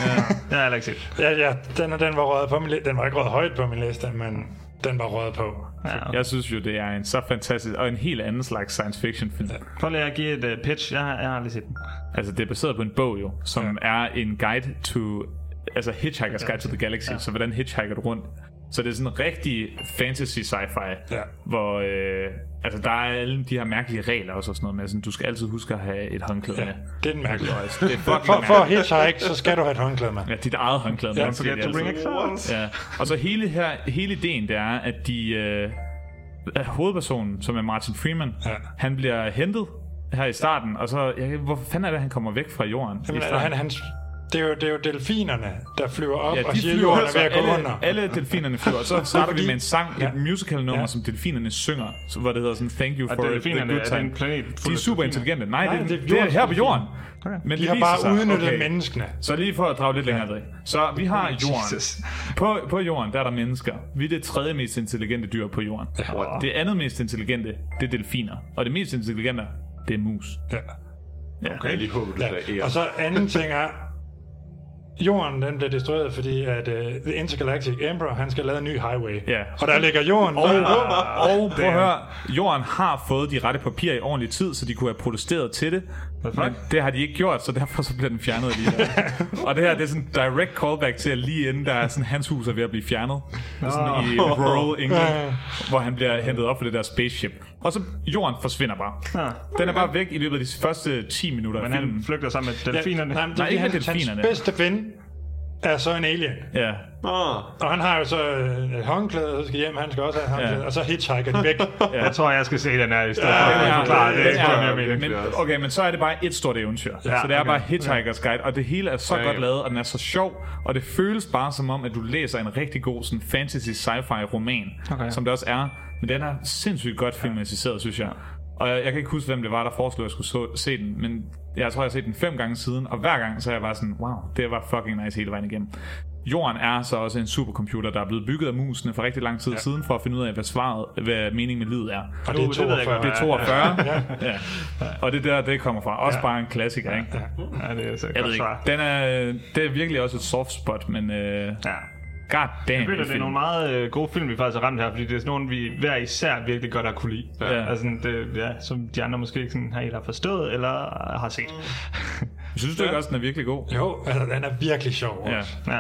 Speaker 1: har heller ikke set
Speaker 4: *laughs* ja, ja, den, og den var røget på min liste. Den var ikke røget højt på min liste, men den var røget på.
Speaker 2: Ja, okay. Jeg synes jo, det er en så fantastisk, og en helt anden slags science fiction film. Ja.
Speaker 1: Prøv lige at give et uh, pitch. Jeg har, jeg har aldrig set den.
Speaker 2: Altså, det er baseret på en bog jo, som ja. er en guide to... Altså, Hitchhiker's Guide to the Galaxy. Ja. Så hvordan hitchhiker du rundt? Så det er sådan rigtig fantasy sci-fi,
Speaker 4: ja.
Speaker 2: hvor øh, altså, der er alle de her mærkelige regler også og sådan noget med. Sådan, du skal altid huske at have et håndklæde ja. med.
Speaker 4: Det er den mærkelige.
Speaker 2: Og altså, Det er
Speaker 4: For,
Speaker 2: fucking
Speaker 4: for, for at
Speaker 2: mærkeligt.
Speaker 4: hitchhike, så skal du have et håndklæde med.
Speaker 2: Ja, dit eget håndklæde med.
Speaker 4: Ja.
Speaker 2: Don't forget
Speaker 4: Forget to bring
Speaker 2: altså. ja. Og så hele, her, hele ideen, det er, at de... Øh, at hovedpersonen, som er Martin Freeman, ja. han bliver hentet her i starten, og så, jeg, hvor fanden er det, han kommer væk fra jorden?
Speaker 4: Jamen,
Speaker 2: i
Speaker 4: altså,
Speaker 2: starten?
Speaker 4: han, han, det, er jo, det er jo delfinerne, der flyver op
Speaker 2: Ja,
Speaker 4: og
Speaker 2: de
Speaker 4: siger,
Speaker 2: flyver,
Speaker 4: jorden er
Speaker 2: altså,
Speaker 4: ved at gå
Speaker 2: alle,
Speaker 4: under.
Speaker 2: alle delfinerne flyver, og
Speaker 1: *laughs*
Speaker 2: så starter vi med en sang,
Speaker 4: Ja.
Speaker 2: et musical nummer, som delfinerne synger, så, hvor det hedder sådan, thank you
Speaker 1: Og
Speaker 2: for the good time.
Speaker 1: delfinerne, er det en planet fuld af
Speaker 2: de er super
Speaker 1: delfiner?
Speaker 2: intelligente. Nej,
Speaker 1: Nej,
Speaker 2: det,
Speaker 1: det
Speaker 2: det,
Speaker 1: er
Speaker 2: det, er her på
Speaker 1: jordens
Speaker 2: jorden.
Speaker 1: Okay.
Speaker 2: Men
Speaker 4: De
Speaker 2: det
Speaker 4: har
Speaker 2: viser
Speaker 4: bare
Speaker 2: sig,
Speaker 4: udnyttet menneskene.
Speaker 2: Så lige for at drage lidt længere ned. Så vi
Speaker 1: *laughs*
Speaker 2: har jorden.
Speaker 1: Jesus.
Speaker 2: På, på jorden, der er der mennesker. Vi er det tredje mest intelligente dyr på jorden.
Speaker 1: What?
Speaker 2: Det andet mest intelligente, det er delfiner. Og det mest intelligente, det er mus.
Speaker 4: Ja.
Speaker 3: Okay, jeg lige håber, du
Speaker 2: Altså,
Speaker 4: Ja.
Speaker 3: sagde ja.
Speaker 4: Og så
Speaker 2: *laughs*
Speaker 4: anden ting er, jorden den bliver destrueret, fordi at uh, The Intergalactic Emperor, han skal lave en ny highway.
Speaker 2: Ja.
Speaker 4: Og der ligger jorden.
Speaker 2: Og,
Speaker 4: Ah,
Speaker 2: og prøv at
Speaker 4: damn.
Speaker 2: høre, jorden har fået de rette papirer i ordentlig tid, så de kunne have protesteret til det. Men det har de ikke gjort, så derfor så bliver den fjernet
Speaker 1: *laughs*
Speaker 2: alligevel. og det her, det er sådan direct callback til, at lige inden der er sådan, hans hus er ved at blive fjernet. Det er sådan i
Speaker 1: Nå.
Speaker 2: rural England,
Speaker 1: *laughs* Ja.
Speaker 2: hvor han bliver hentet op på det der spaceship. Og så jorden forsvinder bare.
Speaker 1: Ja.
Speaker 2: Den er bare væk i løbet af de første 10 minutter
Speaker 1: Men
Speaker 2: af
Speaker 1: han
Speaker 2: filmen.
Speaker 1: flygter sammen med delfinerne.
Speaker 4: Ja, nej, det
Speaker 2: Nej,
Speaker 4: er
Speaker 2: ikke med
Speaker 4: ikke hans,
Speaker 2: delfinerne.
Speaker 4: hans bedste ven er så en alien.
Speaker 2: Ja.
Speaker 4: Og han har jo så øh, et håndklæde, så skal hjem, han skal også have et håndklæde,
Speaker 2: Ja.
Speaker 4: og så hitchhiker de væk.
Speaker 2: *laughs* Ja.
Speaker 1: Jeg tror, jeg skal se den her i stedet.
Speaker 2: Ja, ja,
Speaker 1: Klar, det er
Speaker 2: ja,
Speaker 1: ikke mere
Speaker 2: ja,
Speaker 1: mening.
Speaker 2: men, okay, men så er det bare et stort eventyr. Ja,
Speaker 1: Ja,
Speaker 2: så det er
Speaker 1: okay.
Speaker 2: bare Hitchhiker's Guide, og det hele er så
Speaker 1: Ja, ja.
Speaker 2: godt lavet, og den er så sjov, og det føles bare som om, at du læser en rigtig god sådan fantasy sci-fi roman,
Speaker 1: Okay.
Speaker 2: som det også er. Men den er sindssygt godt filmatiseret, synes jeg. Og jeg, jeg kan ikke huske, hvem det var, der foreslog, at jeg skulle så, se den, men jeg tror, jeg har set den fem gange siden, og hver gang så er jeg bare sådan, wow, det var fucking nice hele vejen igennem. Jorden er så også en supercomputer, der er blevet bygget af musene for rigtig lang tid ja. siden, for at finde ud af, hvad svaret, hvad meningen med livet er.
Speaker 4: Og det er
Speaker 2: Uh, ved jeg
Speaker 4: 42.
Speaker 2: godt. Det er 42. ja. Og det er der, det kommer fra. Også
Speaker 1: Ja.
Speaker 2: bare en klassiker, ikke?
Speaker 1: Ja, det er så
Speaker 2: Jeg
Speaker 1: godt
Speaker 2: ved ikke.
Speaker 1: svar.
Speaker 2: Den er, det er virkelig også et soft spot, men... Øh, God damn,
Speaker 1: Jeg føler, det er nogle meget øh, gode film, vi faktisk har ramt her, fordi det er sådan nogle, vi hver især virkelig godt har kunne lide.
Speaker 2: Ja.
Speaker 1: Altså, det, ja, som de andre måske ikke sådan helt har forstået eller har set.
Speaker 2: Mm. Synes du ikke også, den er virkelig god?
Speaker 4: Jo, altså den er virkelig sjov.
Speaker 2: Ja.
Speaker 4: også.
Speaker 1: *laughs*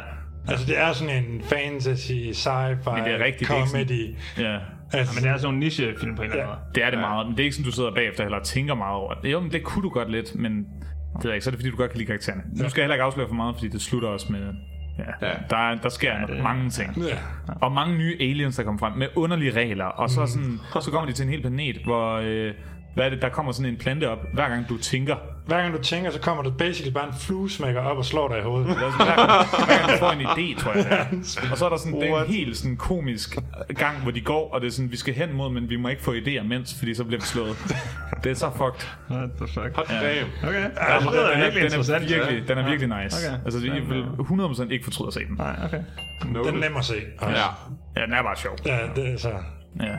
Speaker 1: Ja.
Speaker 4: Altså, det er sådan en fantasy, sci-fi,
Speaker 2: Men det er rigtigt, det er ikke sådan-
Speaker 4: comedy.
Speaker 2: Ja.
Speaker 4: Altså,
Speaker 1: men det er sådan en nichefilm på en eller anden måde.
Speaker 2: Det er det meget, men det er ikke sådan, du sidder bagefter heller og tænker meget over det. Jo, men det kunne du godt lidt, men det ved jeg ikke, så er det fordi, du godt kan lide karaktererne. Nu skal jeg heller ikke afsløre for meget, fordi det slutter også med... Ja, der, er- der sker ja, mange ting.
Speaker 4: Ja.
Speaker 2: Og mange nye aliens, der kommer frem med underlige regler. Og så, er sådan, så kommer de til en hel planet, hvor øh, hvad er det, der kommer sådan en plante op, hver gang du tænker.
Speaker 4: Hver gang du tænker, så kommer der basically bare en fluesmækker op og slår dig i hovedet.
Speaker 2: Det er sådan, Hver gang, hver gang du får en idé, tror jeg. Det er. Og så er der sådan det er en helt sådan komisk gang, hvor de går, og det er sådan, vi skal hen mod, men vi må ikke få idéer mens, fordi så bliver vi slået. Det er så fucked.
Speaker 1: What the fuck?
Speaker 3: Hot damn.
Speaker 1: Okay. Ja,
Speaker 2: Ja,
Speaker 1: det
Speaker 2: den,
Speaker 1: lyder
Speaker 2: er,
Speaker 1: virkelig
Speaker 2: den, er
Speaker 1: interessant.
Speaker 2: altså. virkelig, den er
Speaker 1: Ja.
Speaker 2: virkelig nice.
Speaker 1: Okay.
Speaker 2: Altså, jeg vil 100% ikke fortryde at se den.
Speaker 1: Nej, okay.
Speaker 4: Den er nem at se.
Speaker 2: Ja. ja, den er bare sjov.
Speaker 4: Ja, det er så...
Speaker 2: Ja.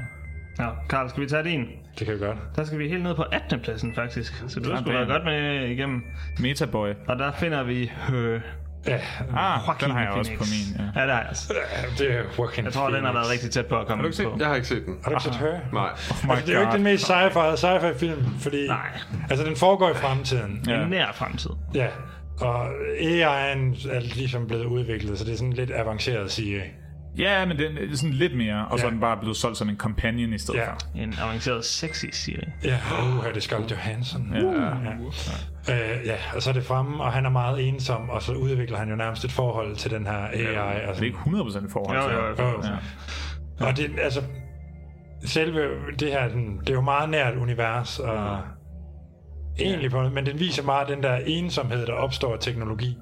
Speaker 1: Nå, Karl, skal vi tage din?
Speaker 4: Det kan vi godt.
Speaker 1: Der skal vi helt ned på 18. pladsen, faktisk. Så du
Speaker 2: Sådan.
Speaker 1: skulle være godt med øh, igennem.
Speaker 2: Metaboy.
Speaker 1: Og der finder vi... Øh,
Speaker 4: ja,
Speaker 2: ah,
Speaker 1: Joaquin
Speaker 2: den har jeg også
Speaker 1: Phoenix.
Speaker 2: på min, ja.
Speaker 1: Ja, det har jeg også.
Speaker 4: Det er Joaquin
Speaker 1: Jeg tror, den har
Speaker 4: Phoenix.
Speaker 1: været rigtig Ah. tæt på at komme
Speaker 2: Har du ikke set
Speaker 1: på.
Speaker 2: den?
Speaker 3: Jeg har ikke set den.
Speaker 4: Har du ikke set Her?
Speaker 3: Nej.
Speaker 2: Oh
Speaker 4: altså, det er jo ikke den mest sci-fi, sci-fi film, fordi Nej. altså, den foregår i fremtiden.
Speaker 1: Ja. En nær fremtid.
Speaker 4: Ja, og AI'en er ligesom blevet udviklet, så det er sådan lidt avanceret at sige.
Speaker 2: Ja, men den er sådan lidt mere, og så er den bare blevet solgt som en companion i stedet
Speaker 4: Ja.
Speaker 2: for.
Speaker 1: En avanceret sexy serie.
Speaker 4: Ja, uh, det er Scarlett Johansson. Uh.
Speaker 2: Ja.
Speaker 4: Ja. Øh, ja, og så er det fremme, og han er meget ensom, og så udvikler han jo nærmest et forhold til den her AI. Ja,
Speaker 2: Altså, Det er ikke 100% i forhold
Speaker 4: Jo,
Speaker 2: til.
Speaker 4: jo, jo.
Speaker 2: Ja.
Speaker 4: Og det, altså, selve det her, den, det er jo meget nært univers, og egentlig på, men den viser meget den der ensomhed, der opstår af teknologi.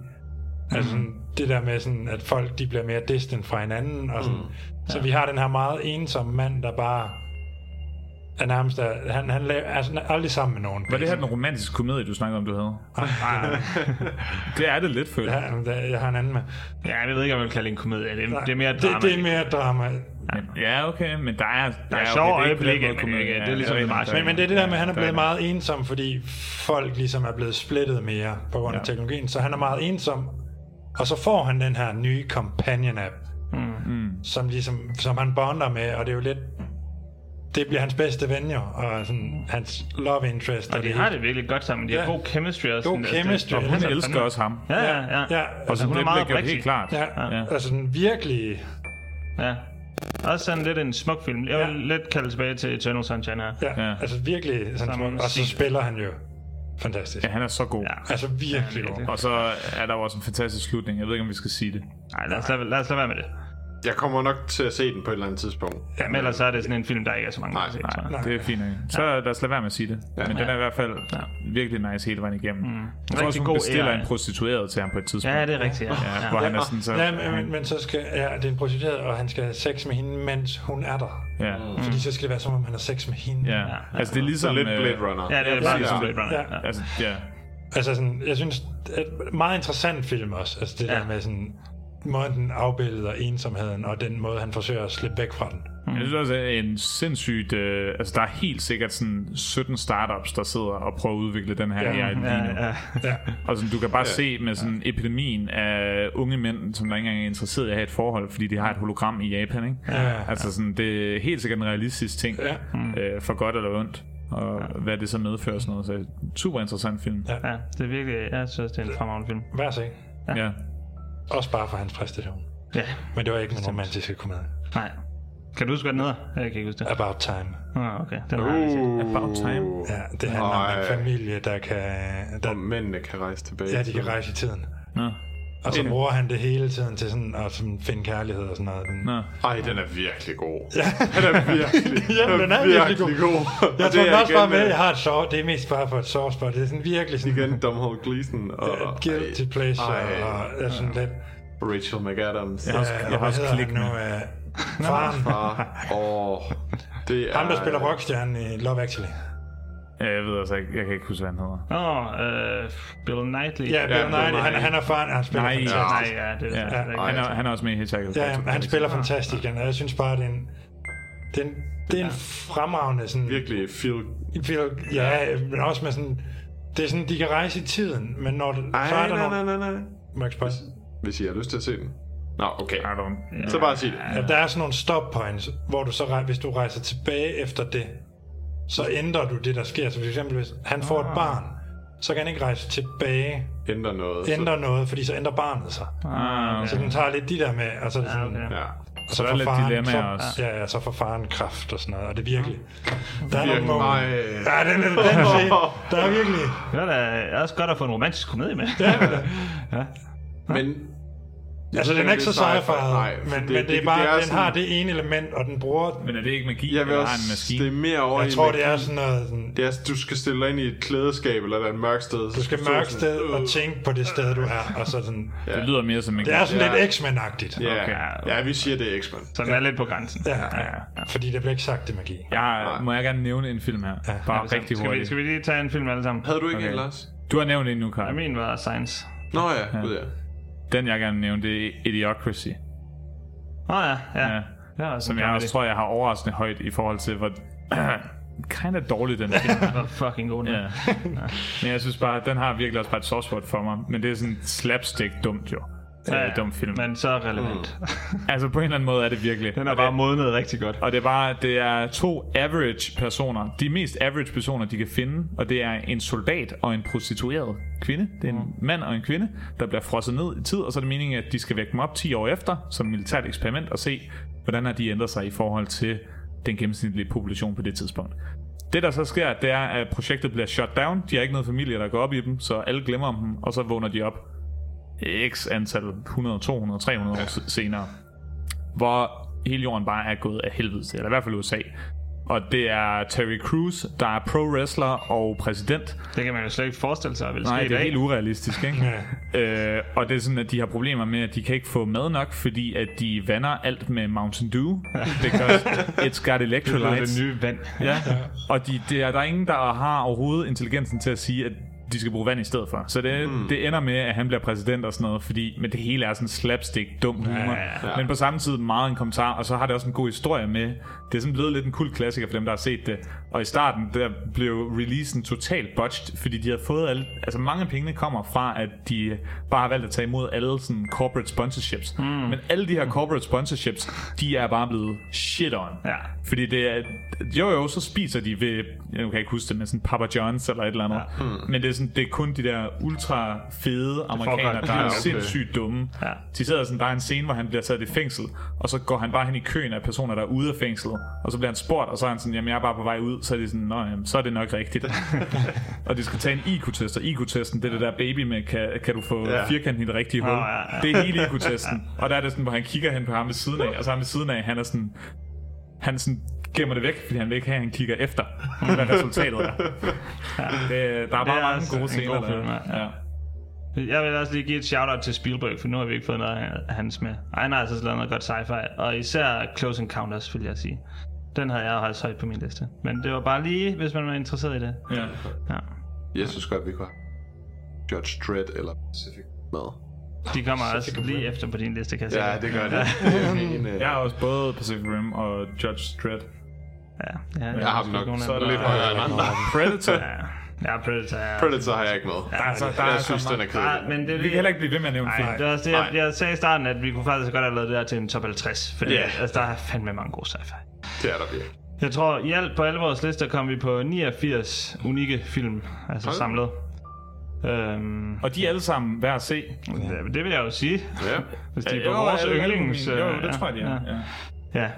Speaker 4: Altså sådan,
Speaker 2: Mm-hmm.
Speaker 4: det der med sådan, at folk de bliver mere distant fra hinanden, og sådan.
Speaker 2: Mm.
Speaker 4: Så vi har den her meget ensomme mand, der bare er nærmest, er, han, han laver, altså, han er aldrig sammen med nogen.
Speaker 2: Var det her den romantiske komedie, du snakkede om, du havde? *laughs* det er det lidt, føler jeg.
Speaker 4: Ja, men der- jeg har en anden med.
Speaker 1: Ja, jeg ved ikke, om jeg vil kalde det en komedie. Det er, det er mere et
Speaker 4: det,
Speaker 1: drama.
Speaker 4: det er mere drama.
Speaker 2: Men- Ja, okay, men der er...
Speaker 1: Der er
Speaker 2: ja,
Speaker 1: sjove
Speaker 2: okay, det er ikke på den
Speaker 1: øjeblikke,
Speaker 2: måde
Speaker 1: men
Speaker 2: komedie.
Speaker 1: ikke- det er
Speaker 2: Ja,
Speaker 1: ligesom
Speaker 2: rigtigt.
Speaker 1: meget-
Speaker 4: Men, men det er det der med, at han er
Speaker 2: Ja,
Speaker 4: blevet
Speaker 2: der
Speaker 4: meget ensom, fordi folk ligesom er blevet splittet mere på grund af
Speaker 2: Ja.
Speaker 4: teknologien, så han er meget ensom. Og så får han den her nye companion-app,
Speaker 1: Mm-hmm.
Speaker 2: Mm.
Speaker 4: som, ligesom, som han bonder med, og det er jo lidt... Det bliver hans bedste ven jo, og sådan, hans love interest.
Speaker 1: Og de
Speaker 4: det
Speaker 1: har
Speaker 4: hele.
Speaker 1: det virkelig godt sammen. De har
Speaker 4: Ja.
Speaker 1: god chemistry og
Speaker 4: God
Speaker 1: sådan altså,
Speaker 4: chemistry.
Speaker 1: Og
Speaker 4: Og hun
Speaker 2: Hun elsker også ham.
Speaker 1: Ja, ja, ja.
Speaker 4: Ja.
Speaker 2: Og så
Speaker 1: altså, hun er
Speaker 2: det
Speaker 1: meget
Speaker 2: bliver gjort
Speaker 1: oprigtig.
Speaker 2: helt klart.
Speaker 4: Ja, altså den virkelig...
Speaker 1: Ja. Også sådan lidt en smuk film. Jeg vil lidt kalde tilbage til Eternal Sunshine her.
Speaker 4: Ja, ja. altså virkelig sådan smuk. Og så spiller han jo fantastisk.
Speaker 2: Ja, han er så god. Ja.
Speaker 4: Altså virkelig god.
Speaker 2: Og så er der jo også en fantastisk slutning. Jeg ved ikke, om vi skal sige det.
Speaker 1: Nej, lad os, lad, lad os lade være med det.
Speaker 3: Jeg kommer nok til at se den på et eller andet tidspunkt.
Speaker 1: Ja, men ellers så er det sådan en film, der ikke er så mange nej, nej, nej.
Speaker 2: Det er fint. Ikke? Så lad os lade være med at sige det. Ja. Men den er i hvert fald virkelig nice hele vejen igennem. Mm. Jeg tror
Speaker 1: Rigtig
Speaker 2: også, hun
Speaker 1: god
Speaker 2: bestiller
Speaker 1: AI.
Speaker 2: en prostitueret til ham på et tidspunkt.
Speaker 1: Ja, det er rigtigt, ja. Ja.
Speaker 2: Hvor han er
Speaker 4: og-
Speaker 2: sådan så...
Speaker 4: ja, men, men, men så skal ja, det er en prostitueret, og han skal have sex med hende, mens hun er der.
Speaker 2: Ja.
Speaker 4: Fordi så skal det være, som om han har sex med hende.
Speaker 2: Ja. Altså, det er ligesom...
Speaker 3: Lidt
Speaker 2: øh,
Speaker 3: Blade Runner.
Speaker 1: Ja, det er bare ligesom Blade Runner.
Speaker 4: Ja.
Speaker 2: Altså, ja.
Speaker 4: Altså sådan, jeg synes, det er et meget interessant film også. Altså det ja. der med sådan, måden den afbilleder ensomheden, og den måde, han forsøger at slippe væk fra den.
Speaker 1: Mm.
Speaker 2: Jeg synes også, det er en sindssygt... Øh, altså, der er helt sikkert sådan 17 startups, der sidder og prøver at udvikle den her
Speaker 4: Ja.
Speaker 2: AI lige nu.
Speaker 1: Ja,
Speaker 4: ja.
Speaker 2: Og sådan, du kan bare ja. se med sådan epidemien af unge mænd, som der ikke engang er interesseret i at have et forhold, fordi de har et hologram i Japan, ikke?
Speaker 4: Ja. Mm.
Speaker 2: Altså sådan, det er helt sikkert en realistisk ting,
Speaker 4: Ja.
Speaker 2: øh, for godt eller ondt, og ja. hvad det så medfører og sådan noget. Så super interessant film.
Speaker 4: Ja.
Speaker 1: Ja, det er virkelig, jeg synes, det er en fremragende film.
Speaker 4: Vær så ikke.
Speaker 2: Ja. ja.
Speaker 4: Også bare for hans præstation.
Speaker 1: Ja,
Speaker 4: Men det var ikke en romantisk komedie.
Speaker 1: nej. Kan du huske, hvad den hedder? Jeg kan ikke huske det.
Speaker 4: About Time.
Speaker 1: Ah, okay. Den har jeg aldrig
Speaker 3: Uh.
Speaker 1: set.
Speaker 2: About Time.
Speaker 4: Ja, det handler om en
Speaker 3: Ej.
Speaker 4: familie, der kan... Der,
Speaker 3: Og mændene kan rejse tilbage.
Speaker 4: ja, de kan rejse i tiden.
Speaker 2: Nå.
Speaker 4: Og så
Speaker 3: Okay.
Speaker 4: bruger han det hele tiden til sådan at sådan finde kærlighed og sådan noget. Den,
Speaker 2: Nå.
Speaker 3: Ej, den er virkelig god. Den er virkelig,
Speaker 4: *laughs* Ja, den er virkelig god.
Speaker 3: god.
Speaker 4: Jeg
Speaker 3: Og
Speaker 4: tror
Speaker 3: det
Speaker 4: den
Speaker 3: er
Speaker 4: også bare
Speaker 3: igen,
Speaker 4: med, at
Speaker 3: øh,
Speaker 4: jeg har et sår. Det er mest bare for et sårspot. Det er sådan virkelig sådan...
Speaker 3: Igen Domhnall Gleeson og...
Speaker 4: Guilty pleasure
Speaker 3: Ej.
Speaker 4: og er sådan lidt... øh,
Speaker 3: Rachel McAdams.
Speaker 4: Ja, jeg har også klik nu. Øh, faren.
Speaker 3: Far. Åh, det
Speaker 4: *laughs*
Speaker 3: er...
Speaker 4: Ham, der spiller rockstjernen i Love Actually.
Speaker 2: Ja, Jeg ved altså ikke, jeg kan ikke huske, hvad han hedder.
Speaker 1: Nå, øh, Bill Knightley.
Speaker 4: Ja, Bill Knight, han, han er faren, han spiller
Speaker 2: Nej, ja.
Speaker 4: fantastisk.
Speaker 1: Nej, ja, det er
Speaker 2: Ja,
Speaker 1: det. er
Speaker 2: han, er, han er også med i Hitchhiker's
Speaker 4: Ja, ja,
Speaker 2: Guide to
Speaker 4: han
Speaker 2: the
Speaker 4: spiller fantastisk, igen, og jeg synes bare, det er en, det er en, det er en fremragende sådan...
Speaker 3: Virkelig feel...
Speaker 4: Virkelig. Ja, men også med sådan... Det er sådan, de kan rejse i tiden, men når...
Speaker 3: Ej,
Speaker 4: så er der
Speaker 3: nej,
Speaker 4: nogle-
Speaker 3: nej, nej, nej.
Speaker 4: Må jeg ikke spørge?
Speaker 3: Hvis I har lyst til at se den. Nå, okay.
Speaker 2: I don't...
Speaker 3: Så bare sig det.
Speaker 4: Ja, der er sådan nogle stop points, hvor du så rej- hvis du rejser tilbage efter det, Ah. så ændrer du det, der sker. Så for eksempel, hvis han får et barn, så kan han ikke rejse tilbage
Speaker 3: ændrer noget.
Speaker 4: ændrer noget, fordi så ændrer barnet sig.
Speaker 3: Ah, okay.
Speaker 4: Så den tager lidt de der med, og så er det sådan...
Speaker 3: Ja.
Speaker 4: Og
Speaker 2: Så
Speaker 4: så,
Speaker 2: der er
Speaker 4: får
Speaker 2: lidt
Speaker 4: faren,
Speaker 2: dilemmaer
Speaker 4: så,
Speaker 2: også.
Speaker 4: Ja, ja, så får faren kraft og sådan noget, og det er virkelig... Der er
Speaker 1: Virkelig.
Speaker 4: nogle
Speaker 1: Nej.
Speaker 4: momenter... Ja, den, den, den, er fed. *laughs* der er virkelig...
Speaker 1: Det er da også godt at få en romantisk komedie med. ja.
Speaker 3: Men...
Speaker 4: Altså, den er ikke så sci-fi, men, men det, er bare, den
Speaker 3: sådan-
Speaker 4: har det ene element, og den bruger...
Speaker 2: Men er det ikke magi,
Speaker 3: Jeg vil også, det er mere over
Speaker 4: Jeg
Speaker 3: i
Speaker 4: tror,
Speaker 3: magi.
Speaker 4: det er sådan noget... sådan-
Speaker 3: Det er, du skal stille dig ind i et klædeskab, eller der er et mørkt sted.
Speaker 4: Du skal mørkt sted og
Speaker 3: Øh.
Speaker 4: tænke på det sted, du er, og så sådan...
Speaker 2: Det lyder mere som en
Speaker 4: Det er sådan lidt X-Men-agtigt.
Speaker 3: Ja, okay. ja, vi siger, det er X-Men.
Speaker 1: Som er lidt på grænsen.
Speaker 4: Ja, ja, ja. fordi der bliver ikke sagt, det er magi.
Speaker 2: Jeg, må jeg gerne nævne en film her? Ja, Bare
Speaker 1: Skal
Speaker 2: rigtig
Speaker 1: vi,
Speaker 2: hurtigt.
Speaker 1: skal vi lige tage en film alle sammen?
Speaker 3: Havde du ikke en, Lars?
Speaker 2: Du har nævnt en nu, Karl.
Speaker 1: Ja, min var Science.
Speaker 3: Nå ja, gud ja.
Speaker 2: Den, jeg gerne vil nævne, det er Idiocracy.
Speaker 1: Åh oh, ja, ja. ja.
Speaker 2: Ja,
Speaker 1: også
Speaker 2: som
Speaker 1: en
Speaker 2: jeg
Speaker 1: comedy.
Speaker 2: også tror, jeg har overraskende højt i forhold til, hvor *clears throat* kind of dårlig den
Speaker 1: *laughs*
Speaker 2: film
Speaker 1: Den var fucking god.
Speaker 2: Ja. Men jeg synes bare, den har virkelig også bare et soft spot for mig. Men det er sådan slapstick dumt jo.
Speaker 1: Ja,
Speaker 2: Ja, dum film.
Speaker 1: Men så relevant.
Speaker 2: altså på en eller anden måde er det virkelig. Mm. Den
Speaker 1: er *laughs* bare modnet rigtig godt.
Speaker 2: Og det er bare, det er to average personer. De mest average personer, de kan finde. Og det er en soldat og en prostitueret kvinde. Det er en mand og en kvinde, der bliver frosset ned i tid. Og så er det meningen, at de skal vække dem op 10 år efter, som militært eksperiment, og se, hvordan har de ændret sig i forhold til den gennemsnitlige population på det tidspunkt. Det der så sker, det er, at projektet bliver shut down. De har ikke noget familie, der går op i dem, så alle glemmer om dem, og så vågner de op x antal 100, 200, 300 år se- senere. Hvor hele jorden bare er gået af helvede til, eller i hvert fald USA. Og det er Terry Crews, der er pro-wrestler og præsident.
Speaker 1: Det kan man jo slet ikke forestille sig, vil ske
Speaker 2: Nej,
Speaker 1: i
Speaker 2: det er
Speaker 1: dag.
Speaker 2: helt
Speaker 1: *laughs*
Speaker 2: urealistisk, ikke? øh, og det er sådan, at de har problemer med, at de kan ikke få mad nok, fordi at de vander alt med Mountain Dew. Because it's
Speaker 1: *laughs* Det er
Speaker 2: got
Speaker 1: blevet
Speaker 2: electrolytes.
Speaker 1: det nye vand.
Speaker 2: Ja, og de, det er, der er ingen, der har overhovedet intelligensen til at sige, at de skal bruge vand i stedet for. Så det, mm. det ender med, at han bliver præsident og sådan noget, fordi men det hele er sådan slapstick, dum humor.
Speaker 1: Ja,
Speaker 2: Ja,
Speaker 1: ja.
Speaker 2: ja. Men på samme tid meget en kommentar, og så har det også en god historie med. Det er sådan blevet lidt en kult klassiker for dem, der har set det. Og i starten, der blev releasen totalt botched, fordi de havde fået alle... Altså mange af pengene kommer fra, at de bare har valgt at tage imod alle sådan corporate sponsorships. Mm. Men alle de her corporate sponsorships, de er bare blevet shit on.
Speaker 1: Ja.
Speaker 2: Fordi det er... Jo jo, så spiser de ved... Jeg kan ikke huske det, men sådan Papa John's eller et eller andet. Ja.
Speaker 1: Hmm.
Speaker 2: Mm. Men det er, sådan, det er kun de der ultra fede amerikanere,
Speaker 1: godt.
Speaker 2: der
Speaker 1: Ja,
Speaker 2: er
Speaker 1: okay.
Speaker 2: sindssygt dumme. Ja. De sidder sådan, der er en scene, hvor han bliver sat i fængsel, og så går han bare hen i køen af personer, der er ude af fængslet, og så bliver han spurgt, og så er han sådan, jamen jeg er bare på vej ud, så er de sådan, nå jamen, så er det nok rigtigt.
Speaker 1: *laughs*
Speaker 2: og de skal tage en IQ-test, og IQ-testen, det er det der baby med, kan, kan du få
Speaker 1: Ja.
Speaker 2: ja. firkanten i det rigtige
Speaker 1: Nå,
Speaker 2: hul.
Speaker 1: ja, ja.
Speaker 2: Det er hele IQ-testen. og der er det sådan, hvor han kigger hen på ham ved siden af, og så er ham ved siden af, han er sådan, han sådan gemmer det væk, fordi han vil ikke have, at han kigger efter, hvad resultatet er. Det, der er bare mange
Speaker 1: altså
Speaker 2: gode
Speaker 1: en
Speaker 2: scener.
Speaker 1: god film,
Speaker 2: der.
Speaker 1: ja.
Speaker 2: Ja.
Speaker 1: Jeg vil også lige give et shout-out til Spielberg, for nu har vi ikke fået noget af hans med. Ej, han har altså lavet noget godt sci-fi, og især Close Encounters, vil jeg sige. Den havde jeg også højt på min liste. Men det var bare lige, hvis man var interesseret i det.
Speaker 2: Ja.
Speaker 1: ja.
Speaker 3: Jeg synes godt, vi kunne have Judge Dredd eller Pacific med.
Speaker 1: De kommer også lige efter på din liste, kan jeg
Speaker 3: Ja,
Speaker 1: se.
Speaker 3: det gør det. Det er sådan en, øh,
Speaker 2: Jeg har også både Pacific Rim og Judge Dredd.
Speaker 1: Ja, ja,
Speaker 3: Jeg har dem
Speaker 1: måske
Speaker 3: nok
Speaker 1: nogle af
Speaker 3: så
Speaker 1: dem.
Speaker 3: lidt højere end andre.
Speaker 2: Predator.
Speaker 1: Ja, ja Predator. Ja.
Speaker 3: Predator har jeg ikke med. Der
Speaker 2: er så- Altså, der
Speaker 3: jeg
Speaker 2: er så
Speaker 3: synes,
Speaker 2: mange-
Speaker 3: den er kedelig.
Speaker 1: Nej, Ah, men det, er
Speaker 2: Vi
Speaker 1: lige-
Speaker 2: kan heller ikke blive ved med at nævne
Speaker 1: Nej,
Speaker 2: film.
Speaker 1: det er også det, jeg, jeg sagde i starten, at vi kunne faktisk godt have lavet det her til en top 50, fordi
Speaker 3: Ja.
Speaker 1: yeah. altså, der er fandme mange gode sci-fi.
Speaker 3: Det er der virkelig.
Speaker 1: Jeg tror, i alt på alle vores lister kom vi på 89 unikke film, altså
Speaker 2: Hold.
Speaker 1: samlet. Øhm,
Speaker 2: Og de er alle sammen værd at se.
Speaker 1: det, det vil jeg jo sige.
Speaker 3: Ja.
Speaker 1: Hvis de er
Speaker 2: Jo,
Speaker 1: på vores
Speaker 2: alle- alle
Speaker 1: yndlings...
Speaker 2: mine- jo,
Speaker 1: øh,
Speaker 2: det tror jeg, de er,
Speaker 1: Ja. ja.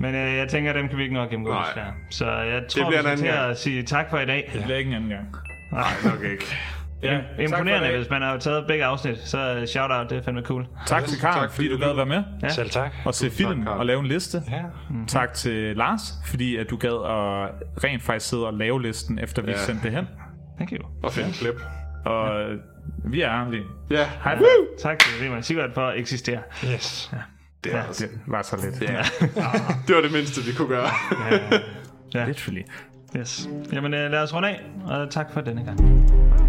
Speaker 1: Men øh, jeg tænker, dem kan vi ikke nok gennemgå.
Speaker 2: Nej.
Speaker 1: desværre. Så jeg tror,
Speaker 2: bliver
Speaker 1: vi
Speaker 2: en
Speaker 1: skal
Speaker 2: anden
Speaker 1: til
Speaker 2: gang.
Speaker 1: at sige tak for i dag.
Speaker 2: Det bliver ikke en anden gang.
Speaker 1: Nej,
Speaker 2: nok ikke. Ja,
Speaker 1: Imponerende,
Speaker 2: tak,
Speaker 1: hvis man har taget begge afsnit, så øh, shout-out, det er fandme cool.
Speaker 2: for, tak til Karen, fordi du gad være med.
Speaker 1: Ja. Selv
Speaker 4: tak.
Speaker 2: Og se film og lave en liste.
Speaker 4: Ja.
Speaker 2: Tak til Lars, fordi at du gad at rent faktisk sidde og lave listen, efter vi
Speaker 3: Ja.
Speaker 2: sendte det hen.
Speaker 1: Thank you.
Speaker 3: Og finde klip.
Speaker 2: Og øh, vi er ærlige.
Speaker 3: Ja.
Speaker 2: Hej.
Speaker 1: Tak til Riemann Sigurd for at eksistere.
Speaker 4: Yes.
Speaker 1: Ja.
Speaker 3: Det, er også,
Speaker 2: Det var så lidt.
Speaker 3: Ja. det var det mindste, vi kunne gøre.
Speaker 1: Ja.
Speaker 2: Literally.
Speaker 1: Yes. Jamen øh, lad os runde af, og tak for denne gang.